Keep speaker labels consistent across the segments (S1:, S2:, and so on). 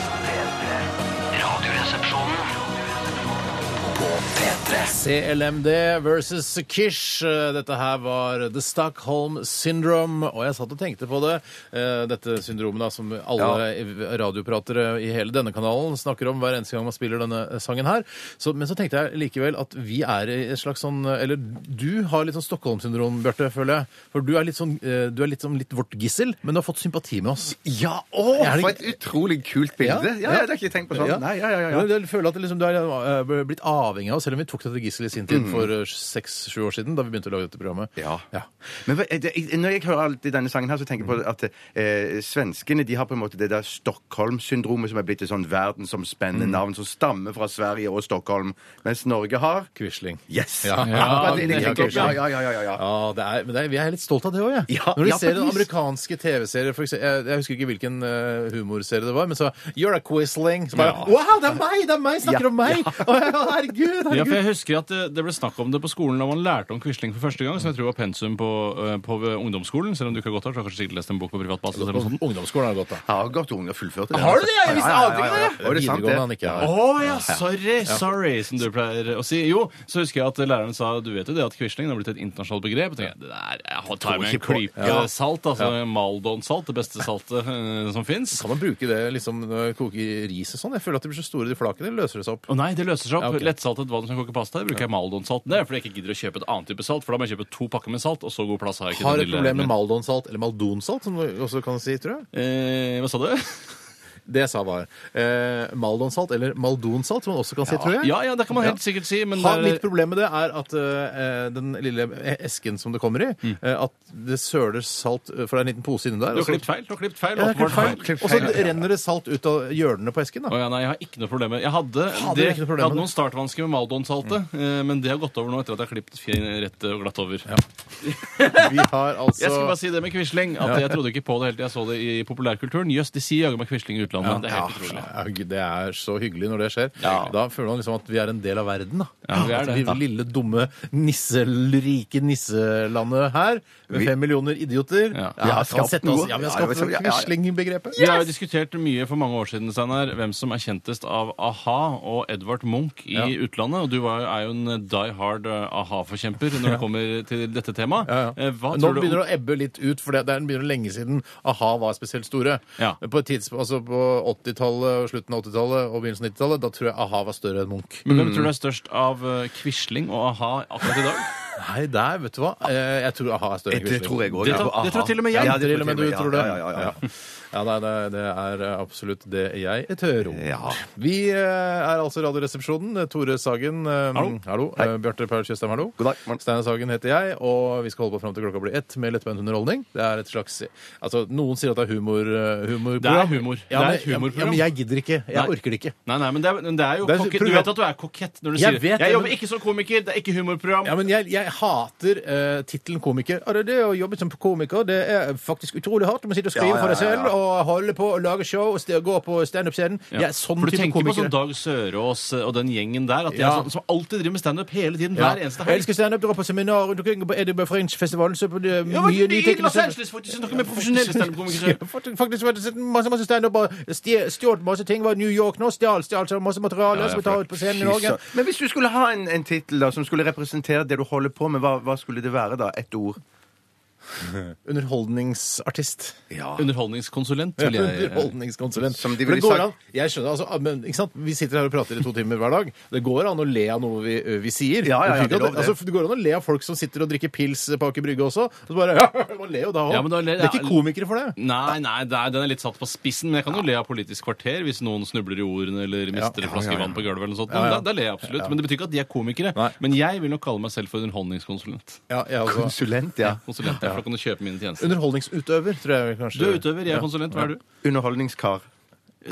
S1: P3. Radioresepsjonen. På P3.
S2: CLMD versus Kish. Eh, Dette her var The Stockholm Syndrome. Og jeg satt og tenkte på det. eh, Dette syndromet da, som alle radiopratere i hele denne kanalen snakker om hver eneste gang man spiller denne eh, sangen her. Så, men så tenkte jeg likevel at vi er i et slags sånn Eller du har litt sånn Stockholm-syndrom, Bjarte, føler jeg. For du er litt sånn eh, Du er litt sånn litt vårt gissel, men du har fått sympati med oss.
S3: Ja, å,
S2: Er det
S3: for et
S2: ikke-
S3: utrolig kult bilde. Ja, ja,
S2: ja.
S3: det har ikke jeg tenkt på sånn.
S2: Ja.
S3: Nei, ja, ja, ja.
S2: Men Jeg føler at det liksom, du er eh, blitt avhengig av oss, selv om vi tok dette gisselet i sin tid for seks-sju år siden, da vi begynte å lage dette programmet.
S3: Mm. Ja. Men hva- det, jeg- når jeg hører alt i denne sangen her, så tenker jeg på at eh, svenskene de har på en måte det der Stockholm-syndromet som er blitt et sånn
S2: Mm.
S3: verdensomspennende navn som stammer fra Sverige og Stockholm, mens Norge har
S2: Quisling.
S3: Yes!
S2: Ja.
S3: Ja,
S2: Ja,
S3: det-
S2: vi har
S3: det- ja,
S2: Quisling.
S3: ja, ja, ja, ja.
S2: Ja, det er, men det er, vi er litt stolt av det òg, jeg.
S3: Ja,
S2: Når du
S3: ja,
S2: ser den
S3: faktisk.
S2: amerikanske TV-serien, for eksempel- jeg, jeg husker ikke hvilken eh, humorserie det var, men så You're a Quisling. Så bare,
S4: Ja.
S2: Wow, det er meg! Det er meg! Snakker
S3: Ja.
S2: om meg! Å, ja, herregud,
S4: Ja, for
S2: herregud!
S4: jeg husker at det, det ble snakk om det på skolen da man lærte om Quisling for første gang, som jeg tror var pensum på, eh, på ungdomsskolen, selv om du ikke har gått her, så har du kanskje sikkert lest en bok på privat basis eller noe sånt.
S2: Ungdomsskolen har gått, da.
S3: Sånn Har gått unge og fullført det. altså.
S2: Har du det? Jeg visste-
S3: Ja, ja, ja,
S2: ante ikke
S3: ja,
S2: det.
S3: ja. Og det er sant,
S2: Videregående han
S3: det.
S2: ikke har.
S4: Å ja, sorry, sorry, som du pleier å si. Jo, så husker jeg at læreren sa du vet jo det at Quisling har blitt et internasjonalt begrep. Og tenkte jeg, det der jeg tar med en
S3: ikke på-
S4: klype salt, altså Maldon-salt, det beste saltet eh, som fins.
S2: Kan man bruke det liksom når man koker ris og sånn? Jeg føler at de blir så store, de flakene. Eller løser det seg opp?
S4: Å nei, det løser seg opp.
S2: Ja, ok.
S4: Lettsaltet vann som koker pasta. Det bruker jeg Maldon-salt. Det er fordi jeg ikke gidder å kjøpe et annet type salt, for da må jeg kjøpe to pakker med salt, og så god plass har jeg ikke.
S2: Har
S4: den
S2: et
S4: lille
S2: problem med
S4: min.
S2: maldonsalt, eller maldonsalt, som du også kan si, tror jeg.
S4: Eh, hva sa du?
S2: Det jeg sa var eh, maldonsalt, eller maldonsalt, som man også kan si, tror jeg.
S4: Ja, ja, det kan man helt sikkert si, men
S2: Ha,
S4: det er-
S2: mitt problem med det er at eh, den lille esken som det kommer i, eh, at det søler salt eh, For det er en liten pose inni der.
S4: Mm. Du har
S2: og så-
S4: klippet feil. Du har klippet feil.
S2: Ja, det er
S4: åpenbart
S2: klippet feil. Og så renner det salt ut av hjørnene på esken.
S4: Å
S2: da.
S4: ja, nei, jeg har ikke noe problem med Jeg hadde,
S2: Fader,
S4: det,
S2: jeg har ikke noe problem
S4: jeg hadde
S2: med Mm.
S4: noen startvansker med Maldon-saltet, eh, men det har gått over nå etter at jeg har klippet fin- rett og glatt over.
S2: Vi har altså
S4: Jeg skulle bare si det med Quisling, at jeg trodde ikke på det helt til jeg så det i populærkulturen. Jøss, de sier jaggu meg Quisling i utlandet. Det er helt utrolig.
S2: Ja, Gud, det er så hyggelig når det skjer.
S4: Ja.
S2: Da føler man liksom at vi er en del av verden. da.
S4: Ja, vi er
S2: At
S4: det.
S2: vi lille, dumme, nisserike nisselandet her, med
S3: Vi-
S2: fem millioner idioter
S4: Ja.
S2: Vi har
S3: skapt
S2: skapt oss-
S3: noe.
S2: ja, vi har
S3: Ja,
S2: skapt
S3: det var så- ja, ja, ja.
S2: Quisling-begrepet.
S4: Vi har jo diskutert mye for mange år siden Steinar, hvem som er kjentest av a-ha og Edvard Munch i
S2: Ja.
S4: utlandet. Og du var, er jo en die hard a-ha-forkjemper når det kommer til dette temaet.
S2: Ja, ja.
S4: Eh, Hva
S2: Nå
S4: tror du
S2: begynner det å ebbe litt ut, for det det er begynner lenge siden a-ha var spesielt store.
S4: Ja.
S2: På, et tids- altså på 80-tallet, og slutten av 80-tallet og begynnelsen av 90-tallet, da tror jeg a-ha var større enn Munch.
S4: Men hvem tror du er størst av eh, Quisling og a-ha akkurat i dag?
S2: Nei, der, vet du hva. Eh, Jeg tror a-ha er større enn
S3: Det
S2: Quisling.
S3: tror jeg òg.
S4: Det tar- det tar til og med jeg.
S2: Ja, det tror du
S3: ja,
S2: tror det.
S3: Ja, ja, ja, ja.
S2: Ja. Ja, nei, det, det er absolutt det jeg tør om.
S3: Ja.
S2: Vi eh, er altså Radioresepsjonen. Tore Sagen, eh,
S4: Hallo.
S2: hallo. Eh, Bjarte Paul Tjøstheim, hallo.
S3: God dag, morgen.
S2: Steinar Sagen heter jeg, og vi skal holde på fram til klokka blir ett med lettbeint underholdning. Det er et slags Altså, noen sier at det er humor, eh, humorprogram.
S4: Det er humor.
S2: Ja,
S4: Det er et
S2: men-
S4: humorprogram.
S2: Ja, men jeg gidder ikke. Jeg
S4: Nei.
S2: orker det ikke.
S4: Nei, nei, men det er, men det er jo
S2: Det er så-
S4: kokett.
S2: tror
S4: Du
S2: du-
S4: vet at du er kokett når
S2: Jeg
S4: du sier
S2: vet det,
S4: Jeg jobber
S2: men-
S4: ikke som komiker, det er ikke humorprogram.
S2: Ja, men jeg, jeg hater uh, tittelen komiker. Og det, det å jobbe som komiker det er faktisk utrolig hardt. Du må sitte og skrive
S3: Ja, ja,
S2: for deg
S3: ja, ja.
S2: selv og holde på og lage show og st- gå på standup-scenen. Jeg er sånn
S4: For du
S2: type
S4: tenker på
S2: komiker.
S4: sånn Dag Sørås og den gjengen der, at de
S2: Ja.
S4: er sånn, som alltid driver med standup hele tiden,
S2: Ja.
S4: hver eneste
S2: Jeg
S4: helg.
S2: elsker standup. Drar på seminar rundt omkring på Edinburgh Fringe-festivalen. Så på det,
S4: Ja, men
S2: mye
S4: I
S2: nye ting.
S4: Los Angeles, faktisk, snakker med profesjonelle standup-komikere.
S2: Faktisk faktisk var det sett masse, masse standup og stje- stjålet masse ting. Var i New York nå, stjal stjal så masse materiale
S4: Ja, ja,
S2: som vi tar ut på scenen i Norge.
S3: Fy søren. Men hvis du skulle ha en, en tittel da, som skulle representere det du holder på med, hva, hva skulle det være da? Ett ord?
S2: Underholdningsartist.
S3: Ja.
S4: Underholdningskonsulent, vil jeg
S2: Underholdningskonsulent.
S3: Som de
S2: For
S3: ville
S2: det går
S3: sagt.
S2: An, jeg skjønner, altså, men, ikke sant? Vi sitter her og prater i to timer hver dag. Det går an å le av noe vi, vi sier.
S3: Ja, ja, ja,
S2: det, er
S3: det er lov,
S2: ikke at-
S3: det.
S2: altså, det går an å le av folk som sitter og drikker pils på Aker Brygge også. Og så bare, ja, man ler jo da også.
S4: Ja, men da ler-
S2: det er ikke
S4: ja.
S2: komikere for det.
S4: Nei, nei, det er, den er litt satt på spissen, men jeg kan jo le av Politisk kvarter hvis noen snubler i ordene eller mister en flaske vann på gulvet eller noe sånt. Men
S2: ja.
S4: Da, da ler jeg absolutt. Men det betyr ikke at de er komikere.
S2: Nei.
S4: Men jeg vil nok kalle meg selv for underholdningskonsulent.
S2: Ja, jeg, altså,
S3: Konsulent, ja.
S4: Konsulent, ja, for da kan du kjøpe mine tjenester.
S2: underholdningsutøver, tror jeg kanskje.
S4: Du er utøver, jeg er konsulent. Hva er du?
S3: Underholdningskar.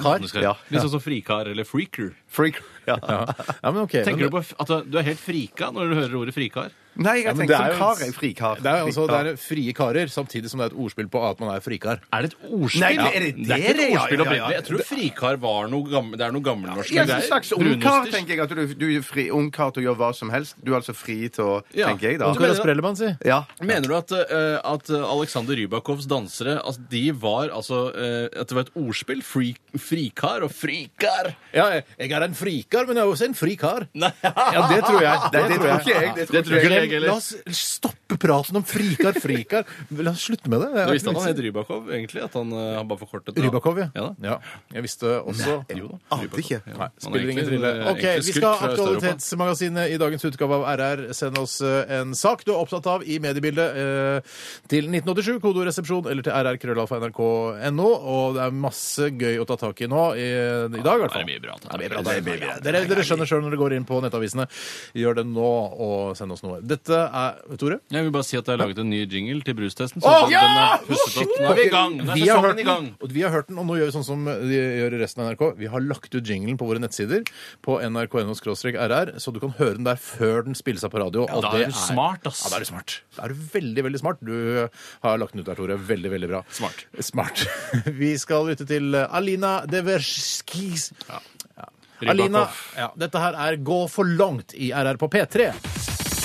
S2: Kar?
S4: Du skal-
S3: Ja.
S4: Litt sånn som frikar eller freaker.
S3: Freak. Ja.
S2: Ja, men ok.
S4: Tenker
S2: men,
S4: du på f- at du er helt frika når du hører ordet frikar?
S3: Nei, jeg
S2: Ja,
S3: har
S2: men
S3: tenkt
S2: det er
S3: som
S2: jo en-
S3: kar. Jeg frikar.
S2: Det er, jo altså, det
S3: Frikar.
S2: er frie karer, samtidig som det er et ordspill på at man er frikar.
S4: Er det et ordspill?
S3: Nei, men er det
S4: det er ikke
S3: det det- ja, ja,
S4: et ordspill
S3: ja.
S4: opprinnelig. Jeg tror frikar var noe gammel, det er noe gammelnorsk.
S3: Ja,
S4: men det
S3: en
S4: er
S3: slags ungkar,
S4: brunoster.
S3: tenker jeg. At du, du er fri, ungkar til å gjøre hva som helst. Du er altså fri til å
S4: Ja,
S3: Tenker jeg, da.
S2: Ungkar og Sprellemann, si.
S3: Ja.
S4: Mener du at, eh, at Alexander Rybakovs dansere altså, de var altså eh, At det var et ordspill? Fri, frikar og frikar?
S2: Ja, jeg- jeg er en frikar, men jeg er også en frikar.
S4: Nei.
S2: Ja, det tror jeg.
S3: Nei, det tror ikke jeg. Det tror
S4: Det tror ikke jeg
S2: Glem, la
S4: heller.
S2: oss stoppe praten om frikar, frikar. La oss slutte med det.
S4: Du visste at han het Rybakov, egentlig? At han, eh, han bare forkortet det.
S2: Rybakov, ja.
S4: Ja da.
S2: ja. Jeg visste også
S4: Jo da.
S3: Ante ikke.
S2: Nei,
S4: Han er
S2: spiller ingen
S4: egentlig-
S2: rolle.
S4: eh,
S2: Ok,
S4: egentlig
S2: Vi skal
S4: skutt
S2: ha
S4: fra Østeuropa.
S2: Aktualitetsmagasinet i dagens utgave av RR. Send oss eh, en sak du er opptatt av i mediebildet eh, til 1987, kodoresepsjon, eller til rrkrøllalfa.nrk.no. Og det er masse gøy å ta tak i nå i, i dag, i hvert
S4: Det er
S2: fall.
S4: mye bra.
S2: Det er bra, det er mye bra. Dere, dere skjønner sjøl når dere går inn på nettavisene. Gjør det nå og send oss noe. Dette er Tore?
S4: Jeg vil bare si at jeg har laget en ny jingle til brustesten.
S2: Åh,
S4: Så den
S2: ja!
S4: er pusset opp. Nå er vi i gang! Nå er
S2: Vi har hørt
S4: sesongen i
S2: den,
S4: gang.
S2: og vi har hørt den, og nå gjør vi sånn som de gjør i resten av NRK. Vi har lagt ut jinglen på våre nettsider på nrk.no-rr, så du kan høre den der før den spilles av på radio. og
S4: da
S2: det
S4: er du smart, ass.
S2: Ja, da er du smart. Da er du veldig, veldig smart. Du har lagt den ut der, Tore. Veldig, veldig bra.
S4: Smart.
S2: Smart. Vi skal lytte til eh, Alina Deverskis. Ja. Alina, ja, dette her er Gå for langt i RR på P3.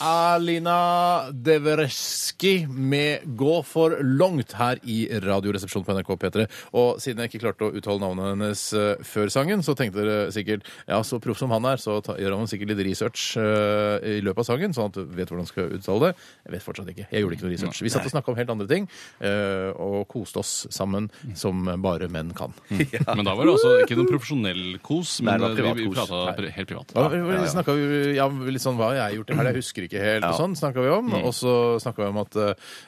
S2: Alina Devereski med Gå for langt her i Radioresepsjonen på NRK P3. Og siden jeg ikke klarte å uttale navnet hennes eh, før sangen, så tenkte dere sikkert ja, så proff som han er, så ta, gjør han sikkert litt research eh, i løpet av sangen, sånn at du vet hvordan du skal uttale det. Jeg vet fortsatt ikke. Jeg gjorde ikke noe research. Vi satt og snakka om helt andre ting, eh, og koste oss sammen som bare menn kan.
S4: Men da var det altså ikke noen profesjonell kos,
S3: Nei,
S4: men
S3: det var
S4: eh, vi- vi
S3: privatkos.
S4: prata pri- helt privat.
S2: Ja, vi vi snakket jo- ja, litt sånn, Hva har jeg gjort i helga? Jeg husker ikke helt. og sånn, snakket vi
S4: Mm.
S2: om. Og så snakka vi om at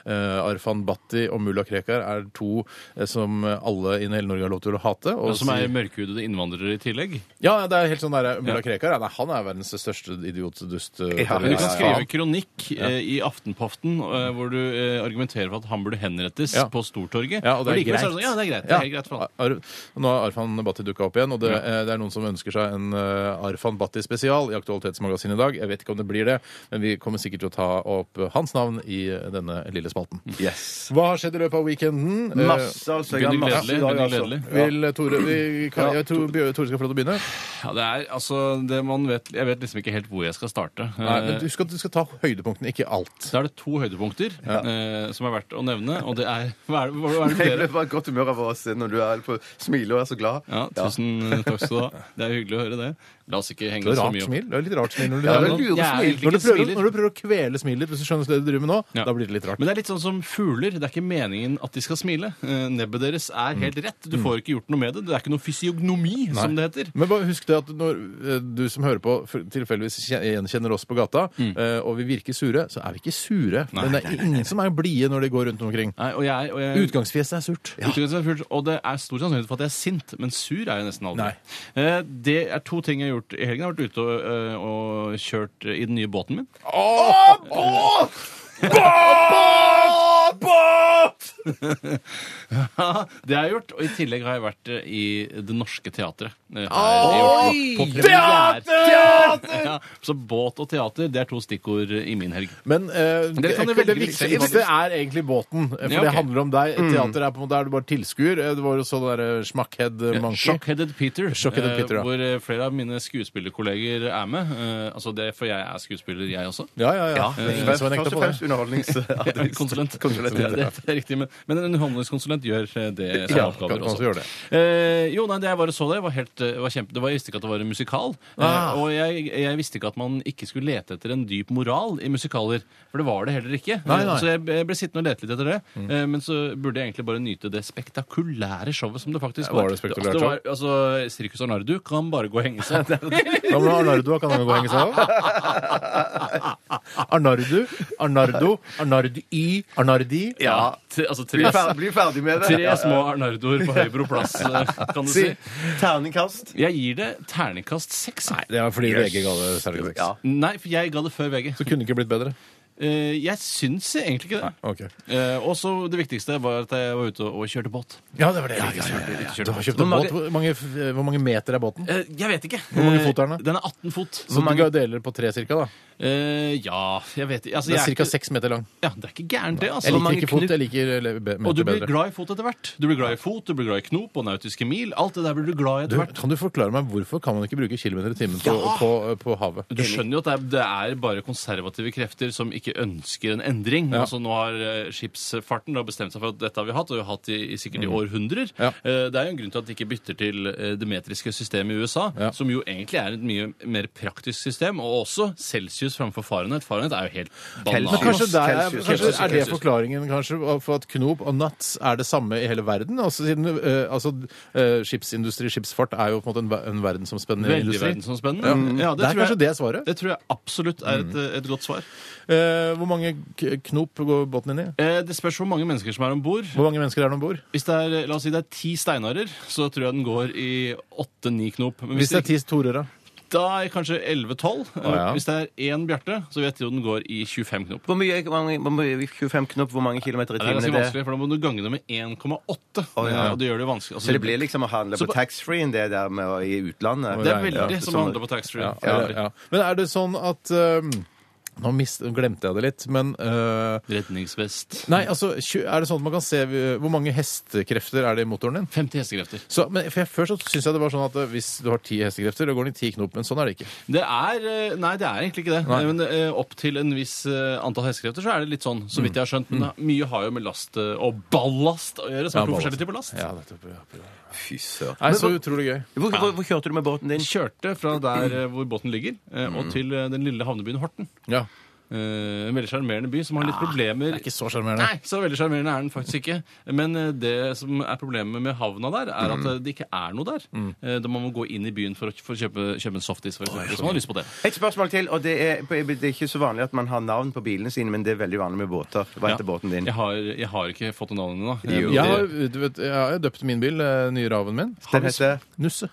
S2: eh, Arfan Bhatti og mulla Krekar er to eh, som alle i hele Norge har lov til å hate. Og
S4: Og som
S2: si-
S4: er mørkhudede innvånere i tillegg.
S2: ja, det er helt sånn der, Mulla Krekar ja, nei, han er verdens største idiotdust. eh,
S3: Ja,
S4: Men du kan
S3: ja,
S4: skrive kronikk eh, i Aftenpoften eh, hvor du eh, argumenterer for at han burde henrettes
S2: Ja.
S4: på Stortorget.
S2: Ja, og det er
S4: likevel så
S2: greit.
S4: Sånn, ja, det er greit. Det
S2: Ja.
S4: er helt greit for han.
S2: Ar Nå har Arfan Bhatti dukka opp igjen, og det, eh, det er noen som ønsker seg en eh, Arfan Bhatti spesial i Aktualitetsmagasinet i dag. Jeg vet ikke om det blir det, men vi kommer sikkert til å ta opp eh, hans navn i eh, denne lille spalten.
S3: Yes.
S2: Hva har skjedd i løpet av weekenden? Eh,
S3: Masse, altså. Jeg har
S4: Gunnar
S3: masse i dag,
S4: Gledelig,
S3: altså.
S4: Gunnar
S2: Vil Tore vi kan, Jeg tror Bjør- Tore skal få lov til å begynne.
S4: Ja, det er, altså, det man vet, jeg vet liksom ikke helt hvor jeg skal starte.
S2: Nei,
S4: Eh,
S2: men Husk at du skal ta høydepunktene, ikke alt.
S4: Da er det to høydepunkter eh, som er verdt å nevne, og det er Hva er det, hva er det
S3: Jeg
S4: flere?
S3: ble bare i godt humør av å se når du er på smiler og er så glad.
S4: Ja, tusen takk skal du ha. Det er hyggelig å høre det. La oss ikke henge
S2: Det er
S4: så
S2: rart
S4: mye opp.
S2: smil. Det er litt rart smil når du,
S3: Ja, det
S2: når
S3: er
S2: du,
S3: lurt
S4: Jeg er
S3: smil.
S4: egentlig ikke
S2: prøver,
S4: smiler.
S2: når du prøver å kvele smilet ditt, hvis du skjønner det du driver med nå,
S4: Ja.
S2: da blir det litt rart.
S4: Men det er litt sånn som fugler. Det er ikke meningen at de skal smile. Eh, Nebbet deres
S2: Mm.
S4: er helt rett. Du får ikke gjort noe med det. Det er ikke noe fysiognomi, sånn som det heter.
S2: Men bare husk det at når eh, du som hører på, f- tilfeldigvis kje- gjenkjenner oss på gata, eh, og vi virker sure, så er vi ikke sure. Men det er ingen som er blide når de går rundt omkring.
S4: Nei, og jeg, og jeg
S2: Utgangsfjeset er surt.
S4: Utgangspunktet er fullt, Og det er stor sannsynlighet for at jeg er sint, men sur er jeg nesten aldri.
S2: Nei.
S4: Eh, Det er to ting jeg har gjort i helgen. Jeg har vært ute og, eh, og kjørt i den nye båten min. Det har jeg gjort, og i tillegg har jeg vært eh, i Det Norske Teatret. Eh, har jeg gjort på- på premiere. Ja, så båt og teater, det er to stikkord i min helg.
S2: Men eh, det,
S4: kan jo
S2: det,
S4: velge
S2: viktigste
S4: litt
S2: det
S4: selv.
S2: er egentlig båten, eh, for
S4: Ja,
S2: det
S4: ok.
S2: handler om deg. Teater er på en måte er du bare tilskuer. Eh, Det var jo sånn derre smackhead eh, monkey.
S4: Shockheaded Peter,
S2: Shockheaded Peter, ja.
S4: eh, hvor eh, flere av mine skuespillerkolleger er med. Eh, altså det, For jeg er skuespiller, jeg også.
S2: Ja, ja, ja. Det er ingen
S3: Først
S2: som har nekta
S3: og
S2: på
S3: fremst
S2: det.
S3: underholdningsartist.
S4: Eh, Konsulent.
S3: Konsulent,
S4: ja,
S3: ja.
S4: det, det er riktig, men, men en underholdningskonsulent gjør eh, det som
S2: Ja,
S4: oppgaver
S2: kan også
S4: også.
S2: gjøre det.
S4: Eh, jo, nei, det jeg bare så det, var helt, eh, var kjempe, det var, jeg visste ikke at det var en musikal. Eh,
S2: Ah.
S4: og jeg, jeg visste ikke at man ikke skulle lete etter en dyp moral i musikaler, for det var det heller ikke.
S2: Nei, nei. Mm.
S4: Eh, Så jeg, jeg ble sittende og lete litt etter det, eh, men så burde jeg egentlig bare nyte det spektakulære showet som det faktisk
S2: Var
S4: var.
S2: det spektakulært
S4: det var altså, Sirkus Arnardu kan bare gå og henge seg.
S2: Da må Arnardo kan han jo gå og henge seg av. Arnardo, Arnardo, Arnardi, Arnardi.
S4: Ja, t- altså
S3: Bli
S4: tre,
S3: ferdig, bli ferdig med det.
S4: tre små Arnardoer på Høybro plass, eh, kan du si.
S3: Terningkast.
S4: Jeg gir det terningkast seks. jeg.
S2: Det var fordi VG ga det særlig
S3: Ja.
S2: godt.
S4: Nei, for jeg ga det før VG.
S2: Det kunne ikke blitt bedre.
S4: Eh, jeg syns egentlig ikke det.
S2: Ok.
S4: Eh, og så det viktigste var at jeg var ute og kjørte båt.
S2: Ja, det var det. jeg likte. Du har kjøpt en
S4: Hvor
S2: båt. Hvor mange, f- hvor mange meter er båten?
S4: Eh, jeg vet ikke.
S2: Hvor mange fot er den, da?
S4: Eh, Den er 18 fot.
S2: Så du deler på tre cirka, da?
S4: Eh, ja, jeg vet ikke. Altså,
S2: Den
S4: jeg
S2: er
S4: ikke-
S2: ca. seks meter lang.
S4: Ja, det er ikke gærent, det. Altså.
S2: Jeg
S4: Mange
S2: liker ikke fot,
S4: knut-
S2: jeg liker le- be-
S4: Og
S2: meter
S4: du blir
S2: bedre.
S4: glad i fot etter hvert. Du blir glad i fot, du blir glad i knop og nautiske mil. Alt det der blir du glad i
S2: Du,
S4: etter hvert.
S2: kan du forklare meg hvorfor kan man ikke bruke kilometer i timen på,
S4: Ja!
S2: på, eh, på havet?
S4: Du skjønner jo at det er, det er bare konservative krefter som ikke ønsker en endring.
S2: Ja.
S4: Altså Nå har eh, skipsfarten da bestemt seg for at dette har vi hatt, og vi har hatt i, i sikkert i århundrer.
S2: Mm. Ja.
S4: Eh, Det er jo en grunn til at de ikke bytter til eh, det metriske systemet i USA,
S2: Ja.
S4: som jo egentlig er et mye mer praktisk system, og også Celsius framfor Fahrenheit. Fahrenheit er jo helt
S3: Celsius.
S4: banan.
S2: Men kanskje, der, er-
S3: Celsius,
S2: kanskje
S3: Celsius,
S2: er det
S4: Celsius.
S2: forklaringen kanskje for at knop og nuts er det samme i hele verden? Altså, siden, eh, altså eh, Skipsindustri, skipsfart, er jo på en måte en, ver- en verdensomspennende
S4: Veldig
S2: industri.
S4: verdensomspennende. Ja,
S2: Mm. det, er
S4: tror
S2: kanskje
S4: jeg-
S2: det Mm. svaret.
S4: Det tror jeg absolutt er et, et godt svar.
S2: Eh, hvor mange k- knop går båten inn i?
S4: Eh, Det spørs hvor mange mennesker som er om bord.
S2: Hvor mange mennesker er det om bord?
S4: Hvis det er, la oss si det er ti steinarer, så tror jeg den går i åtte-ni knop. Men
S2: Hvis det er ti torere.
S4: da er kanskje 11-12.
S2: ja.
S4: Hvis det er én Bjarte, så vet jeg jo den går i 25 knop.
S3: Hvor mye, hvor mange, hvor mye 25 knop, hvor mange kilometer i
S4: Det er
S3: timen
S4: ganske
S3: er det?
S4: vanskelig, for da må du gange det med 1,8.
S3: Å, ja.
S4: Og det gjør det jo vanskelig. Altså,
S3: Så det blir liksom å handle
S4: Så
S3: på
S4: på-
S3: taxfree-en det der med å i utlandet?
S4: det er veldig
S3: Ja,
S4: som
S3: som-
S4: handler på taxfree.
S2: Ja, eller- ja. Men er det sånn at eh, Nå mist, glemte jeg det litt, men eh,
S4: Redningsvest.
S2: Nei, altså, tju- er det sånn at man kan se eh, hvor mange hestekrefter er det i motoren din?
S4: 50 hestekrefter.
S2: Så, men for jeg, Før så syns jeg det var sånn at eh, hvis du har ti hestekrefter, da går den i ti knop, men sånn er det ikke.
S4: Det er eh, Nei, det er egentlig ikke det.
S2: Nei.
S4: Men eh, opp til en viss eh, antall hestekrefter så er det litt sånn, så
S2: Mm.
S4: vidt jeg har skjønt. Men det- mye har jo med last eh, og ballast å gjøre, som
S2: Ja,
S4: er to
S2: ballast.
S4: forskjellige typer last.
S2: Ja, nettopp, ja, ja.
S3: Fy søren.
S2: Nei, så utrolig gøy.
S3: Hvor, hvor, hvor kjørte du med båten din?
S4: Kjørte fra der eh, hvor båten ligger, eh, og til eh, den lille havnebyen Horten.
S2: Ja.
S4: Eh, En veldig sjarmerende by som har litt problemer
S2: Ah, Det er ikke så sjarmerende.
S4: Nei, så veldig sjarmerende er den faktisk ikke. Men eh, det som er problemet med havna der, er at eh, det ikke er noe der.
S2: Mm.
S4: Eh, Da man må gå inn i byen for å for å kjøpe, kjøpe en softis, for eksempel, hvis
S2: sånn.
S4: man har lyst på det.
S3: Et spørsmål til, og det er, det er ikke så vanlig at man har navn på bilene sine, men det er veldig vanlig med båter. Hva heter
S4: Ja.
S3: båten din?
S4: Jeg har, jeg har ikke fått noe navn ennå.
S3: Jo.
S4: Eh,
S2: Jeg har, du vet, jeg har jo døpt min bil, eh, nye Raven min,
S3: Den heter
S2: Nusse.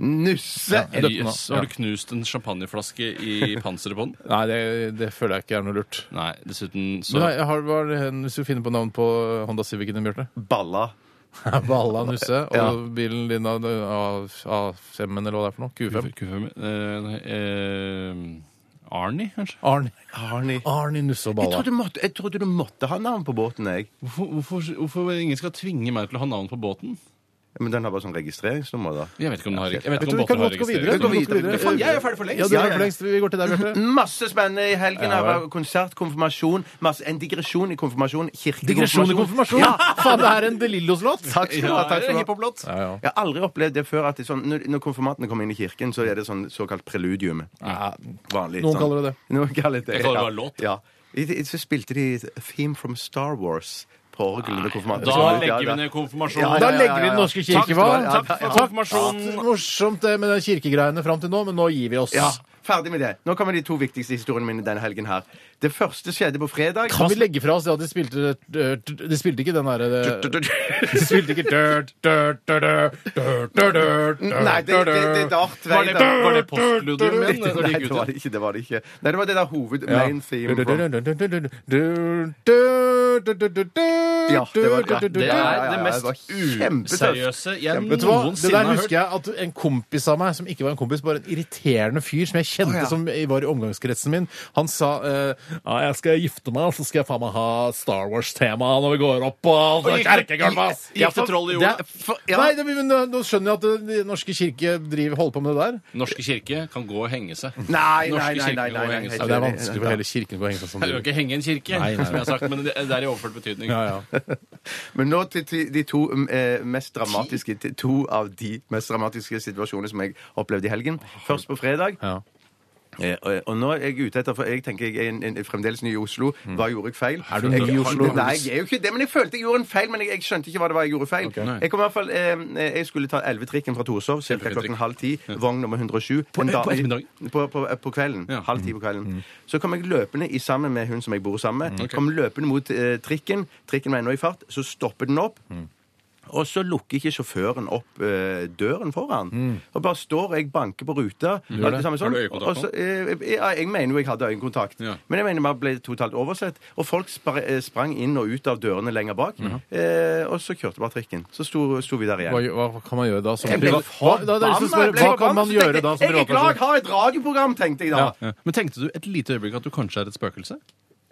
S3: Nusse.
S2: Ja.
S4: Jøss,
S2: døpte den av.
S4: Har du knust en champagneflaske i panseret på den?
S2: Nei, det, det føler jeg ikke er noe lurt.
S4: Nei, dessuten
S2: Du,
S4: så
S2: jeg har, hva er det- hvis du finner på navn på Honda Civicen din, Bjarte
S3: Balla.
S2: Balla Nusse. Og
S3: Ja.
S2: bilen din av A5 eller hva det er for noe? Q5?
S4: Kuffe- eh, eh, Arnie, kanskje?
S2: Arni,
S3: Arnie.
S2: Arni Nusse og
S3: Jeg
S2: Balla.
S3: trodde, du måtte, jeg trodde du måtte ha navn på båten, jeg.
S4: Hvorfor, hvorfor, hvorfor ingen skal tvinge meg til å ha navn på båten?
S3: Men den har bare sånn registreringsnummer, da.
S4: Jeg vet ikke om den har jeg vet
S2: Vet
S4: ikke
S2: du,
S4: om
S2: vi kan
S4: båten har
S2: godt gå videre.
S3: Vi går
S4: registrert.
S2: Vi kan godt gå
S3: videre.
S2: videre.
S3: Faen,
S4: jeg er ferdig for lengst.
S2: Ja, du
S3: Ja,
S2: er
S3: ja.
S2: for lengst. Vi går til deg, Bjarte.
S3: Masse spennende i helgen.
S2: Ja,
S3: Her var
S2: vel.
S3: konsert, konfirmasjon, masse, en digresjon i konfirmasjon, kirkelig
S2: Digresjon i konfirmasjon!
S3: Ja,
S2: Faen, det er en De Lillos-låt!
S3: takk skal du ha.
S4: Ja,
S3: Takk
S4: det er
S3: skal du ha.
S4: hiphop-låt.
S2: Ja, ja.
S3: Jeg har aldri opplevd det før at det er sånn, når, når konfirmantene kommer inn i kirken, så er det sånn såkalt preludium.
S2: Noen
S3: Vanlig. sånn.
S2: kaller det det.
S3: Noen kaller det
S4: Jeg kaller det bare låt.
S3: Ja. I, i, så spilte de Theme from Star Wars på orgelet under konfirmantene.
S4: Da
S3: Ja,
S4: legger vi
S3: da-
S4: ned
S3: Ja,
S4: konfirmasjonen.
S2: Da legger
S3: ja,
S2: vi
S3: ja,
S2: Den
S3: ja.
S2: norske
S4: Takk
S2: kirke
S4: skal
S2: hva?
S4: du ha. Takk for konfirmasjonen.
S2: Morsomt det med de kirkegreiene fram til nå, men nå gir vi oss.
S3: Ja, ferdig med det. Nå kommer de to viktigste historiene mine denne helgen her. Det første skjedde på fredag.
S2: Kan vi legge fra oss det at de spilte eh, De spilte ikke den derre De spilte ikke
S3: Nei,
S2: Nei,
S3: det, det, det er dart.
S4: Var det, var det postludium
S3: Nei,
S4: igjen? når det gikk
S3: det
S4: ut
S3: var
S4: igjen?
S3: det ikke. Det var det ikke. Nei, det var det der hoved...
S2: Ja.
S3: Main theme. From. Ja, det var ja,
S4: Det
S3: Ja, ja, ja,
S4: er det
S3: det
S4: mest
S3: var kjempetøft.
S4: useriøse jeg
S2: Vet du hva? Det
S4: noensinne
S2: der
S4: har hørt.
S2: husker jeg at en kompis av meg, som ikke var en kompis, bare en irriterende fyr som jeg kjente
S3: Å, ja.
S2: som var i omgangskretsen min, han sa eh, ja, jeg skal gifte meg, og så skal jeg faen meg ha Star Wars-tema når vi går opp på
S4: gikk-
S2: kjerkegulvet, ass!
S4: gikk- gikk det troll i jorda?
S2: Det er-
S3: For- ja.
S2: Nei, det, men nå- nå skjønner jeg at eh, Den norske kirke driver, holder på med det der.
S4: Norske kirke kan gå og henge seg.
S3: Nei, nei,
S4: Norske
S3: nei, nei,
S4: kirker
S3: nei,
S4: går og
S3: nei,
S4: henger
S3: nei.
S4: seg.
S2: Ja, det er vanskelig for hele kirken å henge seg sånn.
S4: Jeg vil jo ikke henge en kirke,
S2: Nei, nei, nei.
S4: som jeg har sagt, men det det er i overført betydning.
S2: Ja, ja.
S3: Men nå til til de to mm, eh, mest dramatiske til To av de mest dramatiske situasjonene som jeg opplevde i helgen. Først på fredag.
S2: Ja.
S3: Eh, og- og nå er jeg ute etter, for jeg tenker jeg er en, en, fremdeles ny i Oslo. Hva gjorde jeg feil?
S2: Er du
S3: jeg,
S2: ny i Oslo?
S3: Nei, jeg er jo ikke det, men jeg følte jeg gjorde en feil. Men jeg, jeg skjønte ikke hva det var jeg gjorde feil.
S2: Ok. Nei.
S3: Jeg kom i hvert fall, eh, jeg skulle ta 11-trikken fra Torshov ca.
S4: Elvetrikken.
S3: klokken halv ti. Vogn nummer 107. På,
S4: på ettermiddagen?
S3: På, på, eh, på kvelden.
S4: Ja.
S3: Halv ti på kvelden. Så kom jeg løpende i sammen med hun som jeg bor sammen med.
S4: Ok.
S3: Kom løpende mot eh, trikken. Trikken var ennå i fart. Så stoppet den opp. Og så lukker ikke sjåføren opp eh, døren foran. Og bare står jeg banker på ruta. alt det samme
S4: Har
S3: sånn.
S4: du øyekontakt
S3: Og så, eh, ja, jeg mener jo jeg hadde øyekontakt,
S4: Ja.
S3: men jeg mener bare ble totalt oversett. Og folk spar- eh, sprang inn og ut av dørene lenger bak, eh, og så kjørte bare trikken. Så sto, sto vi der igjen.
S2: Hva, hva kan man gjøre da som
S3: Jeg ble
S2: privat- Hva- da- da har jeg lyst til å spørre,
S3: forbanna, jeg ble
S2: Hva kan
S3: forbanna,
S2: man
S3: så tenkte
S2: gjøre da som
S3: Jeg jeg er glad jeg
S2: privatperson?
S3: har et radioprogram, tenkte jeg da.
S2: Ja.
S4: Ja. Men tenkte du et lite øyeblikk at du kanskje er et spøkelse?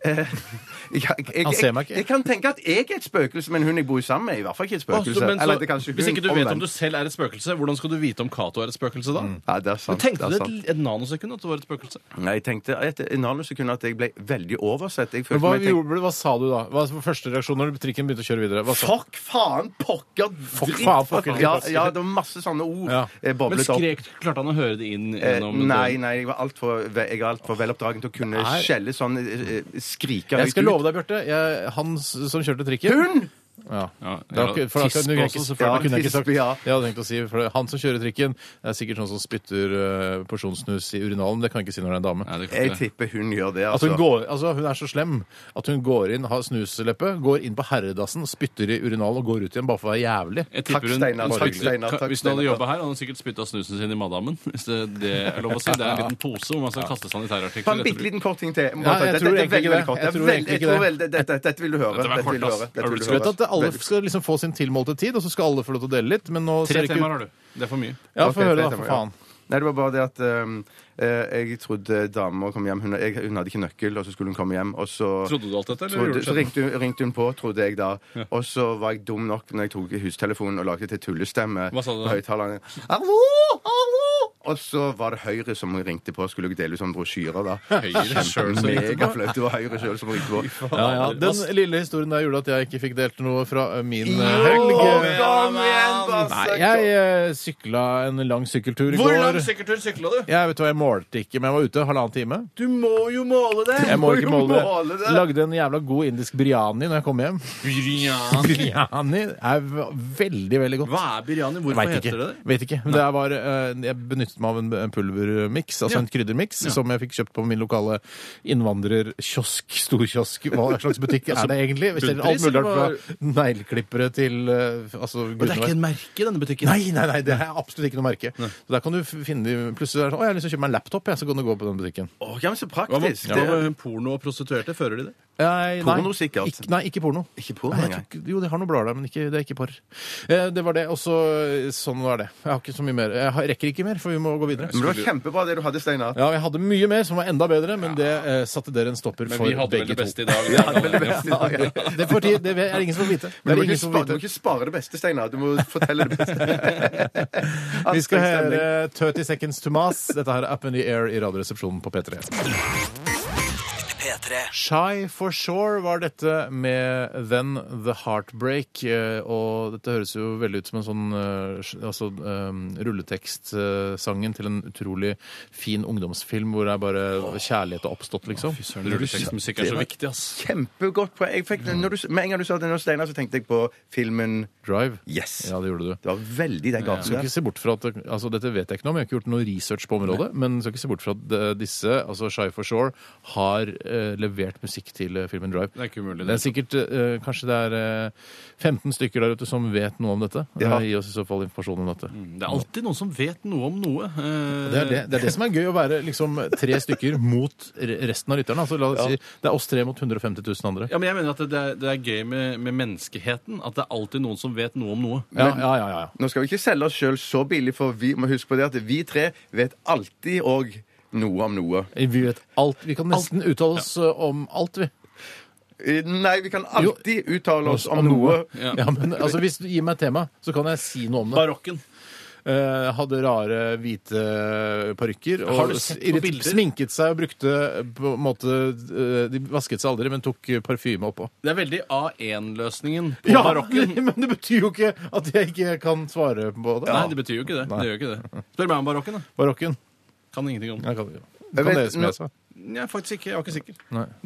S3: Jeg, jeg, jeg,
S2: Han ser meg ikke.
S3: jeg kan tenke at jeg er et spøkelse, men hun jeg bor sammen med, er i hvert fall ikke et spøkelse.
S4: Også, Altså, men så,
S3: Eller det er kanskje
S4: hvis
S3: hun,
S4: ikke du vet om
S3: omvendt.
S4: du selv er et spøkelse, hvordan skal du vite om Cato er et spøkelse da?
S3: Nei, det er
S4: Men
S3: sant.
S4: tenkte
S3: det
S4: du
S3: er
S4: et,
S3: sant.
S4: et nanosekund at det var et spøkelse?
S3: Nei, jeg tenkte et et nanosekund at jeg ble veldig oversett. Jeg
S2: Men
S3: følte
S2: Hva,
S3: meg tenk,
S2: gjorde, du- hva sa du da? Hva var første reaksjon når trikken begynte å kjøre videre? Hva sa?
S3: Fuck, faen, pokker, dritt.
S2: faen, pokker, dritt. altså.
S3: ja, ja, det var masse sånne ord
S2: Ja.
S3: eh,
S4: Men
S3: boblet opp.
S4: skrek, klarte han å høre det inn
S3: Eh,
S4: gjennom
S3: Nei, nei, jeg var altfor alt for veloppdragen til å kunne
S2: er-
S3: skjelle sånn eh, eh, Skrike
S2: Jeg
S3: høyt
S2: skal
S3: ut.
S2: love deg, Bjarte. Jeg, han s- som kjørte trikken
S3: Hun!
S2: Ja. Da,
S4: Ja,
S2: for da kunne jeg ikke,
S4: tispe også,
S2: for da
S3: Ja,
S2: kunne jeg ikke sagt
S3: tispe, ja.
S2: Jeg hadde tenkt å si for det- Han som kjører trikken, det er sikkert sånn som spytter eh, porsjonssnus i urinalen. Det kan jeg ikke si når det er en dame.
S4: Nei, det kan
S3: Jeg
S4: ikke det.
S3: tipper hun gjør det,
S2: At hun,
S3: altså.
S2: går, altså hun er så slem at hun går inn, har snusleppe, går inn på herredassen, spytter i urinalen og går ut igjen bare for å være jævlig.
S4: Jeg tipper
S3: Takk,
S4: hun-
S3: Steinar,
S4: hun
S3: takk,
S4: spytter-
S3: Steinar,
S4: ka-
S3: takk,
S4: Hvis hun hadde
S3: Steinar.
S4: jobba her, hadde hun sikkert spytta snusen sin i madammen. Hvis det, det er lov å si. Det er en liten pose hvor man skal kaste sånn i
S3: Ta en
S4: terrorartikkel.
S3: bitte
S4: etterpå.
S3: liten kort ting til.
S2: Ja, jeg
S3: Dette-
S2: tror egentlig
S3: dette er
S2: ikke
S3: veldig,
S2: det.
S3: veldig kort.
S2: Jeg
S3: Det er
S2: tror
S3: veldig-
S2: egentlig
S3: Jeg
S2: ikke
S3: tror
S2: det.
S3: veldig- dette- dette- dette vil du høre.
S4: Dette var
S3: Dette
S4: kort,
S3: vil du
S4: ass.
S3: høre.
S4: Er
S3: Dette
S4: du
S3: vil du
S2: Du vet
S3: høre.
S2: at alle skal liksom få sin tilmålte tid, og så skal alle få lov til å dele litt, men nå ser
S4: Tre
S2: det ikke
S4: temaer
S2: ut
S4: har du. Det er for mye.
S2: Ja,
S3: Ok,
S2: få høre, da,
S3: tre
S2: for
S3: temaer,
S2: faen.
S3: Nei, det var bare det at ehm, eh, jeg trodde dama kom hjem. Hun, jeg, hun hadde ikke nøkkel, og så skulle hun komme hjem, og så
S4: Trodde du alt dette, eller
S3: Trodde, så
S4: gjorde du det?
S3: ringte hun, ringte hun på, trodde jeg da. Og så var jeg dum nok når jeg tok hustelefonen og lagde til tullestemme.
S4: Hva sa du da?
S3: på høyttaleren. Hallo! Hallo! Og så var det Høyre som ringte på og skulle dele ut sånne brosjyrer, da.
S4: Høyre selv som ringte på?
S3: Megaflaut. Det var Høyre sjøl som ringte på.
S2: Ja, ja. Den
S4: altså-
S2: lille historien der gjorde at jeg ikke fikk delt noe fra eh, min eh,
S3: Kom
S2: helg.
S3: igjen,
S2: Nei,
S3: Basse!
S2: jeg eh, sykla en lang sykkeltur i
S4: Hvor lang
S2: går.
S4: sykkeltur sykla du?
S2: Jeg vet hva, jeg målte ikke, men jeg var ute halvannen time.
S3: Du må jo måle det!
S2: Jeg må ikke måle det.
S3: det.
S2: Lagde en jævla god indisk biryani når jeg kom hjem. Biryani er v- veldig, veldig godt.
S4: Hva er biryani? Hvorfor
S2: Vet ikke.
S4: heter det det?
S2: Vet ikke. Men det er bare, eh, jeg benyttet meg av en- en pulvermiks, altså
S4: Ja.
S2: en kryddermiks, som jeg fikk kjøpt på min lokale innvandrerkiosk, storkiosk. Hva slags butikk er det egentlig? Vi selger alt
S4: Altså, bunnpris,
S2: mulig
S4: eller
S2: rart fra negleklippere til eh, altså,
S4: Men det er ikke
S2: gudene
S4: en merke i denne butikken.
S2: Nei, nei, nei, det er absolutt ikke noe merke. Så der kan du f- finne de Plutselig er det sånn, å, jeg har lyst til å kjøpe meg en laptop, jeg, så kan du gå på den butikken.
S3: Å, ja, men så
S4: Hva med,
S3: praktisk.
S4: hva med porno og prostituerte? Fører de det?
S2: Nei,
S3: Porno
S2: nei.
S3: sikkert.
S2: Ikke, nei, ikke porno.
S3: Ikke porno
S2: Nei, jeg
S3: engang.
S2: tror ikke- Jo, de har noen blader der, men ikke, det er ikke porr. Eh, det var det. Og så Sånn var det. Jeg har ikke så mye mer. Jeg har, rekker ikke mer, for vi må gå videre.
S3: Men det var kjempebra det du hadde, Steinar.
S2: Ja, jeg hadde mye mer som var enda bedre, men det eh, satte dere en stopper
S4: Men
S2: for
S4: vi hadde vel
S2: begge
S4: det
S2: to.
S4: beste i dag.
S2: Det, er for tid- det er ingen som får vite. Det
S3: Men du
S2: er
S3: må,
S2: ingen
S3: ikke
S2: som
S3: spare,
S2: får
S3: du må
S2: vite.
S3: ikke spare det beste, Steinar. Du må fortelle det beste.
S2: Vi skal høre 30 Seconds to Mas. Dette her er Up in the Air i Radioresepsjonen på P3.
S1: P3.
S2: Shy for sure var dette med Then The Heartbreak. eh, Og dette høres jo veldig ut som en sånn eh, sj- altså, rulletekstsangen til en utrolig fin ungdomsfilm hvor det er bare kjærlighet har oppstått, liksom.
S4: Rulletekstmusikk er så viktig, ass.
S3: Kjempegodt poeng. Jeg fikk-
S2: Mm.
S3: når du- Med en gang du sa det nå, Steinar, så tenkte jeg på filmen
S2: Drive.
S3: Yes.
S2: Ja, det gjorde du.
S3: Det var veldig den gaten
S2: Skal
S3: der.
S2: ikke se bort fra at, altså Dette vet jeg ikke noe om, jeg har ikke gjort noe research på området, men skal ikke se bort fra at eh, disse, altså Shy for Shore, har eh, levert musikk til eh, filmen Drive.
S4: Det er ikke umulig.
S2: Det er sikkert eh, kanskje det er eh, 15 stykker der ute som vet noe om dette.
S3: Ja.
S2: Eh, gi oss i så fall informasjon om dette.
S4: Det er alltid noen som vet noe om noe. Eh,
S2: Mm. Det er det, det er det som er gøy, å være liksom tre stykker mot re- resten av lytterne. Altså, la oss si, det er oss tre mot 150 000 andre.
S4: Ja, men jeg mener at det er, det er gøy med, med menneskeheten. At det er alltid noen som vet noe om noe.
S2: Ja, ja, ja. ja.
S3: Nå skal vi ikke selge oss sjøl så billig, for vi må huske på det at vi tre vet alltid òg noe om noe.
S2: Vi vet alt. Vi kan nesten uttale oss eh, om alt, vi.
S3: Eh, Nei, vi kan alltid uttale oss om noe.
S2: Ja. men altså, Hvis du gir meg et tema, så kan jeg si noe om det.
S4: Barokken.
S2: Eh, hadde rare hvite parykker.
S4: Har
S2: Og
S4: du sett på
S2: irrit-
S4: bilder?
S2: sminket seg og brukte på en måte eh, De vasket seg aldri, men tok parfyme oppå.
S4: Det er veldig A1-løsningen på barokken.
S2: men det betyr jo ikke at jeg ikke kan svare på det.
S4: Nei, det betyr jo ikke det. Det gjør ikke det. Spør meg om barokken, da.
S2: Barokken.
S4: Kan ingenting om den.
S2: Jeg kan,
S3: Jeg
S2: kan
S3: vet-
S2: dere som jeg sa.
S4: Nei, faktisk ikke. Jeg var ikke sikker.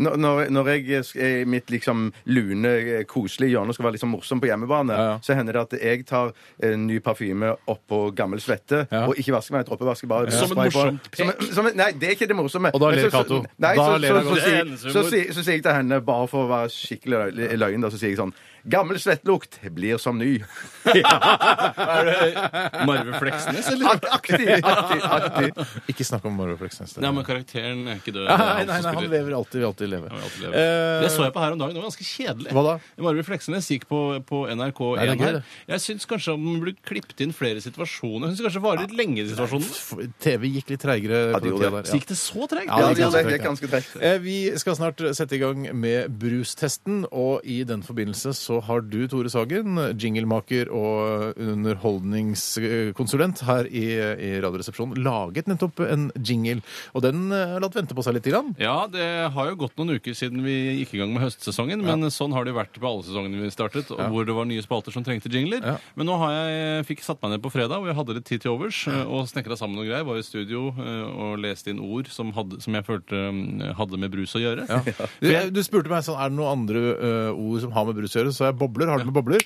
S3: Når, når- når jeg sk- er i mitt liksom lune, eh, koselige hjørne skal være liksom morsom på hjemmebane,
S2: Ja, ja.
S3: så hender det at jeg tar eh, ny parfyme oppå gammel svette
S2: Ja.
S3: og ikke vasker meg, droppevasker bare
S4: Som et
S3: spray på.
S4: morsomt pek.
S3: Som en- som en- Nei, det er ikke det morsomme.
S2: Og da
S3: Men
S2: ler
S3: så- så-
S2: Cato.
S3: Nei,
S2: Da
S3: så-
S2: ler
S3: så-
S2: han
S3: så
S2: godt.
S4: Det er
S3: sier-
S4: hennes
S3: så
S4: humor.
S3: sier- så sier jeg til henne, bare for å være skikkelig lø- løyen, da, så sier jeg sånn Gammel svettlukt blir som ny.
S2: Er det-
S4: Marve Fleksnes, eller?
S3: Ak- Aktig! aktig, aktig.
S2: Ikke snakk om Marve Fleksnes.
S4: Ja, men karakteren er ikke død.
S2: Nei,
S4: Det er
S2: nei, nei,
S4: som
S2: han
S4: spiller-
S2: lever alltid. Vil alltid leve.
S4: Han vil alltid leve.
S2: Eh,
S4: Det så jeg på her om dagen. Det var ganske kjedelig.
S2: Hva da?
S4: Marve Fleksnes gikk på, på
S2: Nei, det er
S4: NRK1
S2: gøy,
S4: her.
S2: det.
S4: Jeg syns kanskje han burde klippet inn flere situasjoner. Jeg syns kanskje det varer litt lenge i situasjonen.
S2: f- TV gikk litt treigere. på
S3: det
S2: den
S3: gjorde
S2: tiden der,
S4: Så gikk det så tregt.
S2: Ja,
S3: Ja,
S2: det er ganske
S3: det er ganske tregt.
S2: Eh, Vi skal snart sette i gang med brustesten, og i den forbindelse så har du, Tore Sagen, jinglemaker og underholdningskonsulent her i, i Radioresepsjonen, laget nettopp en jingle. Og den eh, har latt vente på seg litt. Grann.
S4: Ja, det har jo gått noen uker siden vi gikk i gang med høstsesongen. Men sånn har det jo vært på alle sesongene vi startet, og hvor det var nye spalter som trengte jingler.
S2: Ja.
S4: Men nå har jeg, eh, fikk satt meg ned på fredag, hvor jeg hadde litt tid til overs, eh, og snekra sammen noen greier. Var i studio eh, og leste inn ord som, hadde, som jeg følte mm, hadde med brus å gjøre.
S2: Du, jeg- du spurte meg sånn, er det noen andre eh, ord som har med brus å gjøre, så jeg bobler. Har det med bobler?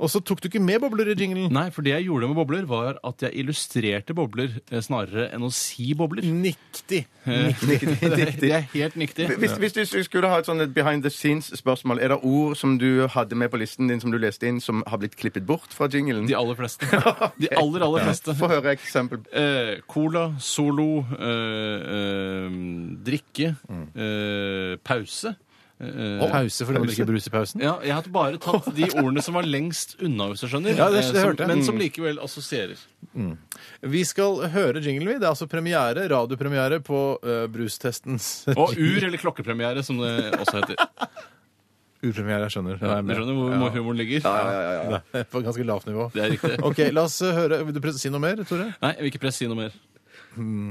S2: Og så tok du ikke med bobler i jinglen.
S4: Nei, for det jeg gjorde med bobler, var at jeg illustrerte bobler eh, snarere enn å si bobler.
S2: Niktig.
S4: Det er helt niktig.
S3: Hvis, hvis du skulle ha et sånn et behind the scenes-spørsmål, er det ord som du hadde med på listen din, som du leste inn, som har blitt klippet bort fra jinglen?
S4: De aller fleste. De aller, aller fleste.
S3: Få høre eksempel.
S4: Eh, cola, Solo, eh, eh, drikke, eh, pause. Eh,
S2: Mm. Pause fordi man drikker brus i pausen.
S4: ja, jeg har bare tatt de ordene som var lengst unna, hvis du skjønner.
S2: Ja, det- det
S4: eh, som,
S2: hørte jeg. Mm.
S4: Men som likevel assosierer.
S2: Vi skal høre jinglen, vi. Det er altså premiere, radiopremiere på eh, Brustestens
S4: Og ur- eller klokkepremiere, som det også heter.
S2: Urpremiere, jeg skjønner.
S4: Du skjønner hvor hvor humoren ligger?
S2: Nei, På ganske lavt nivå.
S4: Det er riktig.
S2: Ok, la oss eh, høre. Vil du pres- si noe mer, Tore?
S4: Nei, jeg vil ikke presse si noe mer.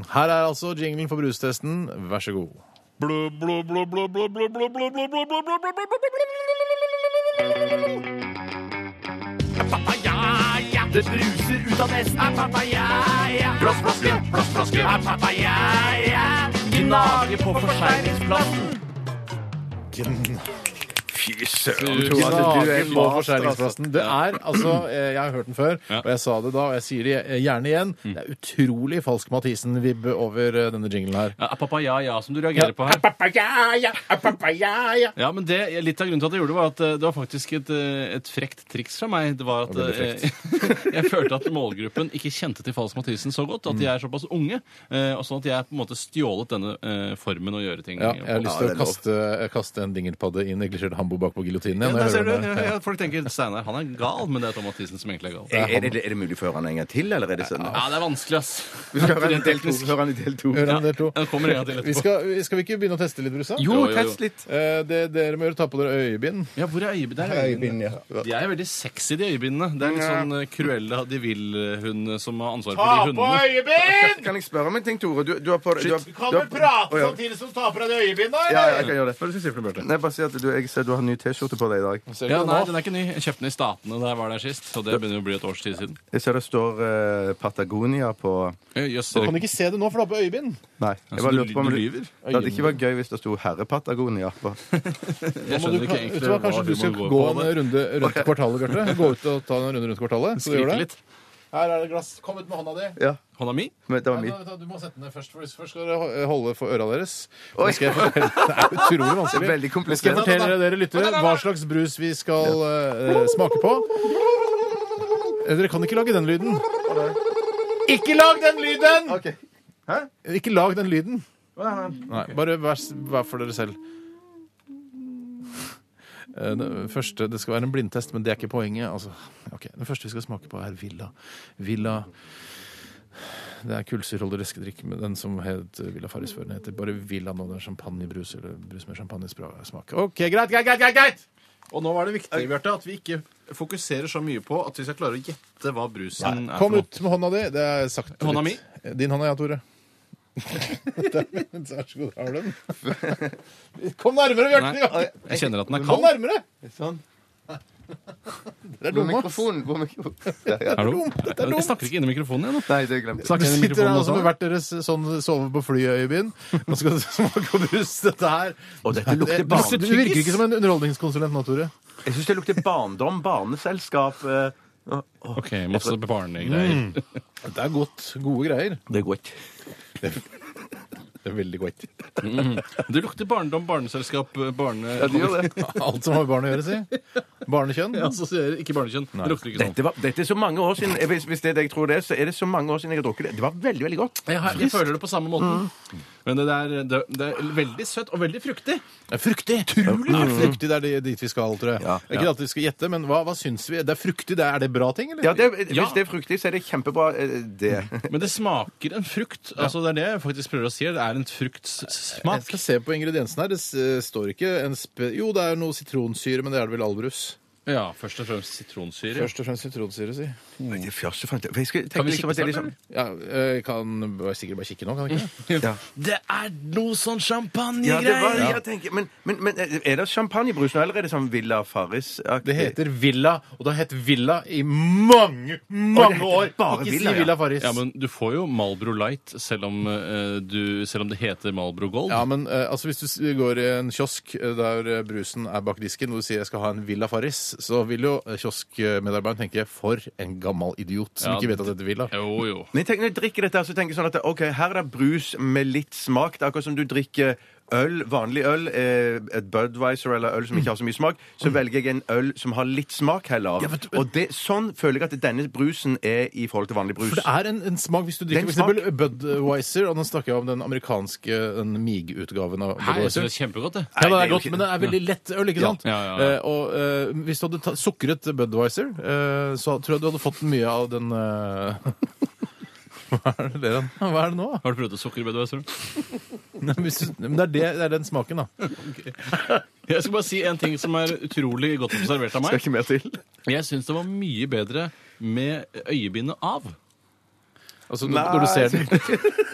S2: Her er altså jinglen for brustesten. Vær så god.
S1: Det bruser ut av nesten. Er papaya, ja. Plastflaske, plastflaske. Er papaya, ja. Gnage på forseglingsplassen. Fy søren.
S3: tror at du er
S2: Gnagen på
S3: master, altså.
S2: forskjæringsplassen. Det er altså eh, Jeg har hørt den før, og jeg sa det da, og jeg sier det eh, gjerne igjen.
S4: Mm.
S2: Det er utrolig falsk Mathisen-vibbe over eh, denne jinglen her.
S4: Ja, Papaya, ja, som du reagerer på her. Ja, men det, Litt av grunnen til at jeg gjorde det, var at eh, det var faktisk et, eh, et frekt triks fra meg. Det var at
S2: Og veldig
S4: eh, Jeg følte at målgruppen ikke kjente til Falsk Mathisen så godt. At
S2: Mm.
S4: de er såpass unge. eh, Og sånn at jeg på en måte stjålet denne eh, formen å gjøre ting
S2: Ja, jeg har
S4: på.
S2: lyst
S3: Ja,
S2: til å
S3: det er lov.
S2: kaste, eh, kaste en dingelpadde i en neglisjert hambo bak på giljotinen.
S4: Ja,
S2: igjen, når
S4: der
S2: jeg
S4: ser du,
S2: hører den
S4: ja,
S2: her.
S4: ja, Folk tenker Steinar han er gal, men det er Tom Mathisen som egentlig er gal.
S3: Er, er, det, er det mulig å få høre han en gang til, eller er det sånn?
S4: Ja, det er vanskelig, ass.
S3: Du skal høre han
S4: Rent
S3: i del to.
S4: teknisk.
S3: Høre han i del to.
S2: Hører han
S4: Ja,
S2: dere to?
S4: den kommer en gang til etterpå.
S2: Vi skal, skal vi ikke begynne å teste litt, Brusa?
S3: Jo,
S4: Jo, jo, jo.
S3: test litt.
S2: Eh, Det dere må gjøre, ta på dere øyebind.
S4: Ja, hvor er øyebind? Der er øyebind. De er veldig sexy, de øyebindene. Det er litt sånn eh, Cruella de Vil-hund som har ansvar for de hundene.
S2: øyebind!
S3: Kan jeg spørre om en ting, Tore? Du, du har på du har, du har- Å, ja.
S2: samtidig som du tar på deg øyebinda?
S3: Ja, ja, jeg kan gjøre det. Nei, bare si at du, jeg ser du har en ny T-skjorte på deg i dag.
S2: Ser du
S4: Ja,
S2: det
S4: nei,
S2: nå?
S4: den er ikke ny. Jeg kjøpte den i Statene da jeg var der sist. Så det begynner å bli et års tid siden.
S3: Jeg ser det står eh, Patagonia på
S4: Eh, Jøss,
S2: Kan
S4: dere-
S2: du ikke se det nå, for du har på øyebind?
S3: Nei. Jeg
S4: Altså,
S3: bare
S4: du-
S3: lurte på om
S4: du
S3: det-
S4: lyver?
S3: Det hadde ikke vært gøy hvis det sto Herre Patagonia på.
S4: jeg
S2: Nå må du,
S4: skjønner ikke
S2: kan- vet
S4: egentlig
S2: du hva, kanskje
S4: hva
S2: du skal gå
S4: humor går på.
S2: en runde rundt kvartalet, Bjarte? Gå ut og ta en runde rundt kvartalet? Skal du
S4: Skrike
S2: gjøre det?
S4: litt.
S2: Her er det glass. Kom ut med hånda di.
S3: Ja,
S4: Hånda mi?
S3: men det var
S2: Nei,
S3: mitt.
S2: da- da- Du må sette den ned først. for Først skal dere ho- holde for øra deres. Nå skal jeg fortelle. Det er utrolig vanskelig.
S3: Veldig
S2: Nå skal jeg
S3: komplisert.
S2: fortelle dere lyttere hva slags brus vi skal eh, smake på. Eh, Dere kan ikke lage den lyden. Ikke lag den lyden!
S3: Ok. Hæ?
S2: Ikke lag den lyden.
S3: Hva er det?
S2: Nei, bare vær, s- vær for dere selv. Eh, Det første, det skal være en blindtest, men det er ikke poenget. Altså, ok, Den første vi skal smake på, er Villa. Villa Det er kullsyrholdig leskedrikk, men den som het eh, Villa Farris før, den heter bare Villa nå. Det er champagnebrus eller brus med champagnesmak. OK, greit, greit, greit! greit, greit.
S4: Og nå var det viktig, Bjarte, at vi ikke fokuserer så mye på at vi skal klare å gjette hva brusen er
S2: Kom
S4: for noe.
S2: ut med hånda di. Det er sagt. litt.
S4: Hånda mi?
S2: Din hånda, ja, Tore. Der, Vær så god, har du den? Kom nærmere, Bjarte!
S4: Nei, jeg kjenner at den er
S2: Kom
S4: kald.
S2: nærmere!
S3: Sånn.
S2: Dere er
S3: Hvor er
S2: dumme. ass.
S3: mikrofonen? Hvor er mikrofonen? Der, ja.
S4: Hallo?
S2: Dette er dumt.
S4: Jeg snakker ikke inn i mikrofonen igjen.
S3: Nei, det glemte jeg.
S4: Snakker inn i
S2: Sitter
S4: mikrofonen
S2: her altså
S4: også.
S2: med hvert deres sånn sove på flyøyebyen. Nå skal du smake og brus. Dette her
S3: Og dette lukter
S2: Det- du-
S3: barn-
S2: Du virker ikke som en underholdningskonsulent nå, Tore.
S3: Jeg syns det lukter barndom, barneselskap. eh, å, å,
S4: OK, masse
S2: Mm.
S4: barnegreier.
S2: Det er godt. Gode greier.
S3: Det er godt.
S2: Det er veldig godt.
S4: Det lukter barndom, barneselskap, barne...
S3: Ja, det gjør det.
S2: Alt som har med barn å gjøre, si. Barnekjønn.
S4: Ja, så sier jeg ikke barnekjønn. Det lukter ikke sånn.
S3: Dette, var, dette er så mange år siden eh, hvis, hvis det er det jeg tror det er, så er det så mange år siden jeg har drukket det. Det var veldig, veldig godt.
S4: Jeg, har- jeg føler det på samme måten. Mm. Men det, der, det, det er veldig søtt og veldig fruktig. Mm.
S2: Det er fruktig! Utrolig det er fruktig, det er det- dit vi skal, tror jeg.
S3: Ja,
S2: Det er Ikke at vi skal gjette, men hva, hva syns vi? Det er fruktig, det er, er det bra ting, eller?
S3: Ja, det, hvis
S4: Ja.
S3: det er fruktig, så er det kjempebra. eh, Det.
S4: Men det smaker en frukt. Altså, det er det jeg faktisk prøver å si. her. Det er en
S2: Jeg
S4: fruktsmak.
S2: skal se på ingrediensene her. Det s- eh, står ikke en spe... Jo, det er noe sitronsyre, men det er det vel Albrus.
S4: Ja, først og fremst sitronsyre.
S2: Først og fremst sitronsyre, si.
S3: Men det første fant jeg- for jeg skal
S4: Kan
S3: tenke
S4: vi
S3: liksom
S4: kikke
S3: at det er
S4: sammen?
S3: liksom
S4: eller?
S2: Ja, jeg kan bare- sikkert bare kikke nå, kan jeg ikke? det?
S3: ja.
S4: Det er noe sånn
S3: Ja, det var,
S4: champagnegreier!
S3: jeg tenker, men, men, men er det champagnebrus nå, eller er det sånn Villa Farris-aktig?
S2: Det heter Villa, og det har hett Villa i mange, mange
S3: Å,
S2: år!
S3: det heter bare
S2: Ikke si
S3: Villa, ja.
S2: Villa Farris.
S4: Ja, men du får jo Malbro Light selv om, eh, du, selv om det heter Malbro Gold.
S2: Ja, men eh, altså, hvis du s- går i en kiosk eh, der eh, brusen er bak disken, og du sier jeg skal ha en Villa Farris, så vil jo eh, kioskmedarbeideren tenke for en gammel idiot som
S4: Ja,
S2: ikke vet at det heter Villa.
S4: Jo, jo.
S3: Men jeg tenker, når jeg drikker dette, her, så tenker jeg sånn at ok, her er det brus med litt smak. Det er akkurat som du drikker øl, vanlig øl, eh, et Budwiser eller øl som ikke har så mye smak. Så velger jeg en øl som har litt smak heller.
S2: Ja, men-
S3: Og det, sånn føler jeg at denne brusen er i forhold til vanlig brus.
S2: For det er en, en smak hvis du drikker
S3: Det
S2: for
S3: er en
S2: eksempel Budwiser, og nå snakker jeg om den amerikanske den MIG-utgaven av
S4: Hei, jeg
S2: Budwiser.
S4: synes det er kjempegodt, det.
S2: Ja, det
S3: Nei,
S2: er
S3: det er jo
S2: godt,
S3: ikke-
S2: men det er veldig lett øl, ikke
S3: Ja.
S2: sant?
S4: Ja, ja, ja.
S2: Eh, og eh, hvis du hadde ta- sukret Budwiser, eh, så tror jeg du hadde fått mye av den eh, Hva er det der? Hva er det nå?
S4: Har du prøvd å sukkerbedre? Øystein?
S2: Nei, hvis du- Men det er, det, det er den smaken, da.
S4: Jeg skal bare si en ting som er utrolig godt observert
S3: Skal
S4: av meg.
S3: ikke mer til.
S4: Jeg syns det var mye bedre med øyebindet av.
S2: Altså når, når du ser den.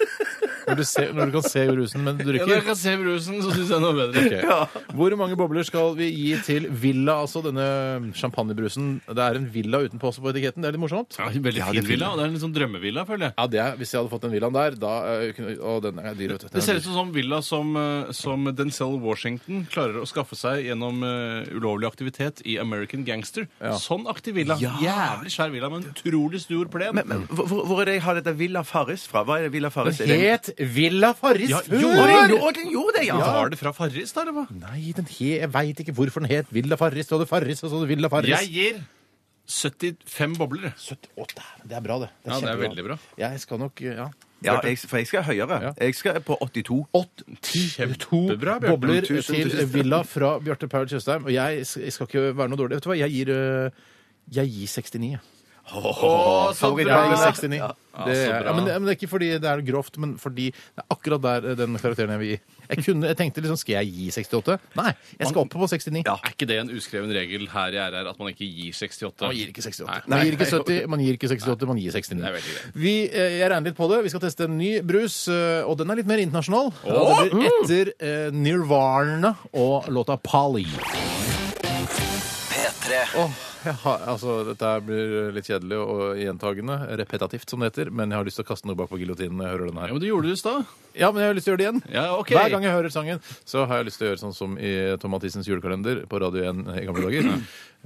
S2: Når du, ser, når du kan se rusen, men du
S4: Når jeg
S2: drikker.
S4: kan se brusen, så syns jeg det var bedre.
S2: Ok. Hvor mange bobler skal vi gi til Villa, altså denne champagnebrusen? Det er en villa utenpå også på etiketten. Det er litt morsomt.
S4: Ja, en veldig
S3: Ja, det er fint,
S4: fin villa.
S3: ja.
S4: og Det er en litt sånn drømmevilla, føler jeg.
S2: Ja, det er, Hvis jeg hadde fått den villaen der da, eh, kunne- Å, den er dyr, vet du. Den
S4: Det ser
S2: er
S4: ut som en sånn villa som, eh, som Denzel Washington klarer å skaffe seg gjennom eh, ulovlig aktivitet i American Gangster. Sånn aktiv villa. Jævlig svær villa med en utrolig stor plen.
S3: Men, men hvor, hvor- hvor er det jeg har dette Villa Farris fra? Hva er det Villa Farris?
S2: dyr.
S3: Er det-
S2: Het Villa Farris
S4: Ja,
S2: før!
S3: Å, den gjorde- å, den gjorde det, ja!
S4: Var det fra Farris, da, eller hva?
S2: Nei, den he, jeg veit ikke hvorfor den het Villa Farris. Du hadde Farris, og så hadde du Villa Farris.
S4: Jeg gir 75 bobler.
S2: 70, å, dæven, det er bra, det. Det
S4: Ja, det er
S2: kjempebra.
S4: veldig bra.
S2: Jeg skal nok Ja.
S3: ja jeg, for jeg skal høyere.
S2: Ja.
S3: Jeg skal på 82.
S2: 82
S4: Kjempebra, Bjarte.
S2: bobler
S3: Tusen, tusen
S2: til
S3: takk.
S2: Villa fra Bjarte Paul Tjøstheim. Og jeg, jeg skal ikke være noe dårlig. Vet du hva, jeg gir, eh, jeg gir 69. jeg.
S4: Å, så
S3: Favoritt-
S4: bra!
S2: Jeg gir 69. Det,
S4: så
S2: er-
S4: bra.
S2: ja, men, det, men det er ikke fordi det er grovt, men fordi det er akkurat der eh, den karakteren jeg vil gi. Jeg, kunne, jeg tenkte liksom, skal jeg gi 68? Nei, jeg skal opp på 69.
S3: Ja.
S4: Er ikke det en uskreven regel her i RR at man ikke gir 68?
S2: Man gir ikke 68. Man gir ikke 70, man gir ikke 68, man gir 69.
S4: Det er veldig greit.
S2: Vi, eh, jeg regner litt på det. Vi skal teste en ny brus, eh, og den er litt mer internasjonal. Ja,
S4: Åh!
S2: det blir etter eh, Nirvana og låta Polly.
S5: P3
S2: Åh, jeg har, altså, dette her blir litt kjedelig og gjentagende, repetativt som det heter, men jeg har lyst til å kaste noe bak på giljotinen når jeg hører den
S4: Ja,
S2: her.
S4: men du gjorde det i stad.
S2: Ja, men jeg har lyst til å gjøre det igjen.
S4: Ja, ok.
S2: Hver gang jeg hører sangen, så har jeg lyst til å gjøre sånn som i Tom Mathisens julekalender på Radio 1 i gamle dager.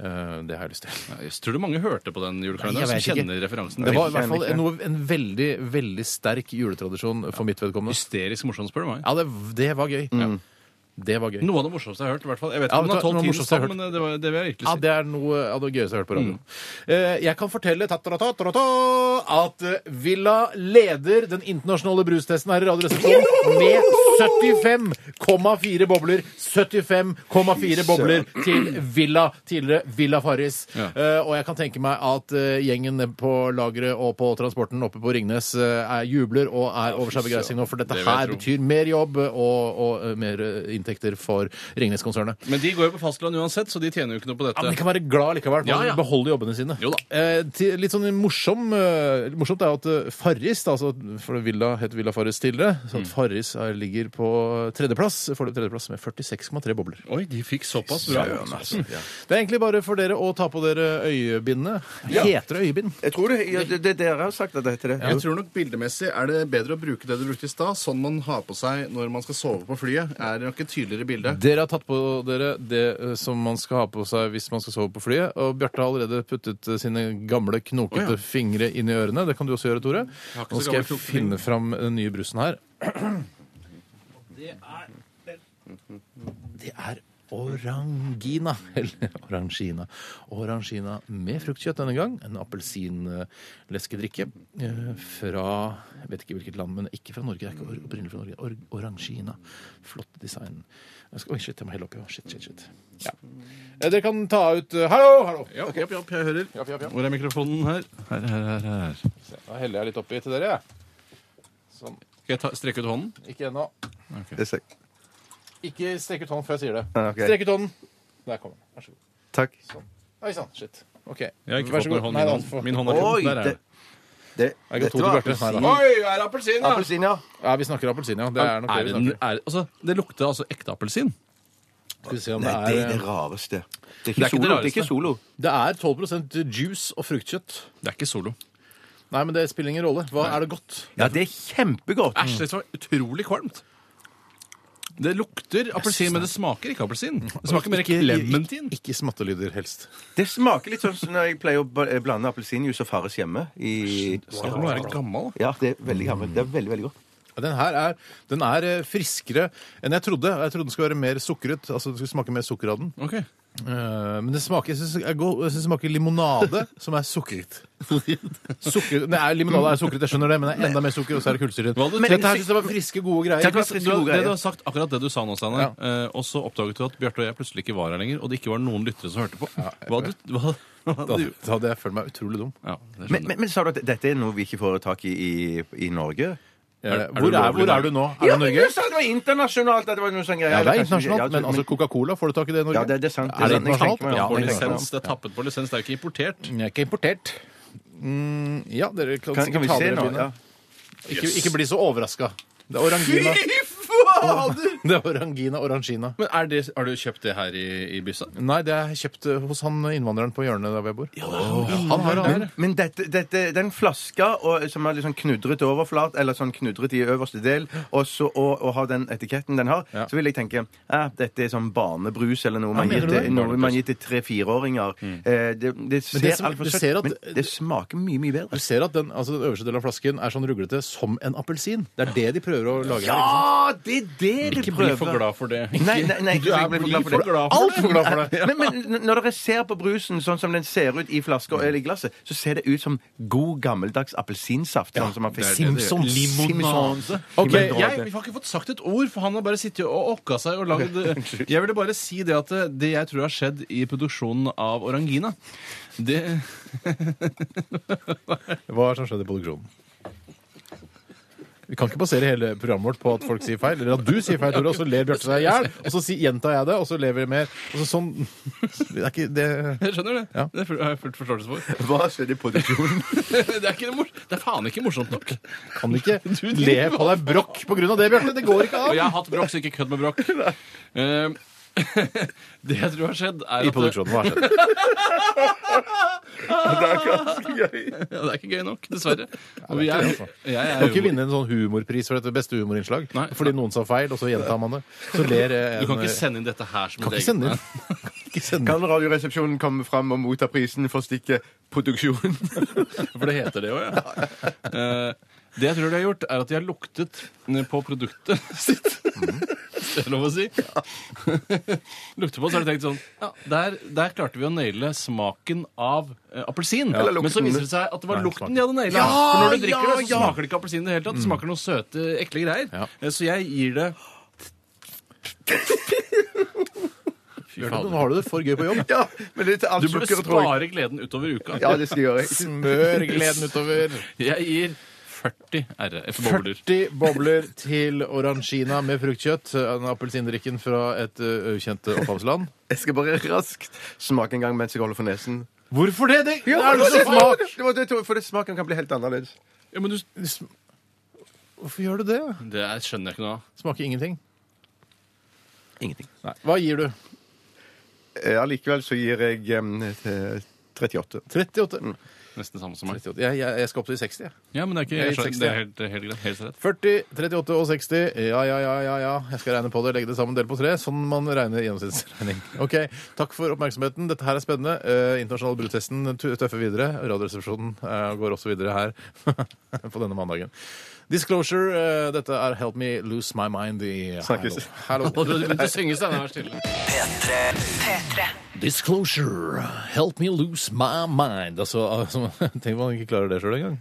S2: Eh, det har jeg lyst til.
S4: Jeg tror du mange hørte på den
S2: Nei, jeg
S4: julekalenderen som
S2: vet ikke.
S4: kjenner referansen.
S2: Det var i
S3: kjenner
S2: hvert fall
S3: ikke.
S2: noe, en veldig, veldig sterk juletradisjon for mitt vedkommende.
S4: hysterisk morsomt, spør du meg.
S2: Ja, Mm. det, det var gøy. Det var gøy.
S4: Noe av det morsomste jeg har hørt. i hvert fall. Jeg vet
S2: Ja,
S4: ikke om
S2: vet du
S4: det
S2: hva,
S4: er
S2: noe av det
S4: 12
S2: morsomste jeg har
S4: timer, men det, var, det vil jeg virkelig
S2: Ja,
S4: si.
S2: det er noe av det gøyeste jeg har hørt på radioen.
S4: Mm.
S2: Eh, Jeg kan fortelle ta-ta-ta-ta-ta, at eh, Villa leder den internasjonale brustesten her i Radioresepsjonen med 75,4 bobler. 75,4 bobler til Villa, tidligere Villa Farris.
S4: Ja.
S2: Eh, Og jeg kan tenke meg at eh, gjengen på lageret og på transporten oppe på Ringnes eh, er jubler og er over seg av begeistring nå, for dette
S4: Det vil jeg
S2: her
S4: tro.
S2: betyr mer jobb og, og eh, mer eh, inntekter for Ringnes-konsernet.
S4: Men de går jo på fastland uansett, så de tjener jo ikke noe på
S2: Ja, men De
S4: dette.
S2: kan være glad likevel. for
S4: Ja, ja.
S2: De beholder jobbene sine.
S4: Jo da.
S2: Eh, til, litt sånn morsom, eh, morsomt er jo at eh, Farris, da, altså, for det Villa het Villa Farris tidligere, så at Farris er, ligger på tredjeplass, får det tredjeplass med 46,3 bobler.
S4: Oi, de fikk såpass bra.
S3: Søren, altså. Ja.
S2: Det er egentlig bare for dere å ta på dere øyebindet. Heter det øyebind?
S3: Jeg tror det, ja, det, det dere har sagt at det heter det.
S6: Jeg tror nok Bildemessig er det bedre å bruke det du brukte i stad. Sånn man har på seg når man skal sove på flyet. Er det nok et tydeligere bilde.
S2: Dere har tatt på dere det eh, som man skal ha på seg hvis man skal sove på flyet. Og Bjarte har allerede puttet eh, sine gamle, knokete fingre inn i ørene. Det kan du også gjøre, Tore.
S4: har ikke
S2: Nå
S4: så
S2: skal jeg eh,
S4: gamle, knokete
S2: finne fram den nye brusen her.
S4: Det er
S2: Det er orangina. Eller orangina. Orangina med fruktkjøtt denne gang. En appelsinleskedrikke eh, fra jeg vet ikke hvilket land, men ikke fra Norge. Det er ikke or- opprinnelig fra Norge. Or orangina. Flott design. Jeg skal, oi, shit, jeg må helle oppi. Shit, shit, shit. Ja. Eh, Dere kan ta ut eh, Hallo! hallo.
S4: Ja, ja, ja, jeg hører.
S2: Japp, japp, japp.
S4: Hvor er mikrofonen her? Her, her, her. her.
S2: Se, Da heller jeg litt oppi til dere. jeg. Sånn.
S4: Skal jeg ta, strekke ut hånden?
S2: Ikke ennå.
S3: Det ser-
S2: Ikke strekk ut hånden før jeg sier det.
S3: Ja, ok.
S2: Strekk ut hånden. Der kom den. Vær så god.
S3: Takk.
S2: Oi sann. Shit. OK.
S4: Jeg har ikke
S2: Vær
S4: fått
S2: så
S4: noen
S2: god.
S4: hånd
S2: Nei,
S4: i
S2: da,
S4: hånden.
S2: få-
S4: Min hånd er
S3: Oi!
S4: ikke Der er
S3: Det,
S4: det.
S3: det,
S2: Jeg ga to
S3: dette var
S2: til Bjarte. Nei da.
S3: appelsin.
S4: Oi, er det appelsin, da?
S3: Appelsin, ja.
S2: Ja, vi snakker appelsin, ja. Det er nok det vi
S4: Er det,
S2: snakker.
S4: er det, altså, det lukter altså ekte appelsin.
S2: Skal vi se om
S3: Nei, det er
S2: det
S3: det
S2: er
S3: rareste. Det er
S4: Det
S3: ikke
S4: er ikke det
S3: solo. Det er ikke
S4: rareste.
S3: solo.
S2: Det er 12 juice og fruktkjøtt.
S4: Det er ikke solo.
S2: Nei, men det spiller ingen rolle. Hva er det godt?
S3: Ja, det er kjempegodt.
S4: Æsj, det var utrolig kvalmt. Det lukter appelsin, men det smaker ikke appelsin. Det smaker mer clementin.
S2: Ikke, ikke smattelyder, helst.
S3: Det smaker litt sånn som når jeg pleier å ba- eh, blande appelsinjuice og Farris hjemme. I
S4: Snakk om å være gammel.
S3: ja, det er veldig gammelt. Det er veldig, veldig godt.
S2: Ja, Den her er, den er eh, friskere enn jeg trodde. Jeg trodde den skulle være mer sukret. altså det skulle smake mer sukker av den.
S4: Ok.
S2: Eh, men det smaker, jeg synes, jeg går- jeg synes det smaker limonade som er sukret. Sukker, nei, limonade er sukret, jeg skjønner det, men det er enda mer sukker, og så er det kullsyre.
S4: Hva hadde du
S2: Men Dette her
S4: tenkt-
S2: synes jeg var friske, gode greier.
S4: Tenk
S3: hva
S4: hvis
S3: friske,
S4: du,
S3: gode
S4: det
S3: greier.
S4: du har sagt, akkurat det du sa nå, Steinar, eh, og så oppdaget du at Bjarte og jeg plutselig ikke var her lenger, og det ikke var noen lyttere som hørte på. Hva du, hva,
S2: Da,
S4: hva du,
S2: da hadde jeg følt meg utrolig dum.
S4: ja,
S3: Men,
S4: det skjønner jeg.
S3: men, men sa du at dette er noe vi ikke får tak i i, i Norge?
S2: Jeg-
S4: er du
S2: hvor, er,
S4: lovlig
S2: hvor
S4: der?
S2: er du nå? Er du i
S3: men
S2: Norge?
S3: du sa det var internasjonalt! At det var noe sånn greier.
S2: Ja, det er
S3: Kanskje-
S2: internasjonalt,
S3: ja,
S2: men altså Coca-Cola, får du tak i det i Norge?
S3: Ja, det- det er sant, det er
S2: Er det
S3: sant. Jeg
S2: internasjonalt?
S3: tenker meg om.
S2: Ja,
S4: På
S3: men-
S4: lisens, det er tappet på lisens, det er jo ikke importert.
S2: Den er ikke importert. Mm, ja, dere kan,
S3: Kan, kan
S2: sikkert
S3: vi
S2: ta
S3: se
S2: dere
S3: nå?
S2: begynne.
S3: Ja.
S2: Ikke, ikke bli så overraska. Det er orangina.
S3: fader!
S2: Det er orangina, orangina.
S4: Men er det, Har du kjøpt det her i, i byssa?
S2: Nei, det er kjøpt eh, hos han innvandreren på hjørnet der hvor jeg bor.
S4: Han har det her.
S3: Men dette, dette, den flaska og, som er litt sånn knudret overflat, eller sånn knudret i øverste del, og, så, og, og har den etiketten den har,
S2: Ja.
S3: så vil jeg tenke eh, dette er sånn barnebrus eller noe man
S2: mener
S3: gir
S2: du
S3: til,
S2: det? Mm.
S3: noe man gir til tre-fireåringer. Eh, det, det ser
S2: det liksom- som-
S3: alt for
S2: du
S3: søtt,
S2: ser at-
S3: men det smaker mye, mye
S2: Du
S3: bedre.
S2: ser at den, altså den øverste delen av flasken er sånn ruglete som en appelsin. Det er det de prøver å lage. her, ikke sant?
S3: Ja, Ah, det er det du
S4: Ikke bli
S3: prøver!
S4: for glad for det.
S3: Nei, nei, nei,
S4: Du
S3: ikke
S4: er
S3: bli for
S4: bli
S3: glad for det.
S4: for glad for
S2: Alt
S4: det.
S2: for glad for det!
S3: Men, men når dere ser på brusen sånn som den ser ut i flaska eller i glasset, så ser det ut som god, gammeldags appelsinsaft. Sånn som man fikk
S2: Simpsons.
S3: Limonade.
S2: Ok,
S4: Men jeg, vi har ikke fått sagt et ord, for han har bare sittet og okka seg og lagd Jeg ville bare si det at eh, det jeg tror har skjedd i produksjonen av Orangina Det
S2: Hva er det som skjedde i produksjonen? Vi kan ikke basere hele programmet vårt på at folk sier feil. Eller at du sier feil, Tore, og så ler Bjarte seg i hjel. Og så si, gjentar jeg det, og så ler vi mer. Og så sånn Det er ikke det
S4: Jeg skjønner det.
S2: Ja.
S4: Det er full- har jeg full forståelse for.
S3: Hva skjedde i produksjonen?
S4: Det er, ikke noe mor det er faen ikke morsomt nok.
S2: Kan ikke le på deg brokk på grunn av det, Bjarte. Det går ikke
S4: Og jeg
S2: an.
S4: har hatt brokk, så ikke kødd med brokk. Eh, Det jeg tror har skjedd,
S2: I
S4: er at det,
S2: produksjonen, hva har skjedd?
S4: ja, det er ikke gøy nok, dessverre. Og
S2: det er
S4: jeg,
S2: ikke det, altså.
S4: jeg
S2: Du
S4: er
S2: kan ikke
S4: humor.
S2: vinne en sånn humorpris for dette beste humorinnslag.
S4: Nei.
S2: Fordi noen sa feil, og så gjentar man det. Så ler eh, en
S4: Du kan ikke sende inn dette her som
S2: Kan ikke sende inn. Kan ikke sende inn.
S3: Kan Radioresepsjonen komme fram og motta prisen for stikket 'Produksjon'?
S4: For det heter det jo, ja. Eh, det jeg tror de har gjort, er at de har luktet på produktet sitt. Hvis Det er lov å si. Lukter på, så har de tenkt sånn ja, der, der klarte vi å naile smaken av eh, appelsin.
S3: Eller
S4: Men så
S3: lukten.
S4: viser det seg at det var
S2: Nei,
S4: lukten de hadde naila.
S2: Ja,
S4: For når du drikker
S2: ja,
S4: det, så
S2: ja.
S4: smaker det ikke appelsin i det hele tatt. Det smaker noen søte, ekle greier.
S2: Ja.
S4: Eh, Så jeg gir det Fy
S2: Bjarte,
S4: fader.
S2: Nå har du det for gøy på jobb.
S3: Ja, men det er til alt
S4: Du burde
S3: sukker, tror jeg.
S4: spare gleden utover uka.
S3: Ja, det skal jeg gjøre.
S2: Smør gleden utover.
S4: Jeg gir 40 RF-bobler.
S2: 40 bobler til orangina med fruktkjøtt. En appelsindrikken fra et ø, ukjent opphavsland.
S3: Jeg skal bare raskt smake en gang mens jeg holder for nesen.
S2: Hvorfor det? Det, det er
S3: for
S2: jo så
S3: det-
S2: smak!
S3: det var det, Tore, For det smaken kan bli helt annerledes.
S4: Ja, men du,
S2: Hvorfor gjør du det?
S4: det er- skjønner jeg ikke noe av.
S2: Smaker ingenting.
S3: Ingenting.
S2: Nei. Hva gir du?
S3: Ja, likevel Eh, så gir jeg em, eh, 38.
S2: 38?
S4: Nesten samme som meg.
S2: 38. Jeg, jeg, jeg skal opp til 60, jeg.
S4: Ja, men det er, ikke,
S2: Jeg
S4: jeg
S2: gir
S4: skjønner, det er helt, helt, greit, helt rett.
S2: 40, 38 og 60. Ja, ja, ja, ja, ja. Jeg skal regne på det. Legge det sammen, del på tre. Sånn man regner gjennomsnittsregning. Ok, Takk for oppmerksomheten. Dette her er spennende. Eh, internasjonal brutesten tøffer videre. Radioresepsjonen eh, går også videre her på denne mandagen. Disclosure, eh, dette er Help Me Lose My Mind i
S3: Snakkes.
S2: Hallo.
S4: Du begynte å synge, Steinar. Vær stille.
S5: P3.
S2: Disclosure, Help Me Lose My Mind. Altså, altså Tenk om man ikke klarer det sjøl engang.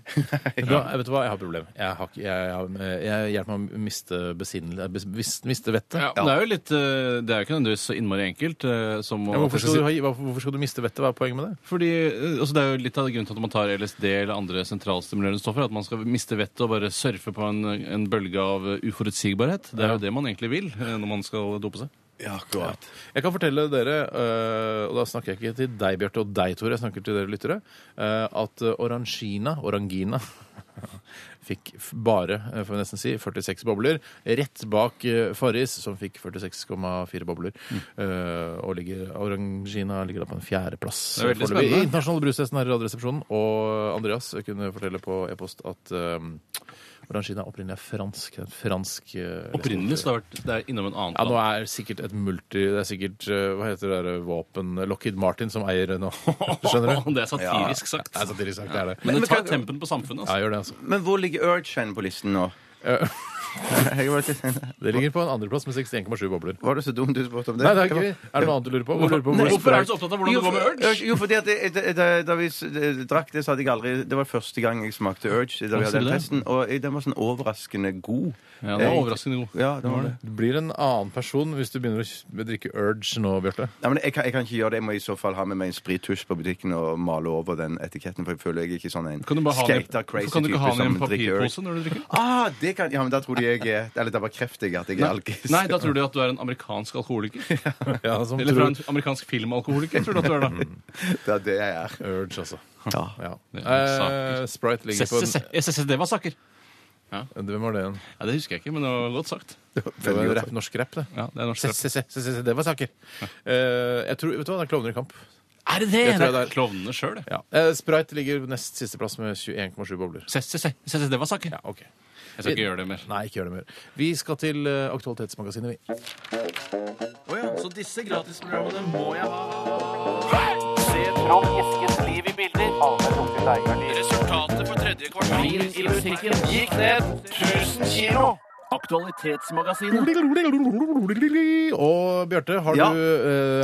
S2: Bra, jeg Vet du hva, jeg har et problem. Jeg, har, ikke- jeg, har- jeg hjelper meg å miste besinnelse bes- mis- Miste vettet.
S4: Ja, Det er jo litt eh, Det er jo ikke nødvendigvis så innmari enkelt eh, som å
S2: Ja, men hvorfor, skal du, ha- hvorfor hvorfor skal du miste vettet? Hva er poenget med det?
S4: Fordi, eh, altså Det er jo litt av grunnen til at man tar LSD eller andre sentralstimulerende stoffer. At man skal miste vettet og bare surfe på en, en bølge av eh, uforutsigbarhet. Det er jo det man egentlig vil eh, når man skal dope seg.
S3: Ja, akkurat.
S2: Jeg kan fortelle dere, øh, og da snakker jeg ikke til deg, Bjarte, og deg, Tore, jeg snakker til dere lyttere, øh, at øh, Orangina, Orangina fikk f- bare, øh, får vi nesten si, 46 bobler, rett bak øh, Farris, som fikk 46,4 bobler,
S4: Mm.
S2: Øh, og ligger, Orangina ligger da på en fjerdeplass.
S4: Det er veldig
S2: foreløpig.
S4: spennende.
S2: I internasjonale brustesten her i radioresepsjonen, og Andreas kunne fortelle på e-post at øh, Orangina opprinnelig er fransk. Det er en fransk øh,
S4: Opprinnelig så det har vært det er innom en annen
S2: ja, nå
S4: plan.
S2: er sikkert et multi... Det er sikkert eh, hva heter det der, våpen Lockheed Martin som eier det nå. Skjønner du?
S4: Det er satirisk sagt.
S2: Det er satirisk sagt, det er det.
S4: Men
S3: Men
S4: det tar
S3: kan-
S4: tempen på samfunnet.
S2: Ja,
S4: altså.
S2: gjør det, altså.
S3: Men hvor ligger Urge-en på listen nå? Eh, Jeg var, ikke-
S2: Det ligger på en andreplass med 61,7 bobler.
S3: var det så dumt du spurte om det?
S2: Nei, det er ikke Er det noe annet du lurer på? Hvorfor lurer du på hvor-
S4: Hvorfor er du så opptatt av hvordan
S3: Jo,
S4: det går med
S3: for-
S4: urge?
S3: Jo, fordi at jeg- da- da, da vi s- drakk det, så hadde jeg aldri Det var første gang jeg smakte Urge. Da vi
S4: sier
S3: hadde den
S4: du det?
S3: testen, og jeg- den var sånn overraskende god. Eh,
S4: Ja, det var overraskende god.
S3: Ja, det var det.
S2: Du blir en annen person hvis du begynner å kj- drikke Urge nå, Bjarte.
S3: Nei, men jeg, kan, jeg kan ikke gjøre det. Jeg må i så fall ha med meg en sprittusj på butikken og male over den etiketten, for jeg føler jeg er ikke sånn en
S4: Kan du bare ha den i-
S3: skater-crazy
S4: Hvorfor kan du
S3: type
S4: ikke ha den i en
S3: som drikker Urge.
S4: papirpose når du drikker?
S3: Ah, det kan, ja, men da tror de jeg er Eller da bekrefter jeg at jeg er alkis.
S4: Nei, da tror de at du er en amerikansk alkoholiker.
S2: Ja, som
S4: Eller fra
S2: tror Mm.
S4: en amerikansk filmalkoholiker, tror du at du er da.
S3: Det er det jeg er.
S2: Urge, altså.
S3: Ja.
S2: Ja.
S4: Det er
S2: Eh, Sprite ligger på en
S4: SSS, det var saker.
S2: Hvem var det igjen?
S4: Ja, Det husker jeg ikke, men det var godt sagt.
S2: Det var en rap, norsk rap, det.
S4: Ja, det er norsk rap.
S2: Se-se-se, det var saker. Eh, Jeg tror, Vet du hva, det er Klovner i kamp.
S4: Er det det?
S2: tror jeg
S4: det
S2: det er.
S4: er klovnene sjøl, det.
S2: Ja. Eh, Sprite ligger nest siste plass med 21,7 bobler.
S4: SSS, det var saker.
S2: Ja, ok.
S4: Jeg skal ikke gjøre det mer.
S2: Nei, ikke gjør det mer. Vi skal til eh, Aktualitetsmagasinet, vi. Og Bjarte, har
S3: Ja.
S2: du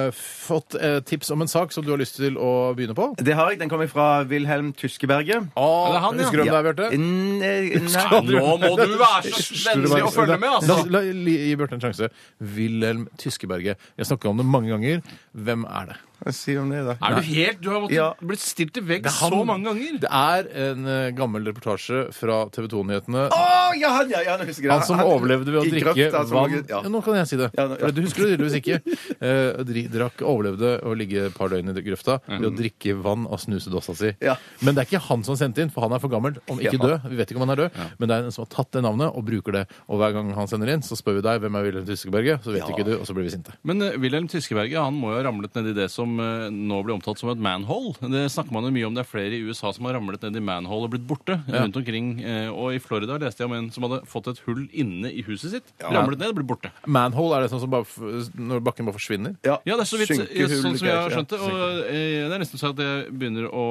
S2: eh, fått eh, tips om en sak som du har lyst til å begynne på?
S3: Det har jeg. Den kommer fra Wilhelm Tyskeberget.
S2: Å,
S4: Er det han, ja?
S2: Ah, Husker du om det er Bjarte?
S3: N- eh, Nei.
S4: Nå må du være så vennlig å følge med,
S2: La,
S4: altså!
S2: la, la, gi Bjarte en sjanse. Wilhelm Tyskeberget. Vi har snakka om det mange ganger. Hvem er det?
S3: Hva sier du om det, da?
S4: Er du helt Du har
S3: Ja.
S4: måttet blitt stilt til vegg
S2: Det er han.
S4: så mange ganger.
S2: Det er en eh, gammel reportasje fra TV 2-nyhetene.
S3: Å, ja, han, ja, ja, nå husker jeg det.
S2: Han som overlevde ved å
S3: i
S2: drikke
S3: grøfta, som
S2: vann
S3: mange-
S2: ja.
S3: ja.
S2: Nå kan jeg si det.
S3: Ja, nå- ja.
S2: For Du husker det tydeligvis ikke. Eh, dri- drakk, overlevde å ligge et par døgn i grøfta ved å drikke vann av snusedossa si.
S3: Mm. Ja.
S2: Men det er ikke han som er sendt inn, for han er for gammel. Om ikke
S3: Ja.
S2: død, vi vet ikke om han er død, men det er en som har tatt det navnet og bruker det. Og hver gang han sender inn, så spør vi deg hvem er Wilhelm Tyskeberget, så vet
S3: Ja.
S2: ikke du, og så blir vi sinte.
S4: Men eh, Wilhelm Tyskeberget han må jo ha ramlet ned i det som eh, nå blir omtalt som et manhole. Det snakker man jo mye om. Det er flere i USA som har ramlet ned i manhole og blitt borte rundt omkring. eh, Og i Florida leste jeg om en som hadde fått et hull inne i huset sitt. Ramlet ned og blitt borte.
S2: Manhole er det sånn som bare, f- når bakken bare forsvinner?
S4: Ja, det er så vidt ja,
S3: Synkehull,
S4: sånn som jeg har
S3: greier,
S4: skjønt det. Og eh, det er nesten sånn at jeg begynner å,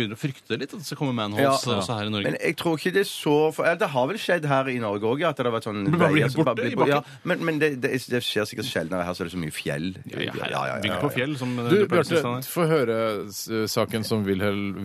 S4: begynner å frykte litt at det skal komme manholes
S3: Ja.
S4: også her i Norge.
S3: Men jeg tror ikke det er så for, eller, Det har vel skjedd her i Norge òg, at det har vært sånn
S4: Men bare
S3: veier
S4: blir helt
S3: som
S4: borte i
S3: blir- ja, Men, men det, det, det skjer sikkert sjeldnere. Her så er det så mye fjell.
S4: Ja, ja, her, Bygd på fjell, som
S2: Du,
S4: du pleier å si,
S2: Bjarte,
S4: Steinar.
S2: få høre s- saken som Wilhelm,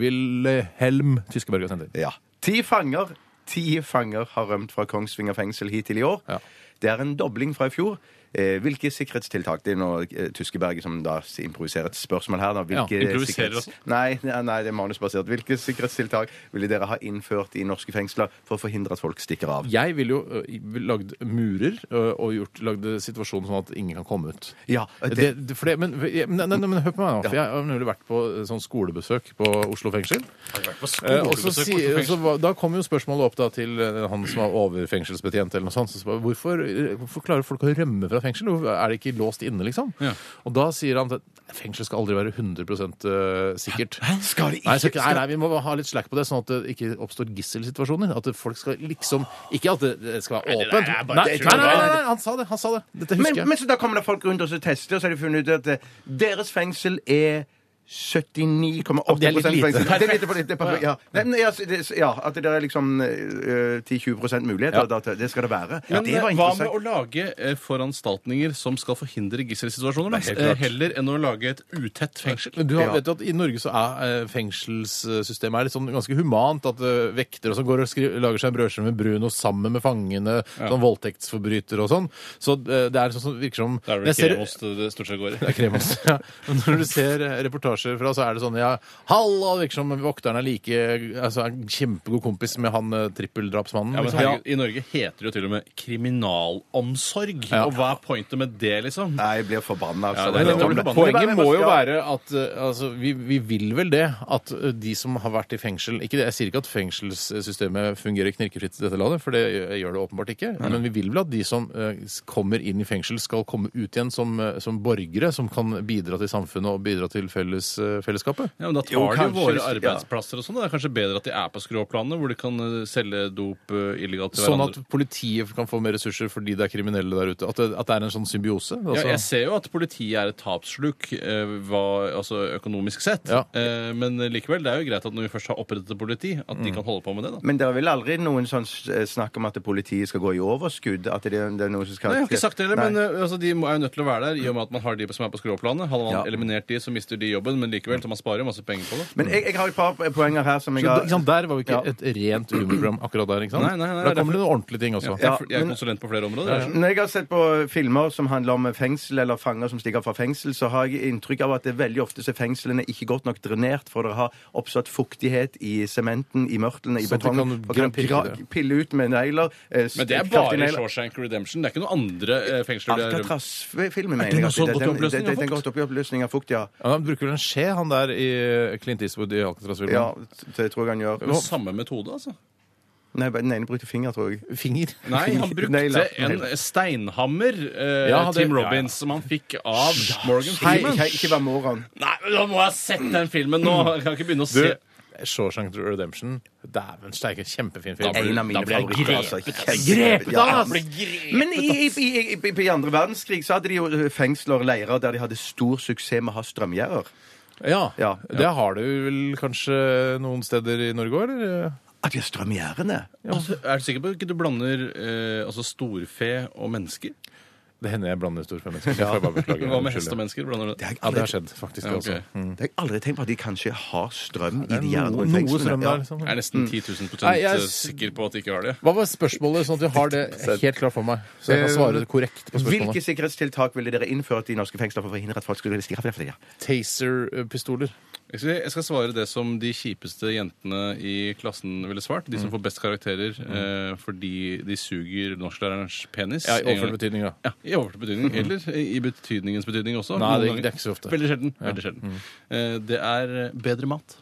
S2: Wilhelm Tyskeberget har sendt inn.
S3: Ja. Ti fanger Ti fanger har rømt fra Kongsvinger fengsel hittil i år.
S2: Ja.
S3: Det er en dobling fra i fjor. Eh, hvilke sikkerhetstiltak Det er nå eh, Tyskeberget som da s- improviserer et spørsmål her. Da. Hvilke
S4: Ja, improviserer
S3: sikkerhets-
S4: også.
S3: Nei, nei, nei, det er manusbasert. Hvilke sikkerhetstiltak ville dere ha innført i norske fengsler for å forhindre at folk stikker av?
S2: Jeg ville jo ø, lagd murer ø, og gjort, lagd situasjonen sånn at ingen kan komme ut.
S3: Ja, det-
S2: det, det, for det, men, jeg- men, nei, nei, men hør på meg nå. For jeg har nemlig vært på ø, sånn skolebesøk på Oslo fengsel. Eh, og så
S4: skolebesøk på
S2: si,
S4: Oslo fengsel?
S2: så, var- da kom jo spørsmålet opp da til ø, han som var overfengselsbetjent. eller noe sånt, så spør, hvorfor, ø, hvorfor klarer folk å rømme fra fengsel? Hvorfor Er de ikke låst inne, liksom?
S4: Ja.
S2: Og da sier han at fengsel skal aldri være 100 ø, sikkert.
S3: Skal de ikke
S2: Nei, så, ikke- nei, nei, vi må ha litt slack på det, sånn at det ikke oppstår gisselsituasjoner. At det- folk skal liksom Ikke at det- det skal være åpent. Nei, nei, nei,
S3: det er bare-
S2: nei, nei, han sa det! han sa det Dette husker
S3: Men,
S2: jeg.
S3: men så da kommer det folk rundt og så tester, og så har de funnet ut at eh, deres fengsel er 79,8
S2: Det er litt lite.
S3: sjanse. Det er lite for lite. det er perfekt, Ja. Nei, men ja, så det- ja, at det er liksom eh, 10-20 muligheter.
S2: Ja.
S3: at Det det skal det være.
S4: Men
S3: det var
S4: hva med å
S3: interessant.
S4: lage eh, foranstaltninger som skal forhindre gisselsituasjoner? da?
S2: Det er helt
S4: Eh,
S2: klart.
S4: Heller enn å lage et utett fengsel.
S2: Men du har,
S3: Ja.
S2: vet jo at I Norge så er eh, fengselssystemet er litt sånn ganske humant. At eh, vektere og sånn går og skri lager seg en brødskive med brun og sammen med fangene. Sånn voldtektsforbrytere og sånn. Så eh, det er sånn som virker som
S4: Da
S2: Jeg
S4: er det
S2: ser-
S4: kremost det stort sett går
S2: Det
S4: i.
S2: er kremost, ja. Men når du ser eh, reportasjer fra, så er det sånn ja, Halla! Det virker som vokteren er like altså, er en kjempegod kompis med han eh, trippeldrapsmannen.
S4: Ja, men
S2: liksom.
S4: herregud, I Norge heter det jo til og med kriminalomsorg.
S2: Ja.
S4: Og hva er pointet med det, liksom?
S3: Nei, jeg blir forbanna.
S4: Ja,
S3: Altså.
S4: det
S2: Men,
S4: er litt
S2: men,
S4: forbanna.
S2: poenget må jo være at eh, altså, vi, vi vil vel det at eh, de som har vært i fengsel ikke det, Jeg sier ikke at fengselssystemet fungerer knirkefritt i dette landet, for det gjør- gjør det åpenbart ikke. Men vi vil vel at de som eh, s- kommer inn i fengsel, skal komme ut igjen som, eh, som borgere som kan bidra til samfunnet og bidra til felles, eh, fellesskapet.
S4: Ja, men Da tar
S3: Jo,
S4: de jo
S3: kanskje
S4: våre
S3: hvis- ja.
S4: arbeidsplasser og sånn. Det er kanskje bedre at de er på skråplanet, hvor de kan eh, selge dop eh, illegalt til
S2: Sånn at
S4: hverandre.
S2: politiet kan få mer ressurser fordi det er kriminelle der ute. At det, at det er en sånn symbiose.
S4: Ja,
S2: Altså.
S4: jeg ser jo at politiet er et tapssluk eh, hva, altså økonomisk sett.
S2: Ja.
S4: Eh, men likevel, det er jo greit at når vi først har opprettet et politi, at
S2: Mm.
S4: de kan holde på med det. da.
S3: Men det er vel aldri noen sånn s- snakk om at politiet skal gå i overskudd? At det er, det er noen som skal
S4: Nei, jeg har ikke sagt det heller,
S3: Nei.
S4: men eh, altså, de må- er jo nødt til å være der i og med at man har de som er på skråplanet. Hadde man
S3: Ja.
S4: eliminert de, så mister de jobben, men likevel, så man sparer jo masse penger på det.
S3: Men jeg, jeg har et par poenger her som jeg
S2: Så,
S3: har
S2: ikke sant, der var vi ikke
S3: Ja.
S2: et rent humorprogram akkurat der. ikke sant?
S4: Nei, nei, nei,
S2: da kommer det noen ordentlige ting også.
S4: Jeg, er f-
S3: Ja,
S4: jeg er
S3: men-
S4: konsulent på flere områder. jeg skjønner.
S3: Når jeg har sett på filmer som handler om fengsel eller fanger som stikker fra fengsel, så har jeg inntrykk av at det er veldig ofte så er fengslene ikke godt nok drenert, for det har oppstått fuktighet i sementen, i mørtlene, i
S2: Sånn at du
S3: betongen.
S2: kan
S3: Og kan
S2: pirke
S3: gra-
S2: det.
S3: pille ut med negler. eh,
S4: Men det er
S3: kraftige
S4: bare
S3: negler.
S4: Shawshank Redemption. Det er ikke noen andre eh, fengsler det er
S3: Alcatraz-filmen, mener
S4: den
S3: jeg. at
S4: også
S3: det-
S4: gått i
S3: den-
S4: oppløsning
S3: det-
S4: av
S3: det- Den
S4: fukt?
S3: har gått opp i oppløsning av fukt, ja.
S2: Ja, han bruker vel en skje, han der i Clint Eastwood i Alcatraz-filmen.
S3: Ja, det tror jeg han gjør.
S4: med samme metode, altså.
S3: Nei, den ene brukte finger, tror jeg.
S2: Finger.
S4: Nei, han brukte
S3: Negler.
S4: en eh, steinhammer, eh,
S2: Ja, det-
S4: Tim Robins, som han fikk av Morgan
S3: Nei,
S4: Freeman.
S3: ikke, ikke vær moron.
S4: Nei, men da må jeg ha sett den filmen nå! Jeg kan ikke begynne å
S2: Du,
S4: se.
S2: Shawshank Redemption. Dæven steike, kjempefin
S4: Da blir-
S2: film.
S3: En av mine
S4: da blir jeg
S3: favoritter,
S4: grepet,
S3: altså.
S4: altså.
S3: Grepet,
S2: da,
S3: ja.
S2: altså. Ble
S3: Men i, i, i, i, i andre verdenskrig så hadde de jo eh, fengsler og leirer der de hadde stor suksess med å ha strømgjerder.
S2: Ja,
S3: Ja.
S2: Det har du vel kanskje noen steder i Norge òg, eller?
S3: At de har strømgjerdene?
S4: Altså, er du sikker på at du ikke blander eh, altså storfe og mennesker?
S2: Det hender jeg blander stort med mennesker. Får jeg bare beklage.
S4: Hva med
S2: Unnskyld.
S4: hest og mennesker? Blander du det?
S3: Det har
S2: Ja,
S3: jeg
S2: det
S3: aldri,
S2: har skjedd, faktisk.
S4: Ja, ok.
S2: også. Mm.
S3: det har jeg aldri tenkt på, at de kanskje har strøm i
S2: Det
S3: de
S2: er
S3: gjerdene
S2: noe,
S3: rundt
S2: noe strøm
S3: fengslene.
S2: der,
S3: Ja.
S2: liksom.
S4: Jeg er nesten 10 000
S2: Nei, jeg-
S4: eh, sikker på at de ikke har det.
S2: Hva var spørsmålet, sånn at vi har det helt klart for meg? Så jeg
S4: Eh,
S2: kan svare korrekt på
S3: Hvilke
S2: spørsmålet.
S3: sikkerhetstiltak ville dere innført i norske fengsler for å forhindre at folk skulle stikke av? Ja.
S2: Taser-pistoler.
S4: Jeg skal, jeg skal svare det som de kjipeste jentene i klassen ville svart. De som
S2: Mm.
S4: får best karakterer eh, fordi de suger norsklærerens penis.
S2: Ja, I
S4: En gang-
S2: overført betydning, ja.
S4: Ja, I overført betydning. Eller i betydningens betydning også.
S2: Nei, det, det
S4: Noen ganger.
S2: er ikke så ofte. Mm.
S4: Veldig sjelden. Veldig sjelden. Eh, det er bedre mat.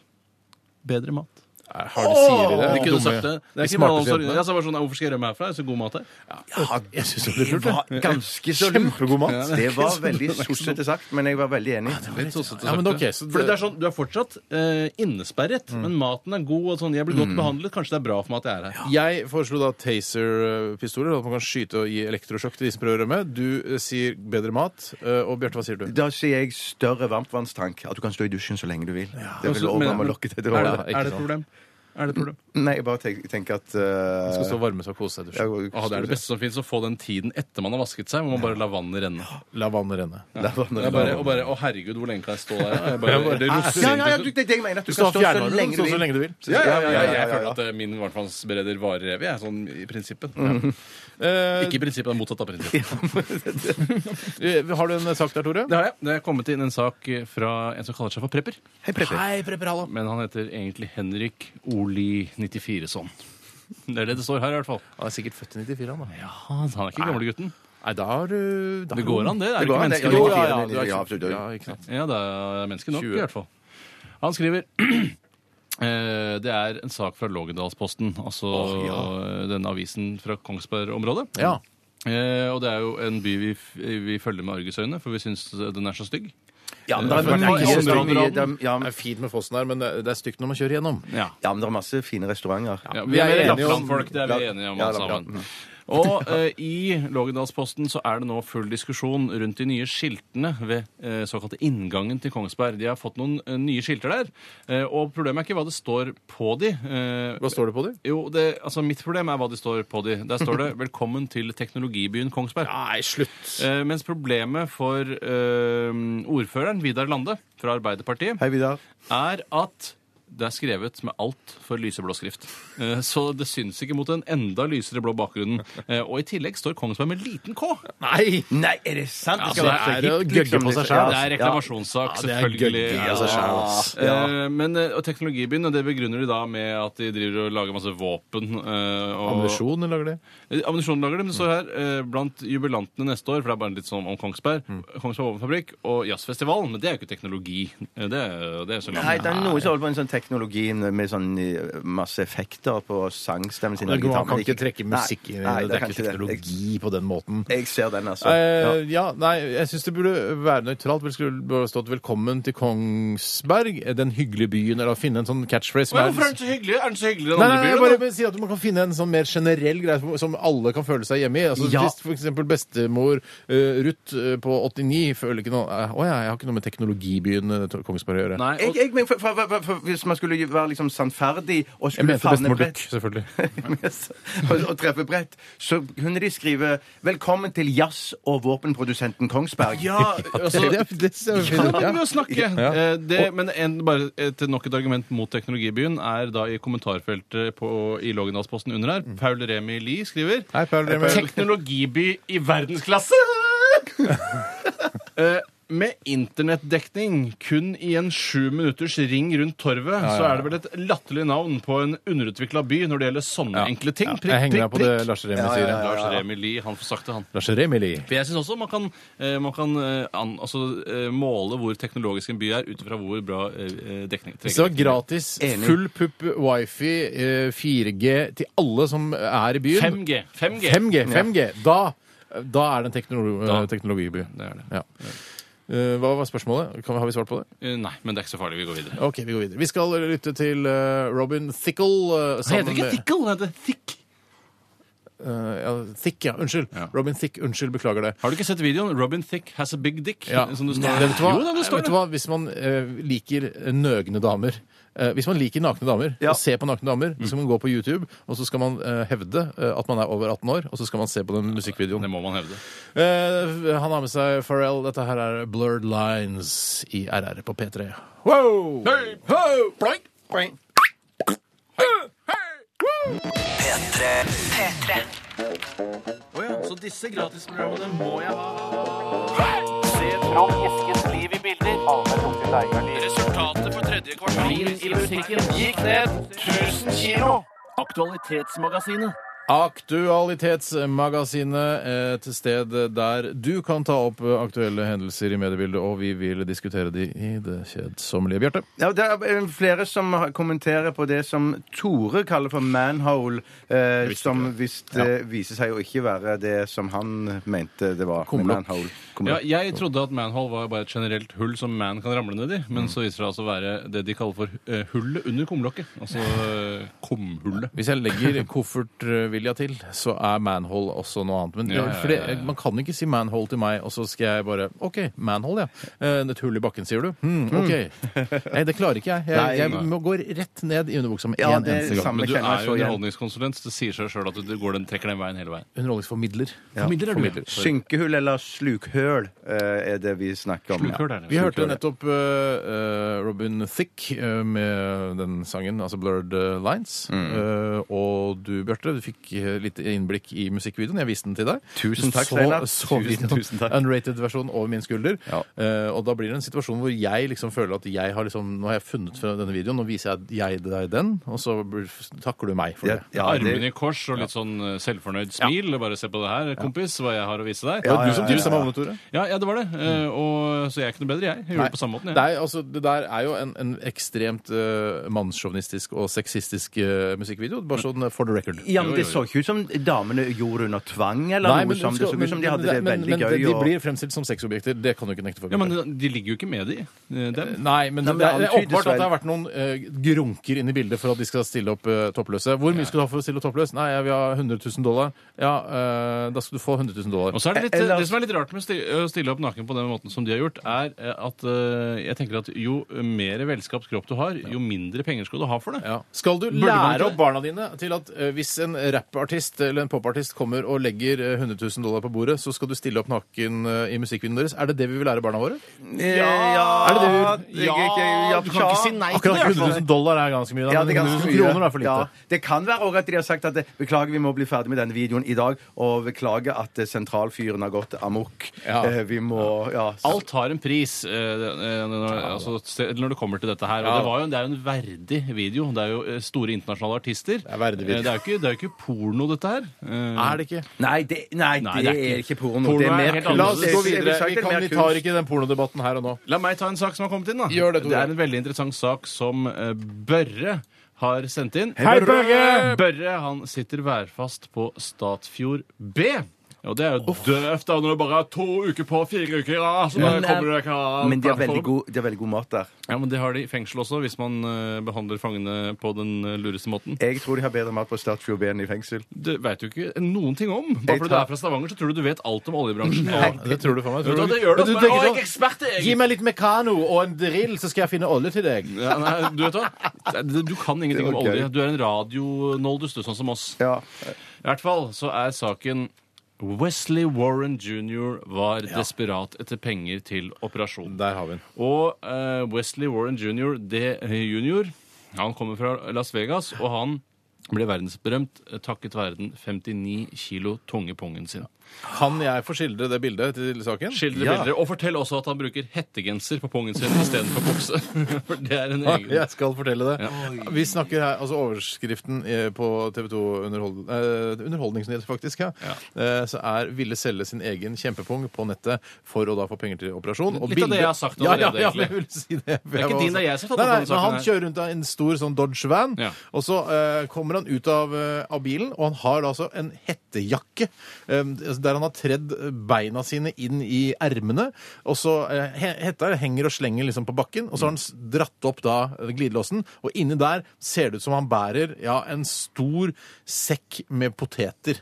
S4: Bedre mat.
S2: Har de sier i det?
S4: De kunne
S2: Dumme-
S4: sagt det. Det er
S2: de
S4: ikke
S2: smarte
S4: bare noen som-
S2: jentene.
S4: Ja, så er det bare sånn, Hvorfor skal jeg rømme herfra? Det er så god mat her.
S2: Jeg synes det
S3: Det
S2: blir lurt,
S3: var ganske så lurt.
S2: Kjempegod mat.
S3: Det var veldig sossete sagt, men jeg var veldig enig.
S4: Litt sossete
S2: Ja,
S4: sagt,
S2: men ok, så det-
S4: Fordi det er sånn, Du er fortsatt eh, innesperret, men maten er god. og sånn, Jeg blir godt behandlet. Kanskje det er bra for meg at jeg er her.
S2: Jeg foreslo da taser-pistoler, at man kan skyte og gi elektrosjokk til de som prøver å rømme. Du eh, sier bedre mat. eh, Og Bjarte, hva sier du?
S3: Da sier jeg større varmtvannstank. At du kan stå i dusjen så lenge du vil. Det
S4: Men
S3: vil
S4: så-
S3: også
S4: men-
S3: være med å
S4: men-
S3: lokke til
S4: Er Mm.
S3: det.
S4: det, er det et problem? Er det et problem?
S3: Nei, jeg bare tenk- tenker at eh,
S2: Du skal stå og varme seg og kose deg i
S3: jeg-
S2: dusjen.
S4: Å, det er det beste som fins, å få den tiden etter man har vasket seg, hvor man bare lar vannet renne.
S2: La vannet renne.
S3: Det er bare-
S4: Det er bare, og bare, Å, herregud, hvor lenge kan jeg stå der? Jeg bare, det roser
S3: Ja,
S4: inn
S3: ja,
S4: til
S3: ja,
S4: slutt.
S3: du, det er det jeg mener. At du,
S2: Du
S3: kan
S2: står
S3: stå
S2: og
S3: sånn så
S2: fjerner
S3: lenge
S2: den
S3: du
S2: så, så
S3: vil.
S2: lenge du vil.
S4: ja, ja, ja, ja, Jeg føler at eh, min varmtvannsbereder varer evig, jeg, sånn i prinsippet.
S2: Eh,
S4: Ikke i prinsippet, det er motsatt av prinsippet.
S2: eh, har du en sak der, Tore?
S4: Det har jeg. Det er kommet inn en sak fra en som kaller seg for Prepper.
S3: Hei, Prepper.
S2: Hei, Prepper Hallo.
S4: Men han heter egentlig Henrik Oli 94 sånn. Det er det det står her, i hvert fall.
S2: Han er sikkert født i 94, han da.
S4: Ja,
S3: Ah,
S4: Han er ikke gamlegutten.
S2: Nei, da har du da
S4: Det går an, det. Er
S3: Det
S4: det
S3: går
S4: ikke
S3: an, det.
S4: mennesker
S2: Jo,
S4: nok?
S2: ja, ja,
S3: 94,
S2: du er
S3: ja,
S2: ikke,
S3: absolutt.
S2: ja, ikke sant.
S4: Ja, det er mennesker nok,
S2: 20.
S4: i hvert fall. Han skriver eh, det er en sak fra Lågendalsposten, altså eh, denne avisen fra Kongsberg-området.
S2: Ja.
S4: Eh, og det er jo en by vi, f vi følger med argusøyne, for vi syns den er så stygg.
S3: Ja, men det er
S4: Men
S3: mange
S4: mange
S3: restauranter-
S4: områder-
S3: det er- ja,
S2: sånn Det
S3: men-
S2: er fint med fossen her, men eh, det det er stygt når man kjører gjennom.
S4: Ja.
S3: ja, men det er masse fine restauranter.
S4: Ja, vi er,
S2: vi er
S4: enige
S2: enige om-
S4: om folk, det er vi enige om
S3: Ja,
S4: alle
S3: ja, ja.
S4: sammen. Og eh, i Lågendalsposten så er det nå full diskusjon rundt de nye skiltene ved eh, såkalte inngangen til Kongsberg. De har fått noen eh, nye skilter der, eh, og problemet er ikke hva det står på de. Eh,
S2: Hva står det på dem?
S4: jo, det, altså Mitt problem er hva de står på de. Der står det 'Velkommen til teknologibyen Kongsberg'.
S2: Nei, slutt!
S4: Eh, mens problemet for eh, ordføreren, Vidar Lande fra Arbeiderpartiet,
S3: Hei, Vidar.
S4: er at det er skrevet med altfor lyseblå skrift. Eh, Så det syns ikke mot den enda lysere blå bakgrunnen. Eh, Og i tillegg står Kongsberg med liten K.
S2: Nei!
S3: Nei, er det sant?
S4: Ja,
S3: skal
S4: det
S3: være så
S2: er å
S3: hipt,
S2: gøgge
S3: liksom,
S2: på seg
S3: disse-
S2: selv. altså.
S4: Det er
S3: Ja.
S4: reklamasjonssak,
S2: det er altså,
S4: selvfølgelig.
S2: gøy av seg selv, ass.
S4: Eh, Men eh, og teknologibyen, og det begrunner de da med at de driver og lager masse våpen. eh, og-
S2: Ammunisjon lager de.
S4: Eh, Ammunisjonlager, men det står her eh, blant jubilantene neste år, for det er bare litt sånn om Kongsberg,
S2: Mm.
S4: Kongsberg Våpenfabrikk og Jazzfestivalen, men det er jo ikke teknologi. Eh, Det er, det er så langt.
S3: Nei, det er noe som holder på med sånn teknologien med sånn eh, masse effekter på sangstemmen sin.
S2: Man
S3: og gitar,
S2: kan
S3: men
S2: ikke trekke musikk inn i
S3: Nei,
S2: det. Det er ikke
S3: Jeg,
S2: teknologi på den måten.
S3: jeg ser den, altså.
S2: Eh, ja, nei, jeg syns det burde være nøytralt. Det skulle burde stått 'Velkommen til Kongsberg, den hyggelige byen', eller å finne en sånn catchphrase. som
S4: Men
S2: er-
S4: hvorfor er den så hyggelig? Er den så hyggelig i den
S2: Nei, nei,
S4: andre
S2: nei, jeg
S4: byen?
S2: bare
S4: da?
S2: vil si at Man kan finne en sånn mer generell greie som- som alle kan føle seg hjemme i. Altså,
S3: Ja.
S2: Hvis f.eks. bestemor eh, Ruth eh, på 89 føler ikke noe eh, Å ja, jeg har ikke noe med teknologibyen eh, Kongsberg å gjøre.
S4: Nei,
S3: jeg,
S4: og,
S3: jeg, men for, for, for, for, hvis man skulle være liksom sannferdig og
S2: Jeg
S3: skulle
S2: mente bestemor
S3: brett-
S2: Duck, selvfølgelig.
S3: og, og treffe bredt, så kunne de skrive 'Velkommen til jazz- og våpenprodusenten Kongsberg'.
S4: ja, altså,
S2: det, er- det er jo
S4: Ja,
S2: fint. Ja.
S4: da kan vi jo snakke! Eh, Det, men en, bare et, nok et argument mot teknologibyen er da i kommentarfeltet på, i Lågendalsposten under her. Paul Remi Lie skriver
S2: Mm.
S4: "Eh,
S2: Hei, Paul Remi.
S4: Teknologiby i verdensklasse! Eh, Med internettdekning kun i en sju minutters ring rundt torvet, så er det vel et latterlig navn på en underutvikla by når det gjelder sånne enkle ting. Prikk,
S2: Jeg henger meg
S4: prikk,
S2: på det
S4: prikk.
S2: Lars Remi sier. ja.
S4: Lars Remi Lie, han får sagt det, han.
S2: Lars Remi Lie.
S4: For jeg synes også man kan, eh, man kan eh, an, altså, eh, måle hvor teknologisk en by er, ut ifra hvor bra eh, dekning
S2: Hvis det var
S4: trenger.
S2: gratis,
S3: Enig.
S2: full pupp, wifi, eh, 4G til alle som er i byen
S4: 5G. 5G.
S2: 5G! 5G. Da, da er det en eh, teknolo
S4: Da.
S2: teknologiby.
S4: Det er det.
S2: Ja. Eh, hva var spørsmålet? Kan, har vi svart på det?
S4: Eh, Nei, men det er ikke så farlig. Vi går videre.
S2: Ok, Vi går videre. Vi skal lytte til eh, Robin Thickel. eh,
S4: Han heter
S2: sammen
S4: ikke
S2: med-
S4: Thickle, han heter Thick.
S2: Eh, ja, Thick, ja. Unnskyld.
S4: Ja.
S2: Robin Thick. Unnskyld. Beklager det.
S4: Har du ikke sett videoen? Robin Thick has a big dick.
S2: Ja.
S4: Som det
S2: Nei,
S4: står.
S2: Vet du hva?
S4: Jo, da, det står
S2: vet du
S4: det.
S2: hva? Hvis man eh, liker nøgne damer eh, Hvis man liker nakne damer,
S3: Ja.
S2: og ser på nakne
S4: Mm.
S2: damer, så skal man gå på YouTube, og så skal man eh, hevde eh, at man er over 18 år, og så skal man se på den musikkvideoen.
S4: Det må man hevde.
S2: Eh, han har med seg Pharrell. Dette her er Blurred Lines i RR på P3. Wow! Ho!
S5: P3. P3.
S4: Så disse gratisprogrammene må jeg ha. Resultatet på tredje kvartal i musikken gikk ned 1000 kilo. Aktualitetsmagasinet.
S2: Aktualitetsmagasinet, et sted der du kan ta opp eh, aktuelle hendelser i mediebildet, og vi vil diskutere de i det kjedsommelige. Bjarte?
S3: Ja, det er eh, flere som har- kommenterer på det som Tore kaller for manhole, eh, som visst eh, viser seg å ikke være det som han mente det var. med
S2: Kumlokk.
S3: Manhole.
S4: Ja,
S3: Kumlokk.
S4: jeg trodde at manhole var bare et generelt hull som man kan ramle ned i.
S2: Mm.
S4: Men så viser det altså å være det de kaller for eh, hullet under kumlokket. Altså eh, kumhullet.
S2: Hvis jeg legger koffertvilja til, så er manhole også noe annet. Men det,
S4: Ja, ja, ja, ja.
S2: For det, man kan ikke si manhole til meg, og så skal jeg bare OK, manhole, ja. Eh, Et hull i bakken, sier du? Hm, OK. Nei, det klarer ikke jeg. Jeg, jeg må gå rett ned i underbuksa med
S3: Ja,
S2: én
S3: det er
S2: eneste gang.
S3: samme.
S4: Men du
S3: kjenner jeg
S4: er jo
S3: så igjen.
S4: underholdningskonsulent, så det sier seg sjøl at du går den, trekker den veien hele veien.
S2: Underholdningsformidler.
S3: Ja,
S2: Formidler er du.
S3: Synkehull eller slukhøl eh, er det vi snakker om.
S4: Slukhøl er det.
S2: Vi hørte nettopp eh, eh, Robin Thicke eh, med den sangen, altså Blurred eh, Lines.
S3: Mm.
S2: Eh, og du, Bjarte, du fikk eh, litt innblikk i musikkvideoen. Jeg viste den til deg.
S3: Tusen takk,
S2: så,
S3: Steinar.
S2: Så
S3: Tusen, tusen takk.
S2: unrated-versjon over min skulder.
S3: Ja.
S2: Eh, og da blir det en situasjon hvor jeg liksom føler at jeg har liksom, nå har jeg funnet fra denne videoen, nå viser jeg jeg deg den, og så blir, takker du meg for
S3: Ja,
S2: det.
S3: ja,
S4: Armene
S3: det,
S4: i kors og litt sånn eh, selvfornøyd smil. og Bare se på det her, kompis, hva jeg har å vise deg.
S2: Det var du som
S3: ja, ja,
S2: tipset meg om det, Tore.
S4: Ja, ja, det var det.
S2: Mm.
S4: Eh, og, så jeg er ikke noe bedre, jeg. Jeg gjorde det på samme måten.
S2: Det,
S4: Jeg.
S2: er, altså, det der er jo en, en ekstremt uh, mannssjåvinistisk og sexistisk eh, musikkvideo. Bare sånn eh, for the record.
S3: ja, men det så ikke ut som damene gjorde under tvang, eller noe som det så ut som de hadde det
S2: men-
S3: veldig
S2: men
S3: gøy.
S2: de
S3: og-
S2: blir fremstilt som sexobjekter. Det kan du ikke nekte for.
S4: Ja, men de ligger jo ikke med de. eh, Dem.
S2: Nei, men,
S3: Nei, men
S2: det, er, det er
S3: antydes
S2: åpenbart at
S3: vel.
S2: det har vært noen eh, grunker inn i bildet for at de skal stille opp eh, toppløse. Hvor mye skal du ha for å stille opp toppløs? Nei, jeg vil ha 100 000 dollar. Ja, eh, da skal du få 100 000 dollar.
S4: Og så er det, litt, eh,
S3: Eller-
S2: altså
S4: det som er litt rart med å sti- å stille opp naken på den måten som de har gjort, er eh, at eh, jeg tenker at jo mer velskapskropp du har, jo mindre penger skal du ha for det.
S2: Ja. Skal du
S4: man
S2: lære
S4: ikke-
S2: opp barna dine til at eh, hvis en rappartist eller en popartist kommer og legger eh, 100 000 dollar på bordet, så skal du stille opp naken eh, i musikkvideoen deres? Er det det vi vil lære barna våre?
S3: Eh, Ja,
S2: Er det det du-
S3: jeg- jeg- jeg- ja,
S6: du kan ikke si nei til
S2: Akkurat
S6: det.
S2: 100 000 dollar er ganske mye, da,
S3: Ja,
S2: men
S3: det er
S2: 100
S3: ganske
S2: 000
S3: mye.
S2: kroner er for lite.
S3: Ja. Det kan være også at de har sagt at eh, beklager, vi må bli ferdig med denne videoen i dag, og beklager at eh, sentralfyren har gått amok.
S2: Ja.
S3: Eh, Vi må ja.
S4: Alt har en pris eh, eh, når, altså, se- når det kommer til dette her. Og
S2: Ja.
S4: det, var jo, det er jo en verdig video. Det er jo eh, store internasjonale artister. Det
S2: er verdig video.
S4: Det er jo ikke, det er jo ikke porno, dette her. Eh,
S2: Er det ikke?
S3: Nei, det, nei,
S4: Nei,
S3: det er ikke porno.
S4: Porno
S3: det
S4: er
S3: er mer
S4: helt
S3: kunst.
S2: La oss gå
S3: Jeg vil
S2: videre.
S3: sagt
S2: Vi,
S3: det er
S2: kan,
S3: mer
S2: vi tar
S3: kunst.
S2: ikke den pornodebatten her og nå.
S4: La meg ta en sak som har kommet inn, da.
S2: Gjør det, Tore.
S4: er en veldig interessant sak som eh, Børre har sendt inn.
S2: Hei, Børre!
S4: Børre han sitter værfast på Statfjord B. Og det er jo døvt, da, når det bare er to uker på fire uker. Ja, så da
S3: Men, eh,
S4: kommer du deg ikke av
S3: Men de har veldig
S4: plattform.
S3: god, de har veldig god mat der.
S4: Ja, men Det har de i fengsel også, hvis man eh, behandler fangene på den eh, lureste måten.
S3: Jeg tror de har bedre mat på Statfjord B enn i fengsel.
S4: Det veit du ikke noen ting om. Bare fordi du er fra Stavanger, så tror du du vet alt om oljebransjen. Og-
S2: Det tror du for meg.
S4: Vet du hva, det gjør det. Å, jeg er ekspert, jeg.
S2: Gi meg litt mekano og en drill, så skal jeg finne olje til deg.
S4: Ja, nei, du vet hva? Du kan ingenting
S3: Det
S4: om
S3: var gøy.
S4: olje. Du er en radionoldus, du, sånn som oss.
S3: Ja.
S4: I hvert fall så er saken Wesley Warren jr. var desperat etter penger til operasjon.
S2: Der har vi den.
S4: Og eh, Wesley Warren jr., det eh, junior, han kommer fra Las Vegas, og han ble verdensberømt eh, takket være den 59 kilo tunge pungen sin.
S2: Kan jeg få skildre det bildet til saken?
S4: Skildre
S3: Ja.
S4: bilder, og fortell også at han bruker hettegenser på pungen sin istedenfor bukse. For det er en
S2: Ja,
S3: Ah,
S4: egen
S2: Jeg skal fortelle det. Vi snakker her, altså Overskriften eh, på TV 2 underhold, eh, Underholdningsnyheter, faktisk, ja. Eh, så er 'ville selge sin egen kjempepung på nettet for å da få penger til operasjon'.
S4: Litt av det jeg har sagt
S2: ja,
S4: allerede,
S2: ja, ja,
S4: egentlig.
S2: jeg vil si det. Det
S4: ikke din, det er jeg som har
S2: nei, nei,
S4: tatt opp denne
S2: men
S4: saken
S2: Han
S4: her.
S2: kjører rundt av en stor sånn Dodge van,
S4: Ja.
S2: og så eh, kommer han ut av, eh, av bilen, og han har altså en hettejakke eh, der han har tredd beina sine inn i ermene, og så eh, he- hetta henger og slenger liksom på bakken, og så har han s- dratt opp da eh, glidelåsen, og inni der ser det ut som han bærer ja, en stor sekk med poteter.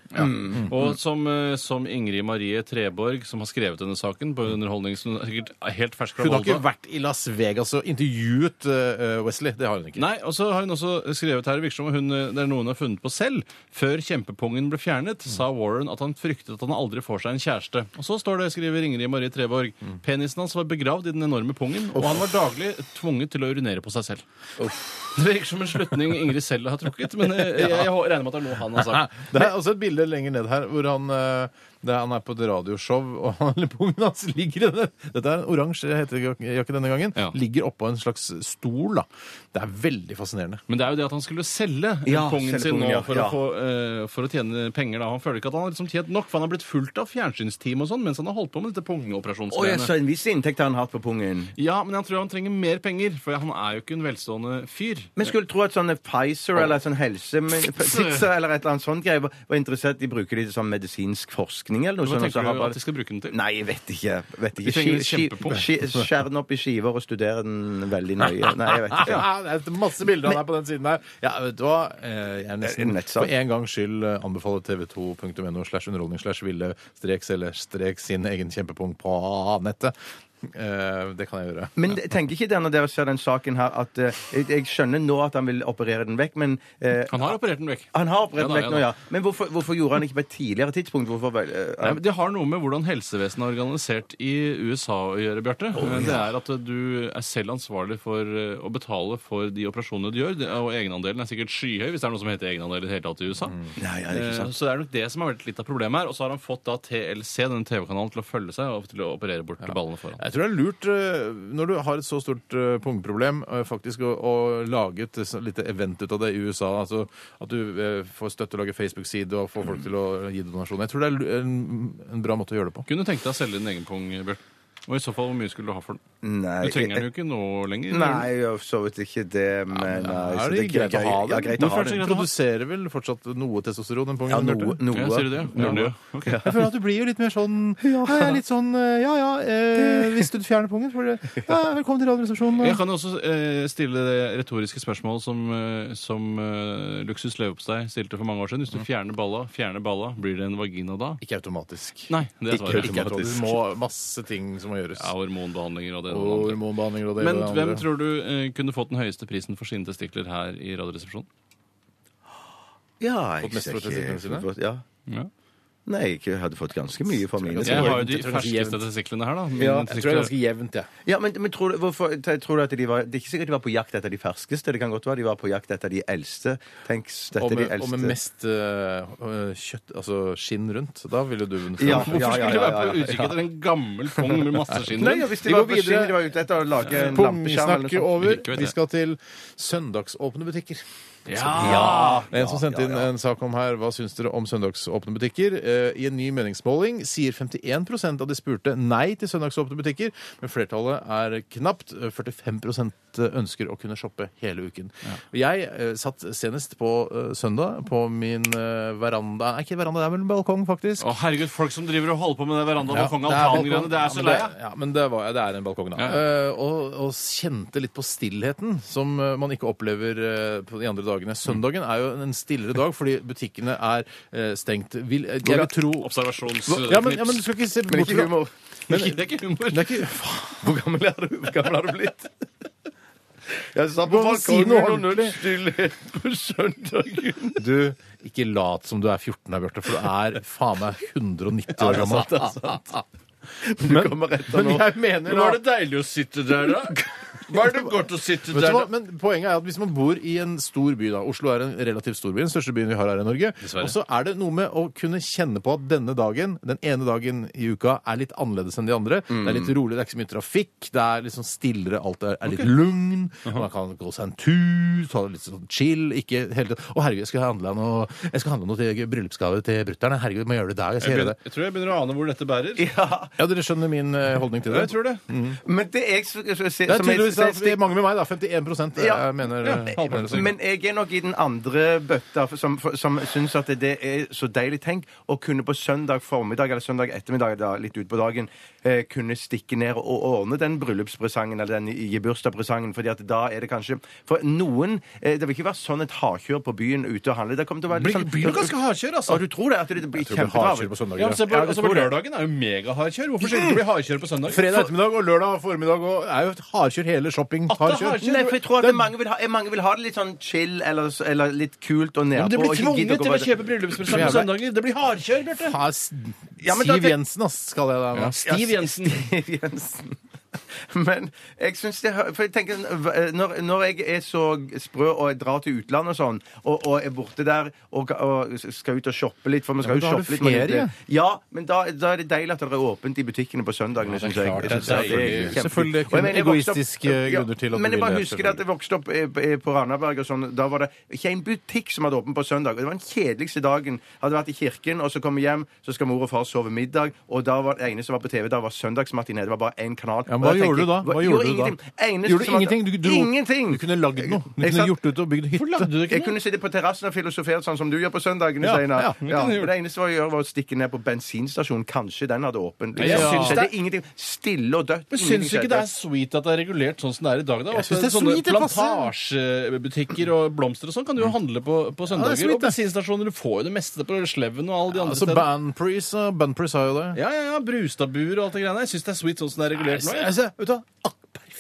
S4: Og som, eh, som Ingrid Marie Treborg, som har skrevet denne saken på underholdnings... Hun er sikkert helt fersk fra
S2: Hun har ikke
S4: Volda.
S2: vært i Las Vegas og intervjuet eh, Wesley, det har hun ikke.
S4: Nei, og så har hun også skrevet her i virker som hun, eh, det er noe hun har funnet på selv. Før kjempepungen ble fjernet, sa Warren at han fryktet at han aldri får seg en kjæreste. Og så står det, skriver Ingrid Marie Treborg, penisen hans var begravd i den enorme pungen, og han var daglig tvunget til å urinere på seg selv. Det virker som en slutning Ingrid selv har trukket, men eh, jeg, jeg regner med at det er noe han har sagt.
S2: Det er også et bilde lenger ned her hvor han, eh, det er, han er på et radioshow, og han- pungen hans ligger i den. Dette er en oransje hettejakke denne gangen.
S4: Ja.
S2: Ligger oppå en slags stol, da. Det er veldig fascinerende.
S4: Men det er jo det at han skulle selge
S3: Ja,
S4: pungen
S3: selge
S4: sin nå
S3: pungen, ja,
S4: for,
S3: ja.
S4: Å få, eh, for å tjene penger. da. Han føler ikke at han har liksom tjent nok, for han har blitt fulgt av fjernsynsteam og sånn mens han har holdt på med dette
S3: Å, jeg
S4: pungoperasjonsgreiene.
S3: så en viss inntekt har han hatt på pungen.
S4: ja, men han tror han trenger mer penger, for han er jo ikke en velstående fyr.
S3: Men skulle tro at sånne Pfizer eller sånn helse Pfizer eller et eller annet sånt greier var var interessert i å bruke det til sånn medisinsk forskning eller noe
S4: Hva
S3: sånt. og så
S4: tenker
S3: har
S4: du
S3: bare-
S4: at de skal bruke den til?
S3: Nei, jeg vet ikke. Vet ikke. Ski-
S4: trenger
S3: ski-
S4: kjempepung.
S3: ski- Skjær den opp i skiver og studere den veldig nøye. Nei, jeg vet ikke.
S2: Ja, det er masse bilder han er på den siden her. Ja, vet du hva? Eh, Jeg er
S3: En
S2: nesten
S3: nettsak.
S2: for en gangs skyld eh, anbefaler tv2.no slash underholdning slash ville strek selge strek sin egen kjempepung på nettet. Eh, Det kan jeg gjøre.
S3: Men tenker ikke dere når dere ser den saken her, at eh, jeg, jeg skjønner nå at han vil operere den vekk, men eh,
S4: Han har operert den vekk.
S3: han har operert den
S4: Ja da,
S3: vekk
S4: ja
S3: nå,
S4: da.
S3: ja. Men hvorfor, hvorfor gjorde han ikke på et tidligere tidspunkt? Hvorfor, vel- eh,
S4: Nei, men det har noe med hvordan helsevesenet er organisert i USA å gjøre, Bjarte. Det er at du er selv ansvarlig for eh, å betale for de operasjonene du gjør. Det- Og egenandelen er sikkert skyhøy, hvis det er noe som heter egenandel i det hele tatt i USA.
S3: Nei, ja, det er ikke sånn-
S4: Eh,
S3: sant.
S4: Så det er nok det som har vært litt av problemet her. Og så har han fått da TLC, denne TV-kanalen, til å følge seg og til å operere bort ballene foran.
S2: Jeg tror det er lurt, eh, når du har et så stort eh, pungproblem, eh, faktisk å, å lage et så- lite event ut av det i USA. Altså at du eh, får støtte til å lage Facebook-side og får folk til å gi donasjoner. Jeg tror det er lu- en, en bra måte å gjøre det på.
S4: Kunne du tenkt deg å selge din egen pung, Bjørn? Og i så fall, hvor mye skulle du ha for den?
S3: Nei,
S4: Du Eh, trenger den jo ikke nå lenger.
S3: Nei, jeg har for så vidt ikke det, men
S2: Er
S3: altså,
S2: det, greit å ha
S3: Ja,
S2: det?
S3: greit å ha
S4: Hvorfor er
S3: det.
S4: det sånn så greit å ha?
S2: Produserer vel fortsatt noe testosteron? Den pungen,
S3: Ja,
S2: Bjarte?
S3: noe.
S4: Ja, sier du det? Gjør den det? Ok.
S2: Jeg føler at du blir jo litt mer sånn Ja, jeg er litt sånn Ja ja, eh, hvis du fjerner pungen, så blir det ja, Velkommen til Radioresepsjonen.
S4: Jeg kan jo også eh, stille det retoriske spørsmål som, eh, som eh, Luksus Leverpostei stilte for mange år siden. Hvis du fjerner balla, fjerner balla, blir det en vagina da?
S2: Ikke automatisk.
S4: Nei, det er svaret.
S2: Ikke automatisk. Du må masse ting som må gjøres.
S4: Ja, hormonbehandlinger og det ene og det andre.
S2: Hormonbehandlinger og det
S4: Men
S2: ene og det
S4: hvem
S2: andre.
S4: tror du eh, kunne fått den høyeste prisen for sine testikler her i Radioresepsjonen?
S3: Ja,
S2: Fått mest
S3: jeg
S2: for testiklene
S3: ser
S2: sine?
S3: ikke ja.
S4: Ja.
S3: Nei, jeg hadde fått ganske mye for mine.
S4: Jeg har jo
S2: jeg
S4: de
S2: tror det er
S4: ferskeste
S2: jevnt.
S4: testiklene her, da. Mine
S3: Ja, jeg
S2: Jeg tror det
S4: testikler-
S2: er ganske jevnt, jeg.
S3: Ja, men, men tror, du, hvorfor, te- tror du at de var Det er ikke sikkert de var på jakt etter de ferskeste. Det kan godt være de var på jakt etter de eldste. Tenk, dette
S2: Og
S3: er de
S2: med,
S3: eldste.
S2: og med mest eh, kjøtt, altså skinn rundt. Da ville du vunnet.
S3: Ja,
S2: fram.
S4: Hvorfor
S3: ja, ja,
S4: skulle du
S3: ja,
S4: være
S3: ja,
S4: på utkikk etter en gammel pung med masse skinn?
S3: Nei, ja, hvis de
S2: Vi
S3: var
S2: går
S3: på
S2: videre.
S3: skinn, de var ute etter å lage en lampeskjerm
S2: Pungsnakk
S3: eller noe sånt.
S2: over.
S4: Ikke vet
S2: Vi
S4: jeg.
S2: skal til søndagsåpne butikker.
S3: Ja,
S2: Det er En som sendte inn en sak om her, hva syns dere om søndagsåpne butikker? Eh, I en ny meningsmåling sier 51 av de spurte nei til søndagsåpne butikker, men flertallet er knapt. 45 ønsker å kunne shoppe hele uken. Jeg eh, satt senest på eh, søndag på min eh, veranda Nei, ikke veranda, det er vel en balkong, faktisk.
S4: Å, herregud, folk som driver og holder på med det verandaen
S2: Ja,
S4: og kongen
S2: det
S4: av
S2: balkong.
S4: altan-greiene, det er så
S2: Ja, men
S4: lei
S2: det- Ja, men det, var, det er en balkong, da.
S4: Ja.
S2: Eh, og, og kjente litt på stillheten, som eh, man ikke opplever eh, på de andre dagene. Søndagen er jo en stillere dag, fordi butikkene er eh, stengt. Vil, jeg vil tro
S4: Observasjonsknips.
S2: ja men, ja, men du skal ikke se
S3: Men
S2: bort
S3: ikke
S2: fra
S3: humor.
S4: Men det er ikke humor.
S2: det er ikke, faen,
S3: Hvor gammel er du? Hvor gammel har du blitt? Jeg sa
S2: Du
S3: på
S2: må si noe
S3: balkongen under stillhet på søndagen.
S2: du, ikke lat som du er 14 her, Bjarte, for du er faen meg 190 år gammel.
S3: Du kommer etter nå.
S2: jeg mener da-
S4: det deilig å sitte der, da. Var det godt å sitte
S2: Vet du hva? Men poenget er at hvis man bor i en stor by, da Oslo er en relativt stor by, den største byen vi har her i Norge,
S4: Dessverre.
S2: og så er det noe med å kunne kjenne på at denne dagen, den ene dagen i uka, er litt annerledes enn de andre. Det er
S4: Mm.
S2: litt rolig, det er ikke så mye trafikk, det er litt sånn stillere, alt er, er litt lugn. Man kan gå seg en tur, ta det litt sånn chill, ikke hele tiden Å, herregud, jeg skal handle noe, jeg skal handle noe til bryllupsgave til brutter'n. Herregud, må jeg gjøre det i dag. Jeg skal
S4: Jeg,
S2: gjøre det.
S4: tror jeg begynner å ane hvor dette bærer.
S3: Ja, Mm.
S2: Ja, dere skjønner min eh, holdning til det?
S4: Jeg tror det.
S3: men det jeg skal se
S2: Det er tydeligvis at det er mange med meg, da. 51 eh,
S3: Ja.
S2: mener eh, mener det.
S3: Men jeg er nok i den andre bøtta for- som, for- som syns at det er så deilig. Tenk å kunne på søndag formiddag eller søndag ettermiddag da, litt utpå dagen eh, kunne stikke ned og ordne den bryllupspresangen eller den i- i bursdagspresangen. fordi at da er det kanskje For noen eh, Det vil ikke være sånn et hardkjør på byen ute og handle. Det kommer til å være litt sånn
S4: hardkjør, altså?
S3: Å, du tror det? At det blir
S2: Jeg tror det blir hardkjør på
S3: kjempetravelt?
S2: søndager.
S4: Ja, men se på,
S3: Ja, det
S4: altså, på
S3: tror jeg.
S4: lørdagen er jo megahardkjør. Hvorfor skal det ikke bli hardkjør på søndag?
S2: Fredag ettermiddag og lørdag formiddag og er jo et hardkjør hele shopping.
S4: At det er hardkjør.
S3: Nei, for jeg tror at mange vil, ha, eh, mange vil ha det litt sånn chill eller, eller litt kult og nedpå.
S4: Men du blir
S3: og ikke gidde
S4: tvunget
S3: gå
S4: til å
S3: på-
S4: kjøpe bryllupspresang på søndager. Det blir hardkjør, Bjarte.
S2: Ha, s-
S3: Ja, men da-
S2: Siv Jensen, ass, skal jeg da. nå.
S4: Stiv Jensen.
S3: Siv Jensen. Men jeg synes det hø- For jeg tenker hva- Når, når jeg er så sprø og jeg drar til utlandet og sånn, og, og er borte der og, og skal ut og shoppe litt For vi skal
S2: men
S3: jo
S2: da har du
S3: shoppe litt men det-
S2: ferie.
S3: Ja, men da, da er det deilig at det er åpent i butikkene på søndagene, synes jeg.
S2: klart
S3: Jeg
S2: det er
S3: synes at
S2: deilig.
S3: kjempe-
S2: Selvfølgelig, det er
S3: Og jeg mener, jeg vokste opp-
S2: egoistiske grunner til at du
S3: Men jeg
S2: vil
S3: bare
S2: det,
S3: husker at jeg vokste opp eh, eh, på Randaberg og sånn. Da var det ikke en butikk som hadde åpen på søndag. og Det var den kjedeligste dagen. Hadde vært i kirken, og så kom jeg hjem, så skal mor og far sove middag, og da var det eneste som var på TV, da var søndagsmatiné. Det var bare én kanal.
S2: Ja, men hva
S3: Og jeg
S2: gjorde
S3: tenker,
S2: du da? Hva gjorde du da?
S3: ingenting. Eneste
S2: Gjorde
S3: som
S2: du
S3: var-
S2: ingenting? Du, du,
S3: ingenting!
S2: du kunne lagd noe. Du
S3: Jeg
S2: kunne
S3: satt-
S2: gjort det ut og bygd hytte.
S4: Hvorfor lagde du
S3: jeg
S4: ikke noe?
S3: kunne sitte på terrassen og filosofere sånn som du gjør på søndagene,
S2: Ja,
S3: Steinar.
S2: ja,
S3: Ja,
S2: det
S4: kunne jeg gjort.
S3: Det eneste var å gjøre, var å stikke ned på bensinstasjonen. Kanskje den hadde åpent.
S4: jeg
S3: Liksom.
S4: syns
S3: Så
S4: det-
S3: det er ingenting. Stille og dødt.
S4: Men
S3: ingenting
S4: Syns du ikke det
S3: skjedde.
S4: er sweet at det er regulert sånn som det er i dag? da?
S2: Jeg synes
S4: At
S2: det er
S4: sånne
S2: sweet, det
S4: Plantasjebutikker og blomster og sånn kan du jo handle på, på søndager.
S2: sweet,
S4: og
S2: det.
S4: bensinstasjoner. Du får jo det meste på Sleven og alle de andre
S2: Altså,
S4: stedene.
S2: Banprees og Bunprees har jo det.
S4: Ja, ja, ja, Brustadbuer og alt det greiene. Jeg syns det er sweet sånn som det er regulert nå.
S2: Jeg-
S4: Jeg.
S2: jeg- vet du hva? Ah,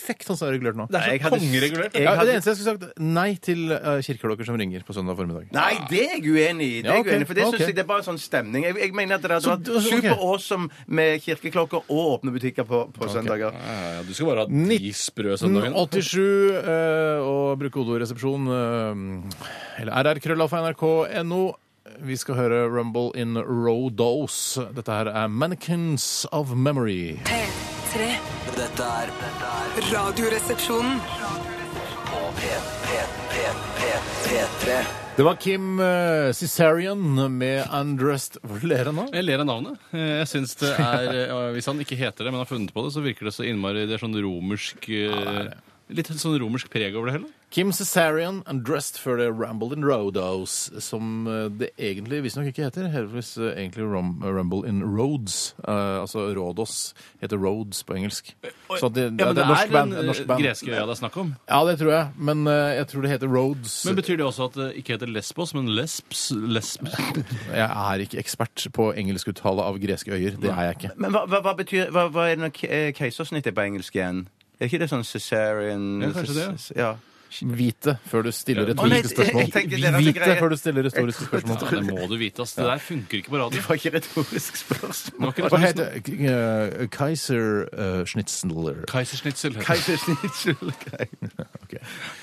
S2: Perfekt sånn som det er regulert nå.
S4: Det er
S3: jeg
S4: så
S3: hadde-
S4: kongeregulert.
S3: jeg
S2: Ja,
S3: hadde-
S2: det eneste jeg skulle sagt, nei til eh, kirkeklokker som ringer på søndag formiddag.
S3: Nei, det er jeg uenig i. Det er
S2: Ja,
S3: jeg
S2: ok,
S3: uenig i, For det synes
S2: ok.
S3: jeg det er bare en sånn stemning. Jeg, jeg mener at det hadde
S2: Så
S3: vært
S2: du- ok.
S3: super awesome med kirkeklokker og åpne butikker på, på søndager.
S4: Ja, ja, ja, du skal bare ha de sprø søndagene.
S2: 87 Mm, eh, og bruke koderesepsjon eh, eller rrkrøllalfa.nrk.no. Vi skal høre Rumble in Row Dose. Dette her er Mannequins of Memory.
S5: P3
S7: Dette er dette er
S5: Radioresepsjonen
S7: på P- P- P- P- P3.
S2: Det var Kim eh, Cesarion med 'Undressed' Hvor ler jeg nå?
S4: Jeg ler av navnet. Eh, Jeg synes det er, eh, Hvis han ikke heter det, men har funnet på det, så virker det så innmari Det er sånn romersk eh, Litt sånn romersk preg over det hele.
S2: Kim Cesarion 'Undressed' før det 'Ramble in Roadhouse', som eh, det egentlig visstnok ikke heter. Heldigvis eh, egentlig rom, 'Rumble in Roads'. eh, altså Rådås heter Roads på engelsk. Så det, det, er norsk band.
S4: den
S2: Norsk band.
S4: greske øya det er snakk om.
S2: Ja, det tror jeg, men eh, jeg tror det heter Roads.
S4: Men Betyr det også at det ikke heter Lesbos, men Lesbs? lesbs.
S2: Jeg er ikke ekspert på engelskuttale av greske øyer. Det er jeg ikke.
S3: Men hva, hva, hva betyr Hva, hva er det når ke- eh, keisersnitt er på engelsk igjen? Er ikke det sånn cesarian
S4: Ja, kanskje det, ja.
S3: ces- ja.
S2: Vite før du stiller
S3: Å, nei,
S2: retoriske spørsmål.
S3: jeg tenker det er altså
S2: Vite
S3: greie.
S2: før du stiller retoriske
S4: Ja,
S2: spørsmål.
S4: det må du vite, ass. Det der funker ikke på radio.
S3: Det var ikke retorisk spørsmål.
S4: Det var
S2: Hva
S4: ikke det
S2: heter uh, Kaiser eh, Schnitzler?
S4: sånn Keisersnitzel.
S3: Keisersnitt
S2: Ok.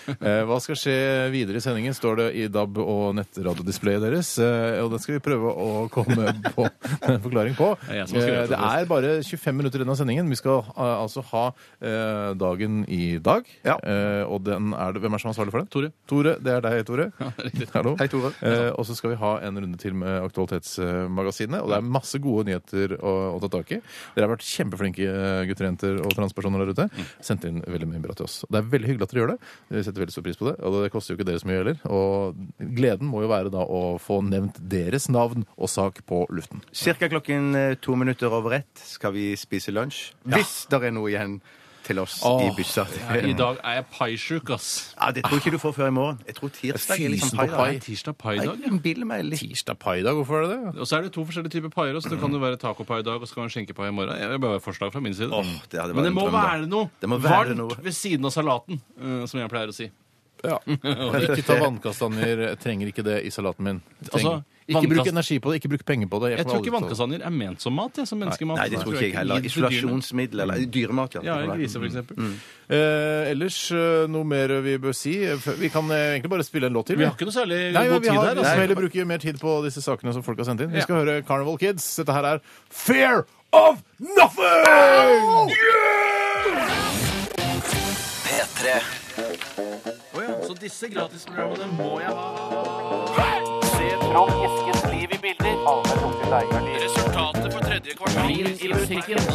S2: Eh, hva skal skje videre i sendingen, står det i DAB og nettradiodisplayet deres. eh, og den skal vi prøve å komme på en forklaring på.
S4: Det er jeg som har skrevet
S2: Eh, det er bare 25 minutter igjen av sendingen. Vi skal eh, altså ha eh, dagen i dag.
S3: Ja.
S2: Eh, og den er det, hvem er som er ansvarlig for den?
S4: Tore.
S2: Tore, Det er deg, Tore. Hallo.
S3: Hei, Tore.
S2: Eh, og så skal vi ha en runde til med Aktualitetsmagasinet. Og det er masse gode nyheter å, å ta tak i. Dere har vært kjempeflinke eh, gutter, jenter og transpersoner der ute.
S3: Mm.
S2: Sendt inn veldig mye bra til oss. Og Det er veldig hyggelig at dere gjør det. Vi setter veldig stor pris på det. Og det koster jo ikke dere så mye heller. Og gleden må jo være da å få nevnt deres navn og sak på luften.
S3: Cirka klokken eh, to minutter over ett skal vi spise lunsj. Hvis det er noe igjen til oss i
S2: Åh,
S3: byssa.
S4: I dag er jeg paisjuk, ass.
S3: Ja, det tror jeg ikke du får før i morgen. Jeg tror tirsdag er
S2: Fysen
S3: liksom
S2: på
S3: pai.
S2: pai.
S3: da.
S4: Det er tirsdag pai-dag.
S3: Jeg innbiller meg litt.
S2: Tirsdag pai-dag, hvorfor er det det?
S4: Og så er det to forskjellige typer paier. også. Det kan jo være tacopai i dag, og så kan det være skinkepai i morgen. Jeg vil bare ha et forslag fra min side.
S3: Åh, det hadde vært
S4: Men det
S3: en
S4: må
S3: drøm, da.
S4: være noe
S3: Det må være
S4: varmt
S3: noe.
S4: ved siden av salaten, eh, som jeg pleier å si.
S2: Ikke ta vannkastanjer. Jeg trenger ikke det i salaten min. Trenger.
S4: Altså,
S2: ikke
S4: vannkast-
S2: bruk energi på det. Ikke bruk penger på det.
S4: Jeg
S2: får
S4: tror ikke
S2: aldri til
S4: vannkastanjer er ment som mat, jeg, som menneskemat.
S3: Nei, det tror ikke jeg heller.
S4: Gitt til dyrene.
S3: Isolasjonsmiddel eller dyremat.
S4: Ja, i griser, for eksempel.
S3: Mm.
S2: Eh, ellers eh, noe mer vi bør si? Vi kan eh, egentlig bare spille en låt til.
S4: Vi har ikke noe særlig
S2: Nei, men
S4: god
S2: vi
S4: tid
S2: har, vi
S4: her.
S2: skal
S4: Altså.
S2: heller bruke mer tid på disse sakene som folk har sendt inn. Vi
S4: Ja.
S2: skal høre Carnival Kids. Dette her er Fear of Nothing!
S7: P3
S4: Så disse gratisprogrammene må jeg ha. Se Trond Eskens liv i bilder. Resultatet for tredje kvartal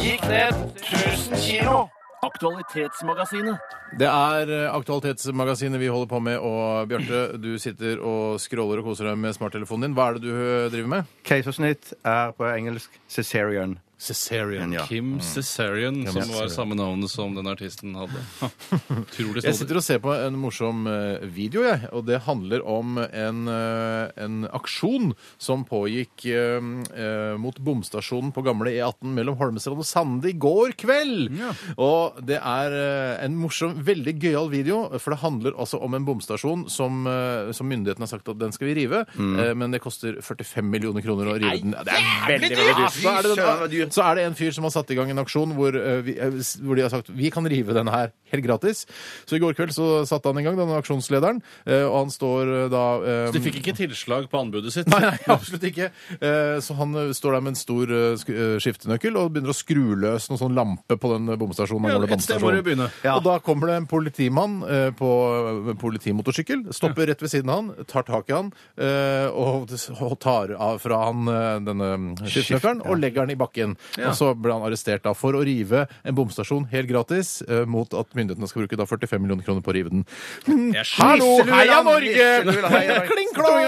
S4: gikk ned 1000 kilo. Aktualitetsmagasinet.
S2: Det er eh, Aktualitetsmagasinet vi holder på med, og Bjarte, du sitter og scroller og koser deg med smarttelefonen din. Hva er det du eh, driver med?
S3: Keisersnitt er på engelsk cesarian.
S2: Cesarian.
S3: Ja. Mm.
S4: Kim Cesarion, som var samme navnet som den artisten hadde. Ha, Utrolig
S2: Jeg sitter
S4: snodig.
S2: og ser på en morsom eh, video, jeg, og det handler om en, eh, en aksjon som pågikk eh, eh, mot bomstasjonen på gamle E18 mellom Holmestrand og Sande i går kveld. Og det er eh, en morsom, veldig gøyal video, for det handler altså om en bomstasjon som, eh, som myndighetene har sagt at den skal vi rive, eh, men det koster 45 millioner kroner å rive den. Det er veldig, veldig dyrt! Så er,
S3: søren,
S2: det, så er det en fyr som har satt i gang en aksjon hvor, eh, vi, eh, s- hvor de har sagt vi kan rive den her helt gratis. Så i går kveld så satte han i gang, denne aksjonslederen, eh, og han står eh, da eh,
S4: De fikk ikke tilslag på anbudet sitt.
S2: Nei, nei, absolutt ikke. Eh, Så han eh, står der med en stor eh, sk- eh, skiftenøkkel og begynner å skru løs noen sånn lampe på den bomstasjonen.
S4: Ja,
S2: den gamle
S4: et sted må
S2: bomstasjonen.
S4: du begynne.
S2: Og da kommer det en politimann eh, på eh, politimotorsykkel, stopper rett ved siden av han, tar tak i han eh, og s- og tar av fra han eh, denne skiftenøkkelen og legger den i bakken. Og så ble han arrestert da for å rive en bomstasjon helt gratis eh, mot at myndighetene skal bruke da 45 millioner kroner på å rive den. Hallo, heia Norge! Kling klong!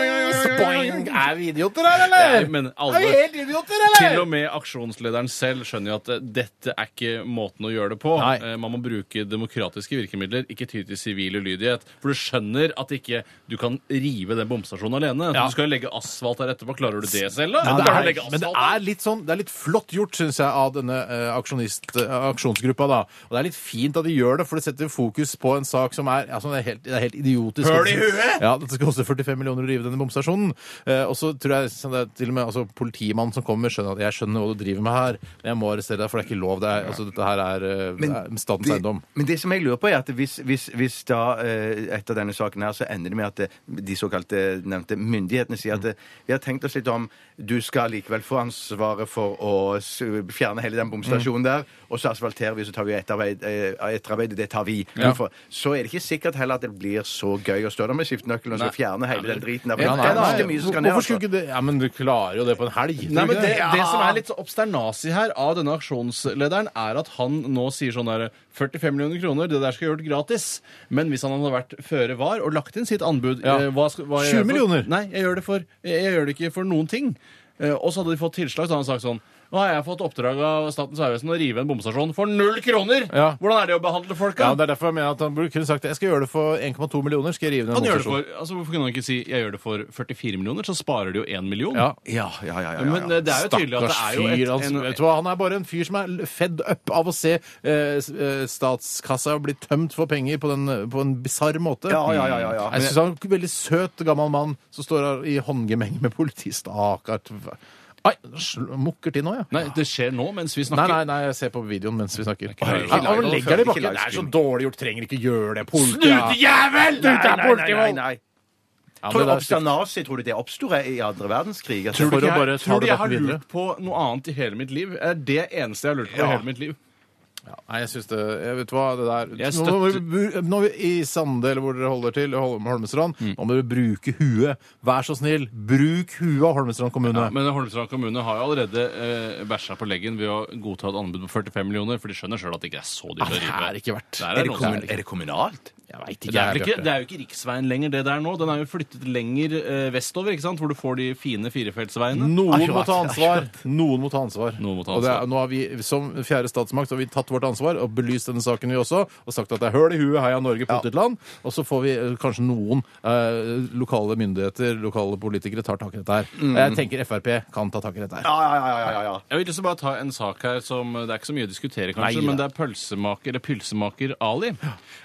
S2: Boing! Er vi idioter her, eller?
S4: Nei, men
S2: Er vi
S4: alle
S2: helt idioter, eller?
S4: Til og med aksjonslederen selv skjønner jo at eh, dette er ikke måten å gjøre det på.
S2: Nei.
S4: Eh, Man må bruke demokratiske virkemidler, ikke ty til sivil ulydighet. For du skjønner at ikke du kan rive den bomstasjonen alene.
S2: Ja.
S4: Du skal jo legge asfalt der etterpå. Klarer du det selv, da?
S2: Men det,
S4: Klarer du å
S2: er,
S4: legge
S2: men det
S4: asfalt der?
S2: er litt sånn, det er litt flott gjort, syns jeg, av denne eh, aksjonist, eh, aksjonsgruppa. da. Og det er litt fint at de gjør det, for det setter fokus på en sak som er, altså, det er, helt, det er helt idiotisk.
S4: Høl i huet!
S2: Ja, Det skal koste 45 millioner å rive denne bomstasjonen. Eh, og så tror jeg sånn, det er til og med altså, politimannen som kommer, skjønner at jeg skjønner hva du driver med her, men jeg må arrestere deg, for det er ikke lov. Det er, altså, dette her er, eh, det er statens
S3: det,
S2: eiendom.
S3: men det som jeg lurer på, er at hvis, hvis, hvis da eh, etter denne saken her, så ender det med at eh, de såkalte nevnte myndighetene sier at eh, vi har tenkt oss litt om, du skal likevel få ansvaret for å s- fjerne hele den
S2: Mm.
S3: bomstasjonen der, og så asfalterer vi, så tar vi etterarbeid, eh, etterarbeid det tar vi. Hvorfor? Så er det ikke sikkert heller at det blir så gøy å stå der med skiftenøkkelen og så fjerne hele den driten der. for
S2: Ja,
S3: det
S2: nei,
S3: er ganske
S2: nei.
S3: mye som skal ned,
S2: Hvorfor skulle
S3: altså.
S2: ikke det Ja, men du klarer jo det på en helg. tror
S4: Nei,
S2: du
S4: men
S2: ikke
S4: det, det som er litt så obsternasig her av denne aksjonslederen, er at han nå sier sånn der 45 millioner kroner, det der skal jeg gjort gratis. Men hvis han hadde vært føre var og lagt inn sitt anbud
S2: Ja.
S4: eh, hva skal, hva jeg
S2: 20
S4: gjør for?
S2: millioner?
S4: Nei, jeg gjør, det for, jeg, jeg gjør det ikke for noen ting. Eh, Og så hadde de fått tilslag, så hadde han sagt sånn nå har jeg fått oppdrag av Statens vegvesen å rive en bomstasjon for null kroner!
S2: Ja.
S4: Hvordan er det å behandle folk, da?
S2: Ja, Det er derfor jeg mener at han burde kunne sagt jeg skal gjøre det for 1,2 millioner. skal jeg rive ned
S4: han gjør det
S2: bomstasjonen».
S4: for, altså, hvorfor kunne han ikke si 'jeg gjør det for 44 millioner', så sparer de jo 1 million?
S2: Ja.
S3: Ja, ja, ja, ja, ja,
S4: Men eh,
S3: ja.
S4: det er jo tydelig at det er jo et,
S2: fyr, altså.
S4: en-
S2: Vet du hva, han er bare en fyr som er fed up av å se eh, s- eh, statskassa bli tømt for penger på, den, på en bisarr måte.
S3: Ja, ja, ja, ja, ja.
S2: Mm. Jeg syns han er en veldig søt gammel mann som står her i håndgemeng med politistaker. Ai, sl- mukker til nå, ja.
S4: Nei, det skjer nå mens vi
S2: Nei,
S4: snakker.
S2: nei, nei, jeg ser på videoen mens vi snakker.
S4: ikke live.
S2: Ja, han legger det i bakken.
S3: Ikke
S2: Det er så
S3: livestream.
S2: dårlig gjort. Trenger ikke gjøre det. Politi- er
S3: Snutejævel! Nei, nei, nei, nei,
S2: politivold.
S3: nei.
S2: Ja,
S3: Tror
S2: men
S3: du
S2: det er stygt.
S3: Obstanazi tror du det oppsto i andre verdenskrig? altså?
S2: Tror du
S4: For
S2: ikke
S4: å
S2: jeg-
S4: bare
S2: tror du
S4: ta det
S2: jeg
S4: jeg har
S2: har
S4: lurt på noe annet i hele mitt liv? Er det eneste jeg har lurt på i hele mitt liv?
S2: Nei, jeg syns det jeg Vet du hva, det der
S4: Jeg
S2: Nå må vi bru- Nå er vi i Sande, eller hvor dere holder til, i Holm- Holmestrand,
S4: Mm.
S2: nå må dere bruke huet. Vær så snill, bruk huet av Holmestrand kommune.
S4: Men Holmestrand kommune har jo allerede eh, bæsja på leggen ved å godta et anbud på 45 millioner, for de skjønner sjøl at det ikke er så dyrt å
S2: det
S4: rive.
S2: er ikke verdt.
S4: Der er
S2: Er det
S4: noen som-
S2: kommun-
S3: Er det kommunalt?
S2: Jeg veit
S4: Det er, vel ikke, det er jo ikke riksveien lenger, det der nå. Den er jo flyttet lenger eh, vestover, ikke sant? hvor du får de fine firefeltsveiene.
S2: Noen må
S3: Akkurat,
S2: ta ansvar. Noen må ta ansvar.
S4: Noen må ta
S2: Og det
S4: ansvar.
S2: er, nå har vi som fjerde statsmakt har vi tatt vårt ansvar og belyst denne saken, vi også, og sagt at det er høl i huet, heia Norge, potetland. Og så får vi eh, kanskje noen eh, lokale myndigheter, lokale politikere, tar tak i dette her.
S4: Mm.
S2: Jeg tenker Frp kan ta tak i dette her.
S3: Ja, ja, ja, ja, ja, ja.
S4: Jeg vil også bare ta en sak her som eh, Det er ikke så mye å diskutere, kanskje,
S2: Nei,
S4: men det
S2: da.
S4: er pølsemaker eller pølsemaker Ali.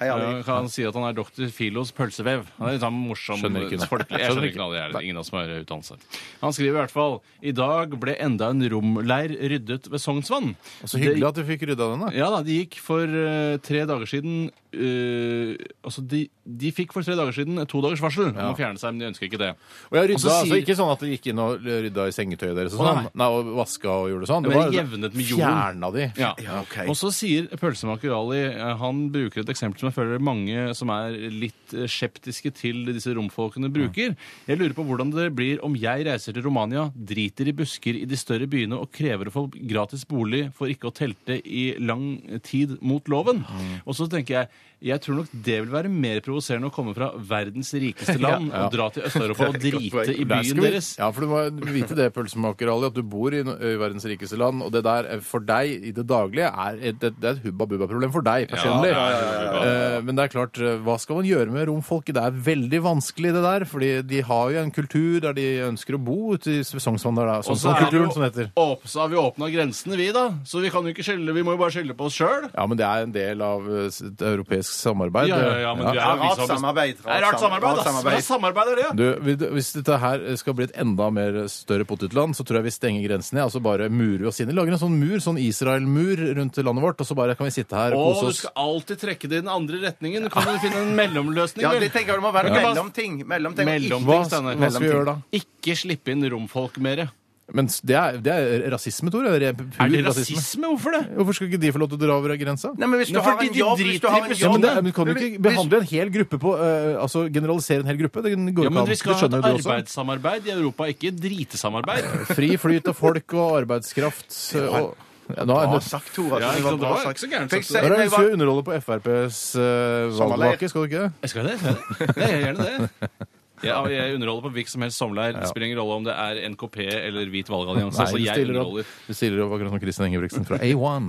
S3: Hei, Ali.
S4: Eh, Kan si at han er doktor Filos pølsevev. Han er litt sånn morsom
S2: Skjønner ikke det.
S4: folkelig. Jeg skjønner ikke noe av det. her. Ingen av oss som har utdannelse. Han skriver i hvert fall I dag ble enda en romleir ryddet ved Sognsvann.
S2: Så hyggelig at du fikk rydda den, da.
S4: Ja da, de gikk for eh, tre dager siden eh, Altså, de, de fikk for tre dager siden eh, to dagers varsel om å fjerne seg, men de ønsker ikke det.
S2: Og jeg rydda,
S4: Og så sier-
S2: altså ikke sånn at de gikk inn og rydda i sengetøyet deres og
S4: Å,
S2: sånn.
S4: nei.
S2: Nei, og vaska og gjorde sånn.
S4: Ja, men jevnet med jorden.
S2: Fjerna de.
S4: Ja.
S3: Ja, ok.
S4: Og så sier pølsemaker Ali eh, Han bruker et eksempel som jeg føler mange som er litt eh, skeptiske til disse romfolkene, bruker. Jeg lurer på hvordan det blir om jeg reiser til Romania, driter i busker i de større byene og krever å få gratis bolig for ikke å telte i lang tid mot loven. Og så tenker jeg jeg tror nok det vil være mer provoserende å komme fra verdens rikeste land
S2: Ja.
S4: og dra til Øst-Europa og
S3: Det er et godt
S4: drite i
S3: poeng.
S2: Der skal
S4: byen
S2: vi-
S4: deres.
S2: Ja, for du må vite det, pølsemaker Ali, at du bor i, no- i verdens rikeste land, og det der eh, for deg i det daglige er et, det, det er et hubba-bubba-problem for deg personlig.
S4: Ja, ja, ja, ja,
S2: Eh, Men det er klart, eh, hva skal man gjøre med romfolket? Det er veldig vanskelig det der, fordi de har jo en kultur der de ønsker å bo ute i Sognsvann, der det er
S4: Og så er det
S2: Sognsvann-kulturen
S4: jo-
S2: Sånn som det heter.
S4: Åp- så har vi åpna grensene, vi, da. Så vi kan jo ikke skylde. Vi må jo bare skylde på oss sjøl.
S2: Ja, men det er en del av eh, s- et europeisk samarbeid.
S4: Ja, ja, ja, men du er
S3: Ja,
S4: jo vi
S3: rart
S4: som har best-
S3: samarbeid.
S4: Det er rart samarbeid,
S3: rart
S4: ass. Hva
S3: samarbeid.
S4: samarbeid er det?
S2: Du, vil- hvis dette her skal bli et enda mer større potetland, så tror jeg vi stenger grensene. Altså bare murer vi oss inn. Vi Lager en sånn mur, sånn Israel-mur rundt landet vårt, og så bare kan vi sitte her og
S4: Å,
S2: kose
S4: du
S2: oss.
S4: skal alltid trekke det i den andre retningen. Kan du finne en mellomløsning?
S3: Ja,
S4: vel?
S3: det tenker jeg det må være
S4: Ja.
S3: mellomting. Mellomting.
S4: Mellom-
S2: Hva,
S4: Steinar,
S2: hva skal vi gjøre da?
S4: Ikke slippe inn romfolk mer.
S2: Men s- det er, det er rasisme, Tore. Er sånn?
S4: Er det rasisme? Hvorfor det?
S2: Hvorfor skal ikke de få lov til å dra over grensa?
S3: Nei, men hvis du
S4: Nei,
S3: har
S4: fordi
S3: en
S4: de
S3: jobb,
S4: driter
S3: hvis du har
S4: i
S3: en
S2: Ja,
S3: jobb
S2: men, det, men Kan du
S3: Men
S2: ikke
S3: hvis-
S2: behandle en hel gruppe på eh, Altså generalisere en hel gruppe? Det går
S4: Ja,
S2: ikke
S4: men
S2: an.
S4: vi skal
S2: Det
S4: ha et
S2: skjønner jo du også.
S4: arbeidssamarbeid i Europa, ikke dritesamarbeid.
S2: Fri flyt av folk og arbeidskraft. eh, Og, ja, nå,
S3: Bra
S2: er-
S3: sagt, Tor. Altså,
S4: Ja,
S3: det var
S4: ikke sant, det
S3: bra
S4: var
S3: sagt.
S4: ikke så gærent
S3: Fikk
S4: sagt,
S3: se-
S2: Dere
S3: nei,
S2: ønsker jo å underholde på FrPs uh,
S3: Sommerleir.
S2: valgvake, skal du ikke det?
S4: Jeg skal det. Jeg skal det. Jeg gjør gjerne det. Jeg, jeg underholder på hvilken som helst sommerleir. Det spiller ingen rolle om det er NKP eller Hvit valgallianse.
S2: Nei,
S4: altså,
S2: du
S4: jeg
S2: stiller opp,
S4: underholder.
S2: du stiller opp akkurat som Kristin Ingebrigtsen fra A1.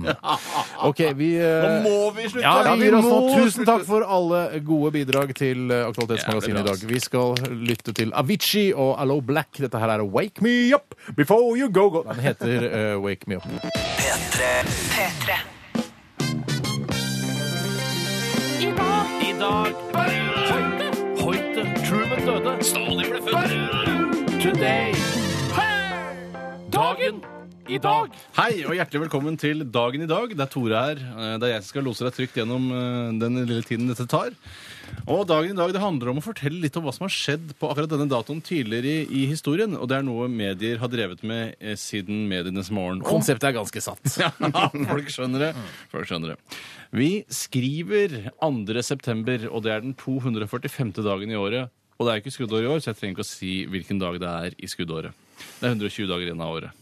S2: Ok, vi eh,
S4: Nå må vi slutte!
S2: ja, vi gir oss nå.
S4: må
S2: Tusen takk for alle gode bidrag til eh, Aktualitetsmagasinet
S4: Jævlig
S2: i
S4: bra,
S2: dag. Vi skal lytte til Avicii og Allo Black. Dette her er Wake Me Up Before You Go Go. Den heter eh, Wake Me Up.
S7: P3
S5: P3.
S1: I dag Hoite, hoite, Truman døde. Stalin ble født. Today. Dagen i dag.
S4: Hei og hjertelig velkommen til Dagen i dag. Det er Tore her. Eh, Det er jeg som skal lose deg trygt gjennom eh, den lille tiden dette tar. Og Dagen i dag det handler om å fortelle litt om hva som har skjedd på akkurat denne datoen tidligere i, i historien. Og det er noe medier har drevet med eh, siden medienes morgen. Og
S2: Konseptet er ganske satt.
S4: ja, folk skjønner det. Folk skjønner det. Vi skriver 2. september, og det er den 245. dagen i året. Og det er ikke skuddår i år, så jeg trenger ikke å si hvilken dag det er i skuddåret. Det er 120 dager igjen av året.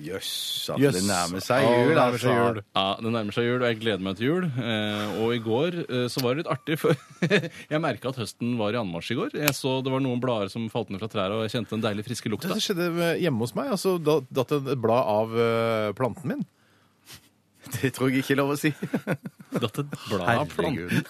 S3: Jøss, at
S2: Jøss.
S3: det nærmer seg
S2: Ja, det
S3: jul,
S2: nærmer seg
S3: altså.
S2: jul.
S4: Ja, Det nærmer seg jul, og jeg gleder meg til jul. Eh, og i går eh, så var det litt artig, for jeg merka at høsten var i anmarsj i går. Jeg så det var noen blader som falt ned fra trærne, og jeg kjente den deilig friske lukta.
S2: Dette skjedde med- hjemme hos meg. Altså, da datt det et blad av eh, planten min.
S3: Det tror jeg ikke er lov å si.
S4: Datt et blad av planten.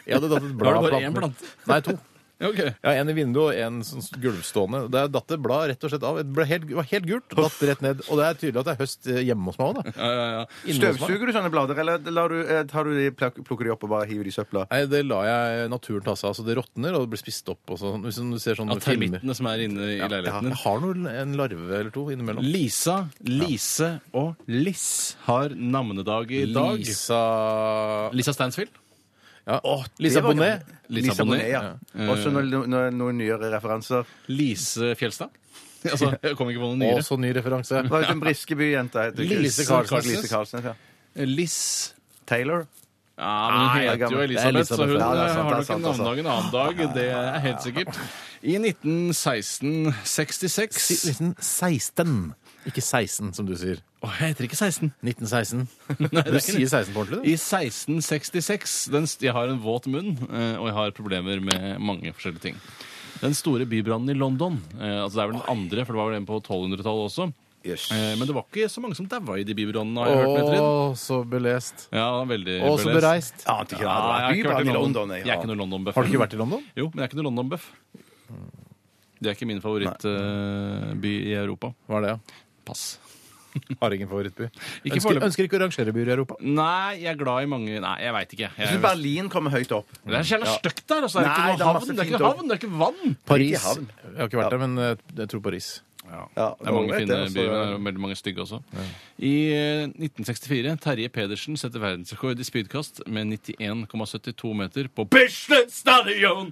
S2: Jeg hadde datt et
S4: Var
S2: blad
S4: det
S2: av
S4: bare
S2: planten
S4: én
S2: min.
S4: plante?
S2: Nei, to.
S4: Ja, ok.
S2: Ja, En i vinduet og en sånn gulvstående. Der datt det blad rett og slett av. Det ble helt, var helt gult, datt rett ned. Og det er tydelig at det er høst eh, hjemme hos meg òg, da.
S4: Ja, ja, ja.
S2: Inne hos meg.
S3: Støvsuger du sånne blader, eller lar du, eh, tar du de, plak- plukker de opp og bare hiver de i søpla?
S2: Nei, det lar jeg naturen ta seg av. Så det råtner og det blir spist opp. Og sånn. Hvis du ser sånne
S4: ja
S2: filmer.
S4: Termittene som er inne i leiligheten
S2: Jeg
S4: din.
S2: har noe, en larve eller to innimellom.
S4: Lisa, Lise og Liss har navnedag i dag.
S2: Lisa
S4: Lisa Stansfield.
S2: ja. Lisa
S3: var
S2: Bonet.
S4: Lisa
S3: Lisa Bonet,
S4: Bonet,
S3: ja. Også noen, noen, noen nyere referanser.
S4: Lise Fjelstad. Altså, jeg kom ikke på noen nyere.
S2: Også ny referanse.
S3: Det var jo en Briskeby-jente. heter hun ikke?
S4: Lise Carlsnes.
S3: Lise Carlsnes, ja.
S4: Liss
S3: Taylor.
S4: Ja, men hun
S3: Nei, jeg er
S4: heter jo
S3: gammel.
S2: Det er
S4: Elisabeth,
S2: Elisabeth,
S4: så hun
S3: ja, det er sant, det
S4: eh,
S3: er
S4: har nok
S3: sant,
S4: en
S3: altså.
S4: navnedag en annen dag. Det er helt sikkert. I 1916-66
S2: 1916. Ikke 16, som du sier.
S4: Å, jeg heter ikke 16.
S2: 1916.
S4: Nei,
S2: Du sier 16 på ordentlig, du.
S4: I 1666 den, st- Jeg har en våt munn, eh, og jeg har problemer med mange forskjellige ting. Den store bybrannen i London, eh, altså det er vel den andre, for det var vel en på 1200-tallet også.
S3: Yes.
S4: Eh, Men det var ikke så mange som daua i de bybrannene, har jeg hørt. med Trine.
S2: Å, så belest.
S4: Ja, veldig
S2: Å, så
S4: belest.
S2: bereist.
S3: Ante ikke
S4: Ja, jeg har
S3: det.
S4: ikke
S3: var
S4: vært i
S3: Bybanen i
S4: London.
S3: London.
S4: Jeg er ikke noe London-bøff.
S2: Har du ikke vært i London?
S4: Jo, men jeg er ikke noe London-bøff. Det er ikke min favorittby i Europa.
S2: Hva er det, ja?
S4: Pass.
S2: Har ingen favorittby.
S4: Ikke
S2: ønsker,
S4: foreløpig.
S2: ønsker ikke å rangere byer i Europa.
S4: Nei, jeg er glad i mange Nei, jeg veit ikke. Jeg,
S3: Jeg synes Berlin kommer høyt opp.
S4: det er så jævla stygt der. Altså. Det er
S3: Nei,
S4: ikke
S3: det
S4: noe
S3: er
S4: havn,
S3: masse
S4: det er
S3: fint
S4: ikke
S3: også.
S4: havn, det er ikke vann!
S3: Paris.
S2: havn. Jeg har ikke vært der, men eh, jeg tror Paris.
S3: Ja,
S4: Det er mange
S3: ålreit,
S4: fine
S3: det, altså.
S4: byer, men det er veldig mange stygge også. I eh, 1964 Terje Pedersen setter verdensrekord i spydkast med 91,72 meter på Bislett Stadion!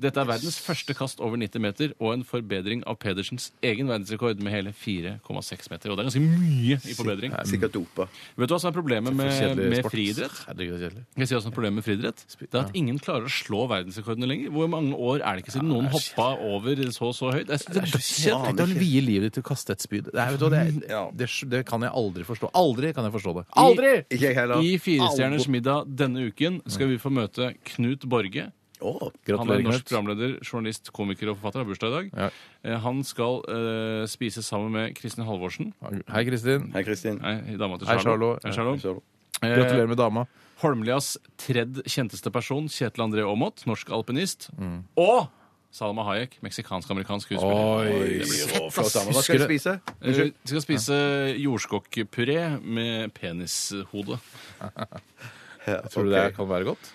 S4: Dette er verdens første kast over 90 meter og en forbedring av Pedersens egen verdensrekord med hele 4,6 meter. Og det er ganske mye i forbedring.
S3: Sikkert dopa.
S4: Vet du hva som er problemet med,
S2: Kjedelig
S4: Eh, med
S2: sport.
S4: friidrett?
S2: Herregud, det er kjedelig.
S4: Skal jeg si hva som er problemet med friidrett? Det er at ingen klarer å slå verdensrekordene lenger. Hvor mange år er det ikke siden noen hoppa over så og så høyt? Jeg synes det er dødskjedelig.
S2: Tenk deg å vie livet ditt til å kaste et spyd. Nei, vet du, hva, det, det,
S3: Ja.
S2: det, det kan jeg aldri forstå. Aldri kan jeg forstå det. Aldri!
S3: Ikke jeg heller.
S4: I Firestjerners middag denne uken skal vi få møte Knut Borge.
S3: Å,
S4: Han er
S2: Gratulerer,
S4: norsk
S2: Knut.
S4: programleder, journalist, komiker og forfatter. Har bursdag i dag.
S2: Ja.
S4: Eh, Han skal eh, spise sammen med Kristin Halvorsen.
S2: Hei, Kristin.
S3: Hei, Kristin.
S4: Nei, dama til
S2: Hei,
S4: Charlo.
S2: Charlo.
S4: Hei, Charlo. Eh,
S2: Gratulerer med dama.
S4: Holmlias tredje kjenteste person, Kjetil André Aamodt, norsk alpinist.
S2: Mm.
S4: Og Salma Hayek, meksikansk-amerikansk skuespiller.
S2: Oi.
S3: Flott dame. Hva skal du spise?
S4: Eh, Vi skal spise jordskokkpuré med penishode.
S2: Tror du det kan være godt?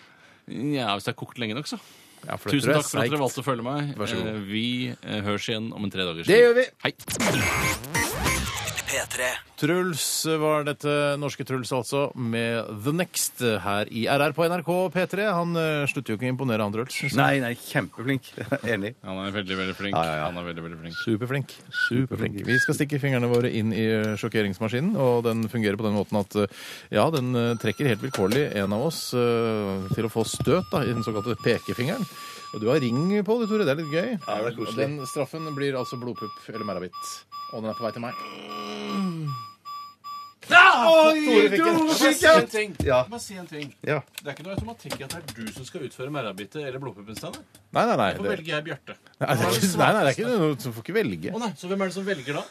S4: Ja, hvis det er kokt lenge nok, så.
S2: Ja, for det
S4: Tusen
S2: tror jeg
S4: takk for at
S2: er
S4: dere
S2: seigt.
S4: valgte å følge meg.
S2: Vær så god.
S4: Eh, Vi eh, høres igjen om en tre dagers
S2: Det gjør vi.
S4: Hei.
S7: P3.
S2: Truls var dette norske Truls, altså, med The Next her i RR på NRK P3. Han eh, slutter jo ikke å imponere, han Truls. synes jeg.
S3: Nei, nei, kjempeflink. Enig.
S4: Han er veldig, veldig flink. Han er veldig, veldig flink.
S2: Superflink. Superflink. Vi skal stikke fingrene våre inn i eh, sjokkeringsmaskinen, og den fungerer på den måten at eh, ja, den eh, trekker helt vilkårlig en av oss eh, til å få støt da, i den såkalte pekefingeren. Og du har ring på du, Tore. Det er litt gøy.
S3: Ja, det er koselig.
S2: Og den straffen blir altså blodpupp eller merrabitt. Og den er på vei til meg.
S3: Tore fikk en. Ja.
S4: Bare si en ting.
S3: Ja.
S4: Det er ikke noe automatikk i at det er du som skal utføre merrabittet eller blodpuppen. Steinar.
S2: Nei, nei, nei.
S4: Hvorfor
S2: Det,
S4: velger jeg Bjarte?
S2: nei, det er ikke, nei, nei, det er ikke noe- Du får ikke velge.
S4: Å nei, Så hvem er det som velger da?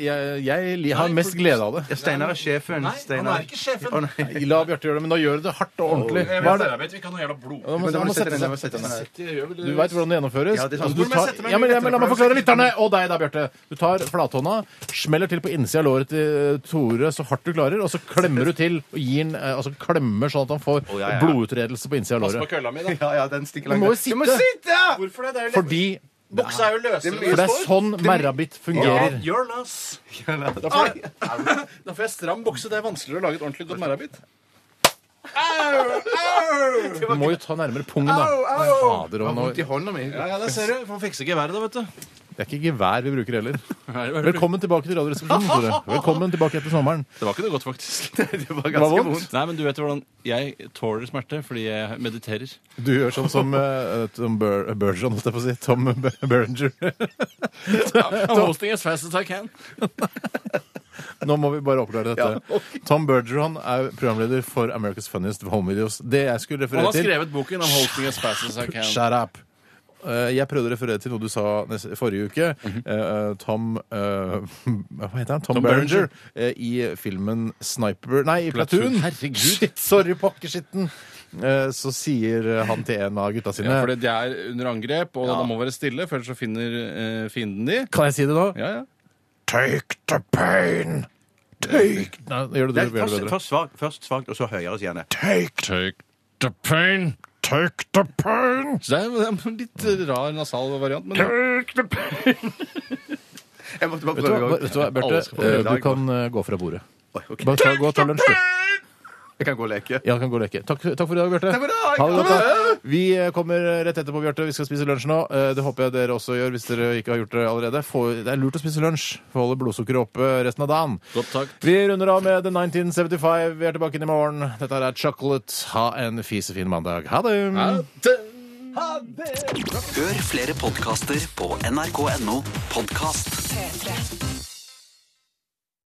S2: Jeg, jeg li- har
S4: Nei,
S2: mest
S4: for-
S2: glede av det.
S3: Ja, Steinar er sjefen.
S4: Nei, han
S3: Steinar.
S4: er ikke sjefen. Eh,
S3: Å, nei.
S2: La Bjarte gjøre det, men da gjør du det hardt og ordentlig. Hva er det?
S4: Jeg vet ikke noe jævla blod.
S2: Nå må-
S3: Men da
S2: nå
S3: må
S2: må
S3: du
S2: sette seg.
S3: sette den ned, må du sette den ned.
S2: Du veit hvordan det gjennomføres.
S3: Ja, det er
S2: Altså,
S3: sant.
S2: du
S3: Hvordan må jeg
S2: tar,
S3: sette meg?
S2: ja, men, ja, men, la meg forklare lytterne og deg, da, Bjarte. Du tar flathånda, smeller til på innsida av låret til eh, Tore så hardt du klarer, og så klemmer du til og gir den eh, altså klemmer sånn at han får
S3: ja, ja.
S2: blodutredelse på innsida av
S4: Pass på
S2: låret.
S4: kølla mi, da.
S3: Ja, ja, den stikker
S2: Du
S3: langt.
S2: må jo sitte.
S4: Hvorfor det? Det er jo litt-
S2: Fordi
S6: Buksa er jo løsere.
S2: For det er sånn merrabitt fungerer.
S6: Gjør løs. Da får jeg- da får jeg stram bukse. Det er vanskeligere å lage et ordentlig godt merrabitt.
S2: Du må jo ta nærmere pungen, da. Fader, og nå,
S3: Vondt i hånda mi.
S4: Ja, ja, det ser du. Får fikse geværet, da, vet du.
S2: det er ikke gevær vi bruker heller.
S4: Nei, det var-
S2: Velkommen tilbake til Radioresepsjonen, Tore. Velkommen tilbake etter sommeren.
S4: Det var ikke noe godt, faktisk.
S3: Det var
S2: Det var
S3: ganske vondt.
S2: vondt.
S4: Nei, men du vet hvordan Jeg tåler smerte fordi jeg mediterer.
S2: Du gjør sånn som eh, Tom Bur Burgeon, holdt jeg på å si. Tom Be- Berenger.
S4: I'm hosting as fast as I can.
S2: Nå må vi bare oppklare dette. Tom Bergeron er programleder for America's Funniest Home Videos. Det jeg skulle
S4: Han
S2: referere
S4: har
S2: til
S4: skrevet boken om hosting as fast as I can.
S2: Shut up! Eh, Jeg prøvde å referere til noe du sa nes- forrige uke. Eh, eh, Tom eh, Hva heter han? Tom,
S4: Mhm. Tom
S2: Berenger
S4: Berenger.
S2: eh, i filmen Sniper Nei, i Platoon!
S4: Platoon. Herregud.
S2: Shit, sorry, pokkeskitten! Eh, Så sier han til en av gutta sine
S4: Ja, fordi de er under angrep, og de må være stille, for ellers så finner eh, fienden de.
S2: Kan jeg si det nå?
S4: Ja, ja.
S2: Take the pain! Take Nei, gjør det du gjør det
S3: Først,
S2: bedre.
S3: først, svagt, først svagt, og så høyere, sier han det.
S2: Take,
S4: Take the pain.
S2: take the pain!
S4: Så det er det er en litt rar nasal variant, men
S3: Jeg måtte bare
S2: Vet du
S3: prøve.
S2: hva,
S3: en
S2: vet du
S3: gang.
S2: hva Bjarte?
S3: Alle skal få det i
S2: Eh,
S3: dag,
S2: Du kan eh, gå fra bordet.
S3: Oi, ok.
S2: Bare ta, gå og ta lunsj, du.
S3: Jeg kan gå og leke.
S2: Ja, kan gå og leke. Takk, takk for i dag, Bjarte.
S3: for i dag.
S2: Ha det godt.
S3: Ha
S2: da. Vi eh, kommer rett etterpå, Bjarte. Vi skal spise lunsj nå. Eh, Det håper jeg dere også gjør, hvis dere ikke har gjort det allerede. Få, det er lurt å spise lunsj for å holde blodsukkeret oppe resten av dagen.
S4: godt takk.
S2: Vi runder av med The 1975. Vi er tilbake inn i morgen. Dette her er Chocolate. Ha en fisefin mandag. Ha det!
S7: Hør flere podkaster på nrk.no podkast.
S5: P3.